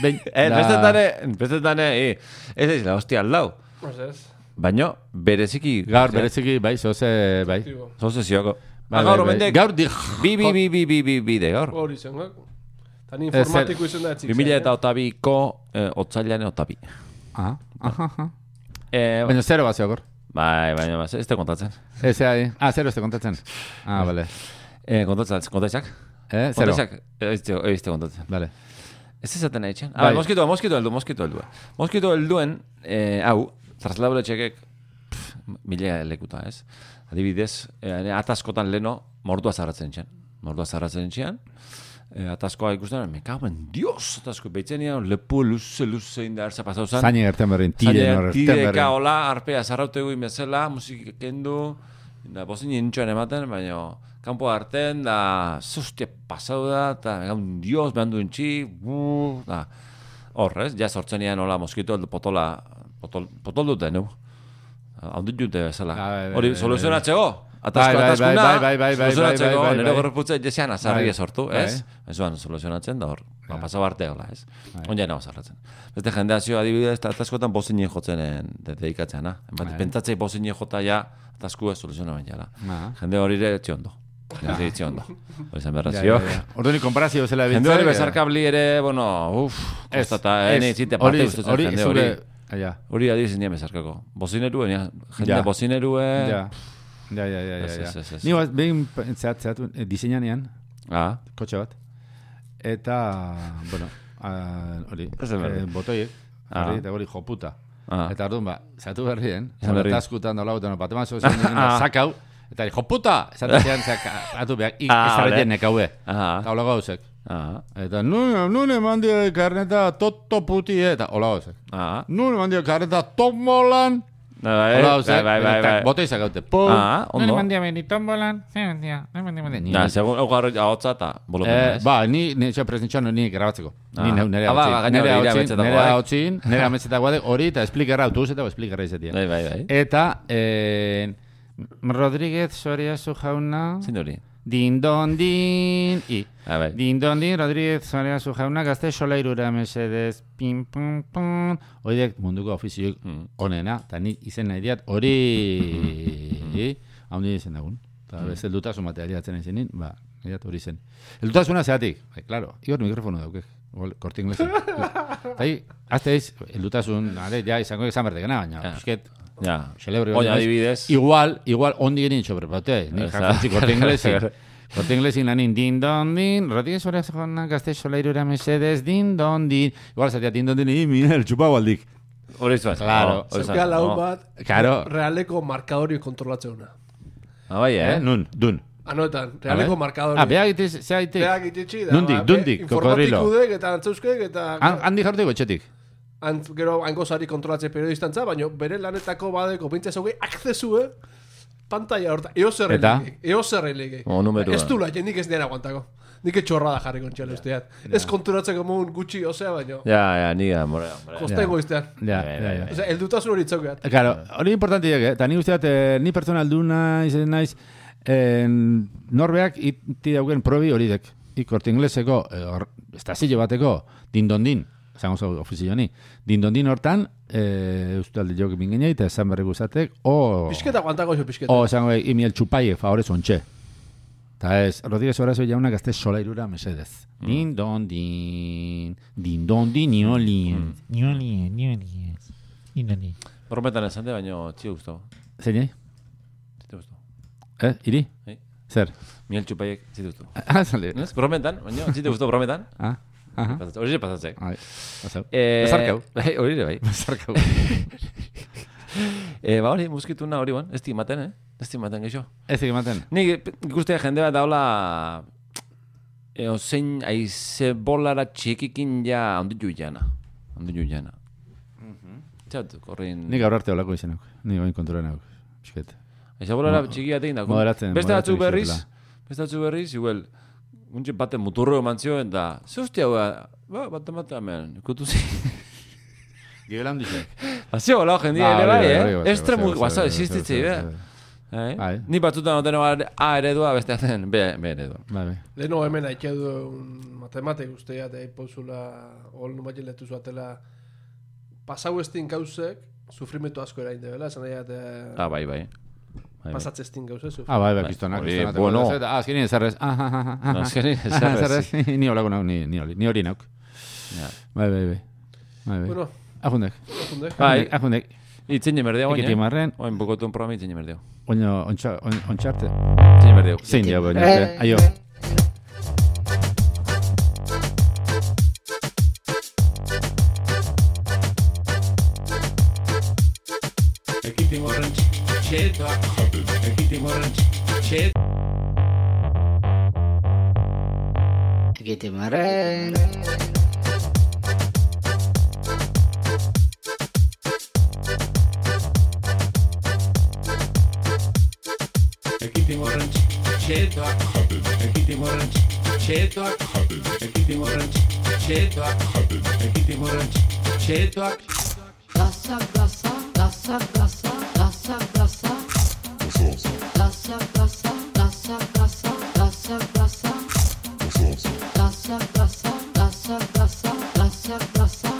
[SPEAKER 2] Bein,
[SPEAKER 1] Eh,
[SPEAKER 2] da-
[SPEAKER 1] festetane, festetane, eh, ez ez, la hostia al lau.
[SPEAKER 3] Ez ez.
[SPEAKER 1] Baina, bereziki...
[SPEAKER 2] Gaur bereziki, bai, zoze, bai.
[SPEAKER 3] Tibo.
[SPEAKER 1] Zoze zioko.
[SPEAKER 2] Bai,
[SPEAKER 1] Ba,
[SPEAKER 2] bai,
[SPEAKER 1] gaur,
[SPEAKER 2] bai.
[SPEAKER 1] omendek...
[SPEAKER 2] Gaur di...
[SPEAKER 1] Bi, bi, bi, bi, bi, bi, bi, de gaur.
[SPEAKER 3] Hori zen, eh? Tan informatiko izen da etzik.
[SPEAKER 1] 2000 eta otabiko, eh, otzailan otabi.
[SPEAKER 2] Aha, aha, aha.
[SPEAKER 1] Eh,
[SPEAKER 2] ah, Baina zero bat zeogor.
[SPEAKER 1] bai, baina, ez ez te kontatzen.
[SPEAKER 2] Ez ahí. Ah, zero ez te kontatzen. Ah, vale.
[SPEAKER 1] Eh, kontatzen, kontatzak?
[SPEAKER 2] Eh, zero.
[SPEAKER 1] Kontatzak, ez te ez te kontatzen.
[SPEAKER 2] Vale.
[SPEAKER 1] Ez ezaten nahi txan.
[SPEAKER 2] Bai.
[SPEAKER 1] Bai. Moskito, moskito heldu, moskito heldu. Moskito helduen, eh, hau, traslabela txekek, pff, mila lekuta, ez? Adibidez, eh, ataskotan leno, mordua zarratzen txan. Mordua zarratzen txan, eh, ataskoa ikusten, me cago en dios, atasko, beitzenian, lepo luze, luze indar, zapazau zan.
[SPEAKER 2] Zaini gerten berrin, tire nor gerten
[SPEAKER 1] tideka
[SPEAKER 2] berrin.
[SPEAKER 1] hola, arpea zarraute guin bezala, musika kendu, da bozin nintxoan ematen, baina kanpo arten, da sustia pasau da, eta gaun dios, behan duen txi, bu, da. Horrez, ja sortzen ean hola moskito, aldo potola, potol, potol dute, nu? Haundit jute bezala.
[SPEAKER 2] Ah, bai, bai,
[SPEAKER 1] Hori,
[SPEAKER 2] bai,
[SPEAKER 1] soluzionatzeko,
[SPEAKER 2] Bai,
[SPEAKER 1] atasko,
[SPEAKER 2] bai,
[SPEAKER 1] ataskuna,
[SPEAKER 2] bai, bai, bai, bai, bai,
[SPEAKER 1] soluzionatzeko,
[SPEAKER 2] bai, bai,
[SPEAKER 1] nire
[SPEAKER 2] bai.
[SPEAKER 1] gorreputza etxean azarri
[SPEAKER 2] Bai.
[SPEAKER 1] sortu,
[SPEAKER 2] Bai.
[SPEAKER 1] ez? Ez duan soluzionatzen da hor, ba, pasau arte hola, ez?
[SPEAKER 2] Bai.
[SPEAKER 1] Oina nago zarratzen. Beste jendazio adibidez, eta ataskotan bozinen jotzen de- dedikatzen, ha?
[SPEAKER 2] Bai.
[SPEAKER 1] Bat, pentsatzei bozinen jota ja, ataskua soluzioa baina jala.
[SPEAKER 2] Aha.
[SPEAKER 1] Jende hori ere etxe ondo. Jende etxe ondo. Hori zen
[SPEAKER 2] Ja,
[SPEAKER 1] berrazio.
[SPEAKER 2] ja, ja. Orduan, konparazio bezala
[SPEAKER 1] Jende
[SPEAKER 2] biltzen,
[SPEAKER 1] hori
[SPEAKER 2] eh?
[SPEAKER 1] bezarkabli ere, bueno, uff,
[SPEAKER 2] Ez,
[SPEAKER 1] kostata,
[SPEAKER 2] ez.
[SPEAKER 1] hene itzite
[SPEAKER 2] Hori-
[SPEAKER 1] parte gustatzen
[SPEAKER 2] hori
[SPEAKER 1] jende
[SPEAKER 2] zure-
[SPEAKER 1] hori.
[SPEAKER 2] Ah, ja.
[SPEAKER 1] Hori adibiz nien bezarkako. Bozineruen, ja. Jende
[SPEAKER 2] Ja.
[SPEAKER 1] bozinerue...
[SPEAKER 2] Ja. Ja, ja, ja, ja,
[SPEAKER 1] Ez,
[SPEAKER 2] ja.
[SPEAKER 1] ez, ez, ez.
[SPEAKER 2] Ni bat, behin, zehat, zehat, eh, diseinanean,
[SPEAKER 1] Ah,
[SPEAKER 2] kotxe bat. Eta, bueno, ah, hori,
[SPEAKER 1] Esan behar
[SPEAKER 2] eh,
[SPEAKER 1] du.
[SPEAKER 2] botoiek,
[SPEAKER 1] Ah.
[SPEAKER 2] hori, eta hori joputa.
[SPEAKER 1] Ah.
[SPEAKER 2] Eta orduan, ba, zatu berrien,
[SPEAKER 1] Esan berri.
[SPEAKER 2] zabatazkutan daula botan, bat eman zozen,
[SPEAKER 1] Ah.
[SPEAKER 2] zakau, eta hori, joputa! Zaten zean, zatu behar, ik,
[SPEAKER 1] Ah,
[SPEAKER 2] ez
[SPEAKER 1] vale.
[SPEAKER 2] arretzen nekaue. Eta
[SPEAKER 1] Ah,
[SPEAKER 2] hola gauzek.
[SPEAKER 1] ah,
[SPEAKER 2] Eta nun, nun eman dio karneta toto puti, eta hola gauzek.
[SPEAKER 1] ah.
[SPEAKER 2] Nun eman dio karneta tomolan,
[SPEAKER 1] Bai, bai,
[SPEAKER 2] hola gauzek.
[SPEAKER 1] bai, bai, bai.
[SPEAKER 2] Botoizak haute, pum.
[SPEAKER 1] Ah,
[SPEAKER 4] No le
[SPEAKER 1] ondo.
[SPEAKER 4] mandé a venir tombolan. No le mandé a venir.
[SPEAKER 1] Da, segun, hau garroi ahotza eta bolumena,
[SPEAKER 2] Eh,
[SPEAKER 1] ez?
[SPEAKER 2] ba, ni nire presentxan ni grabatzeko. Ni
[SPEAKER 1] Ah.
[SPEAKER 2] neu- nire
[SPEAKER 1] Ah, ba, ba,
[SPEAKER 2] hau
[SPEAKER 1] gainera
[SPEAKER 2] nire
[SPEAKER 1] nire
[SPEAKER 2] hau
[SPEAKER 1] ametsetako
[SPEAKER 2] nire
[SPEAKER 1] batek.
[SPEAKER 2] hau nire ametsetako batek, hori eta esplikerra, autobusetako esplikerra izatea.
[SPEAKER 1] Bai, bai, bai.
[SPEAKER 2] Eta, eh, Rodríguez Soriazu jauna,
[SPEAKER 1] Zein hori?
[SPEAKER 2] din don din, i.
[SPEAKER 1] Ah, bai.
[SPEAKER 2] Din don din, Rodríguez Soriazu jauna, gazte solairura mesedez, pim, pum, pum. Oidek munduko ofizioik onena, eta nik izen nahi diat, hori, haundi izen dagun. Eta bez, eldutasun batea diatzen ezin ba, nahi diat hori zen. Eldutasuna zeatik, bai, klaro, igor mikrofono daukek, igual, korte inglesa. Bai, Eta hi, azte iz, eldutasun, ale, ja, izango izan berdekena, baina,
[SPEAKER 1] Ja.
[SPEAKER 2] pusket,
[SPEAKER 1] Ja.
[SPEAKER 2] Celebre
[SPEAKER 1] Oin
[SPEAKER 2] bat naiz.
[SPEAKER 1] adibidez.
[SPEAKER 2] Igual, igual, ondi genin sobrepautea. Ni
[SPEAKER 1] Ez da.
[SPEAKER 2] jakontzi korte inglesin. Korte inglesin lanin din don din, rodillas horas jonak gazte solairura mesedez din don din. Igual zatea din don din, i, mira, el chupau aldik.
[SPEAKER 1] Hori zuen.
[SPEAKER 2] Claro.
[SPEAKER 1] Oh, hori zuen.
[SPEAKER 3] Zeukala hon
[SPEAKER 1] Oh.
[SPEAKER 3] bat,
[SPEAKER 2] Claro.
[SPEAKER 3] realeko markadori kontrolatzeuna.
[SPEAKER 1] Ah, bai,
[SPEAKER 2] Eh?
[SPEAKER 1] eh?
[SPEAKER 2] Nun, dun.
[SPEAKER 3] Anoetan,
[SPEAKER 2] A ver.
[SPEAKER 3] realeko markadori.
[SPEAKER 2] Ah, beha egitiz, zea egitiz.
[SPEAKER 3] Beak ititxi da.
[SPEAKER 2] Nundik,
[SPEAKER 3] ba, be-
[SPEAKER 2] dundik,
[SPEAKER 3] informatikudek
[SPEAKER 2] kokodrilo.
[SPEAKER 3] eta antzeuskek eta...
[SPEAKER 2] Han- Handi jaurteko etxetik.
[SPEAKER 3] Antz, gero hango sari kontrolatze periodistantza, baina bere lanetako badeko pintza zauge akzesue pantalla eh? horta. Eo zer
[SPEAKER 2] Eta?
[SPEAKER 3] elegek, eo zer elegek.
[SPEAKER 1] O, numerua.
[SPEAKER 3] Ez du laien, nik ez nien aguantako. Nik etxorra da jarri kontxela usteat. Ez konturatzeko mun gutxi, osea, baina...
[SPEAKER 1] Ja, ja, ni da, more, more.
[SPEAKER 3] Kostengo iztean.
[SPEAKER 2] Ja,
[SPEAKER 1] Bai,
[SPEAKER 2] ja,
[SPEAKER 1] bai,
[SPEAKER 2] ja.
[SPEAKER 1] bai.
[SPEAKER 3] Osea, eldutasun hori itzaukeat.
[SPEAKER 2] Claro, hori importante diak, eh? Eta ni usteat, eh, ni pertsona alduna izen naiz, eh, norbeak iti dauken probi hori dek. Ikorte ingleseko, eh, hor- estazio bateko, dindondin, zango zau ofizio ni, dindondin hortan, eh, uste alde jok bingenei, eta esan berri guzatek, o...
[SPEAKER 3] Pisketa aguantako zio pisketa.
[SPEAKER 2] O, esango, eh, imiel txupaie, favorez ontxe. Eta ez, Rodríguez Horazo jauna gazte solairura mesedez. Dindondin, dindondin, niolien. Mm. Mm.
[SPEAKER 4] Nioli, nioli. Nioli.
[SPEAKER 1] Hormetan esan de, baino, txio guztu.
[SPEAKER 2] Zein, eh?
[SPEAKER 1] Zite guztu.
[SPEAKER 2] Eh, iri?
[SPEAKER 1] Bai.
[SPEAKER 2] Zer?
[SPEAKER 1] Miel txupaiek, zite guztu.
[SPEAKER 2] Ah, zale.
[SPEAKER 1] Eh, Ez, brometan, baino, zite guztu brometan.
[SPEAKER 2] Ah, aha.
[SPEAKER 1] Pasatzek, Hori ze pasatzek.
[SPEAKER 2] Ai, pasau.
[SPEAKER 1] Eh,
[SPEAKER 2] Bezarkau.
[SPEAKER 1] Bai, hori ere, bai.
[SPEAKER 2] Bezarkau.
[SPEAKER 1] Eh, ba hori, muskituna hori ban, ez di maten, eh? Ez di maten, geixo.
[SPEAKER 2] Ez egin
[SPEAKER 1] Nik ikustea jende bat daula e, ozein aize bolara txekikin ja onditu jana. Onditu jana. Txatu, korrin...
[SPEAKER 2] Nik gaur arte olako izenak. Nik oin kontura nauk. Pisket.
[SPEAKER 1] Aize bolara txiki batekin dako.
[SPEAKER 2] moderatzen-
[SPEAKER 1] Beste
[SPEAKER 2] moderatzen
[SPEAKER 1] batzuk berriz,
[SPEAKER 2] dizutela.
[SPEAKER 1] beste batzuk berriz, igual, untxe baten muturro eman zioen da, ze hostia hau da, ba, bat bat hemen, ikutu zi.
[SPEAKER 2] Gibelan dizek.
[SPEAKER 1] Azio, hola, jendia,
[SPEAKER 2] Ba,
[SPEAKER 1] ere
[SPEAKER 2] hori, hori,
[SPEAKER 1] bai,
[SPEAKER 2] hori,
[SPEAKER 1] eh? Estremu,
[SPEAKER 2] hori, hori,
[SPEAKER 1] guaza,
[SPEAKER 2] hori,
[SPEAKER 1] existitzi,
[SPEAKER 2] hori,
[SPEAKER 1] be.
[SPEAKER 2] hori,
[SPEAKER 1] Eh?
[SPEAKER 2] Bai.
[SPEAKER 1] Ni batzutan noten A eredua, beste aten B, B eredua.
[SPEAKER 2] Bai, bai.
[SPEAKER 3] Leno hemen haitxe du un matematik usteat, eta ipozula, hol numatzen letu zuatela, pasau estin gauzek, sufrimentu asko erain debela, esan nahi, eta
[SPEAKER 1] Ah, bai, bai. Bai, bai.
[SPEAKER 3] pasatze estin gauzek, sufrimentu.
[SPEAKER 2] Ah, bai, bai,
[SPEAKER 1] Bai.
[SPEAKER 2] pistonak.
[SPEAKER 1] Hori,
[SPEAKER 2] pistonak.
[SPEAKER 1] bueno.
[SPEAKER 2] Ah, azkenin ezarrez. Ah, ah, ah, ah.
[SPEAKER 1] No, azkenin
[SPEAKER 2] Ah,
[SPEAKER 1] ezarrez.
[SPEAKER 2] Ni olako nauk, ni, ni, hori- ni hori nauk.
[SPEAKER 1] Ja.
[SPEAKER 2] Bai, bai, bai. Bai, bai.
[SPEAKER 3] Bueno,
[SPEAKER 2] Ajundek.
[SPEAKER 3] apunde.
[SPEAKER 1] Bai.
[SPEAKER 2] Ajundek.
[SPEAKER 1] Itzen jemerdea guain,
[SPEAKER 2] Ekiti
[SPEAKER 1] eh?
[SPEAKER 2] marren,
[SPEAKER 1] Oin bukotun programa itzen jemerdeo.
[SPEAKER 2] oino, ontsa- on- ontxarte.
[SPEAKER 1] Itzen jemerdeo.
[SPEAKER 2] Zein jau, baina. eh? Aio.
[SPEAKER 5] Ekitimaren
[SPEAKER 6] Gasa, gasa, gasa, gasa, gasa, gasa. Gasa, gasa, gasa, gasa, gasa, gasa. Gasa, gasa, gasa, gasa, gasa, gasa. Gasa, gasa,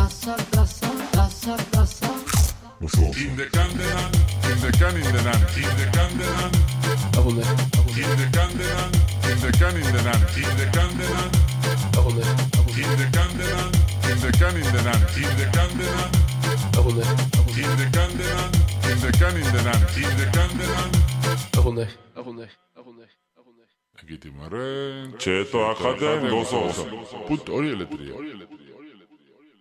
[SPEAKER 6] gasa, gasa, gasa, gasa.
[SPEAKER 7] In de kandenan, in de kan in de nan, in de kandenan,
[SPEAKER 3] Apunde,
[SPEAKER 7] in de kandenan, in de kan in de nan, in de kandenan,
[SPEAKER 3] apunde,
[SPEAKER 7] in de kandenan, in de kan in de nan, in de kandenan,
[SPEAKER 3] apunde,
[SPEAKER 7] in de kandenan, in de kan in de nan, in de kandenan.
[SPEAKER 3] apunde, apunde, apunde, apunde.
[SPEAKER 7] Egiten maren, txetoak jaten gozoz. Put hori eletria.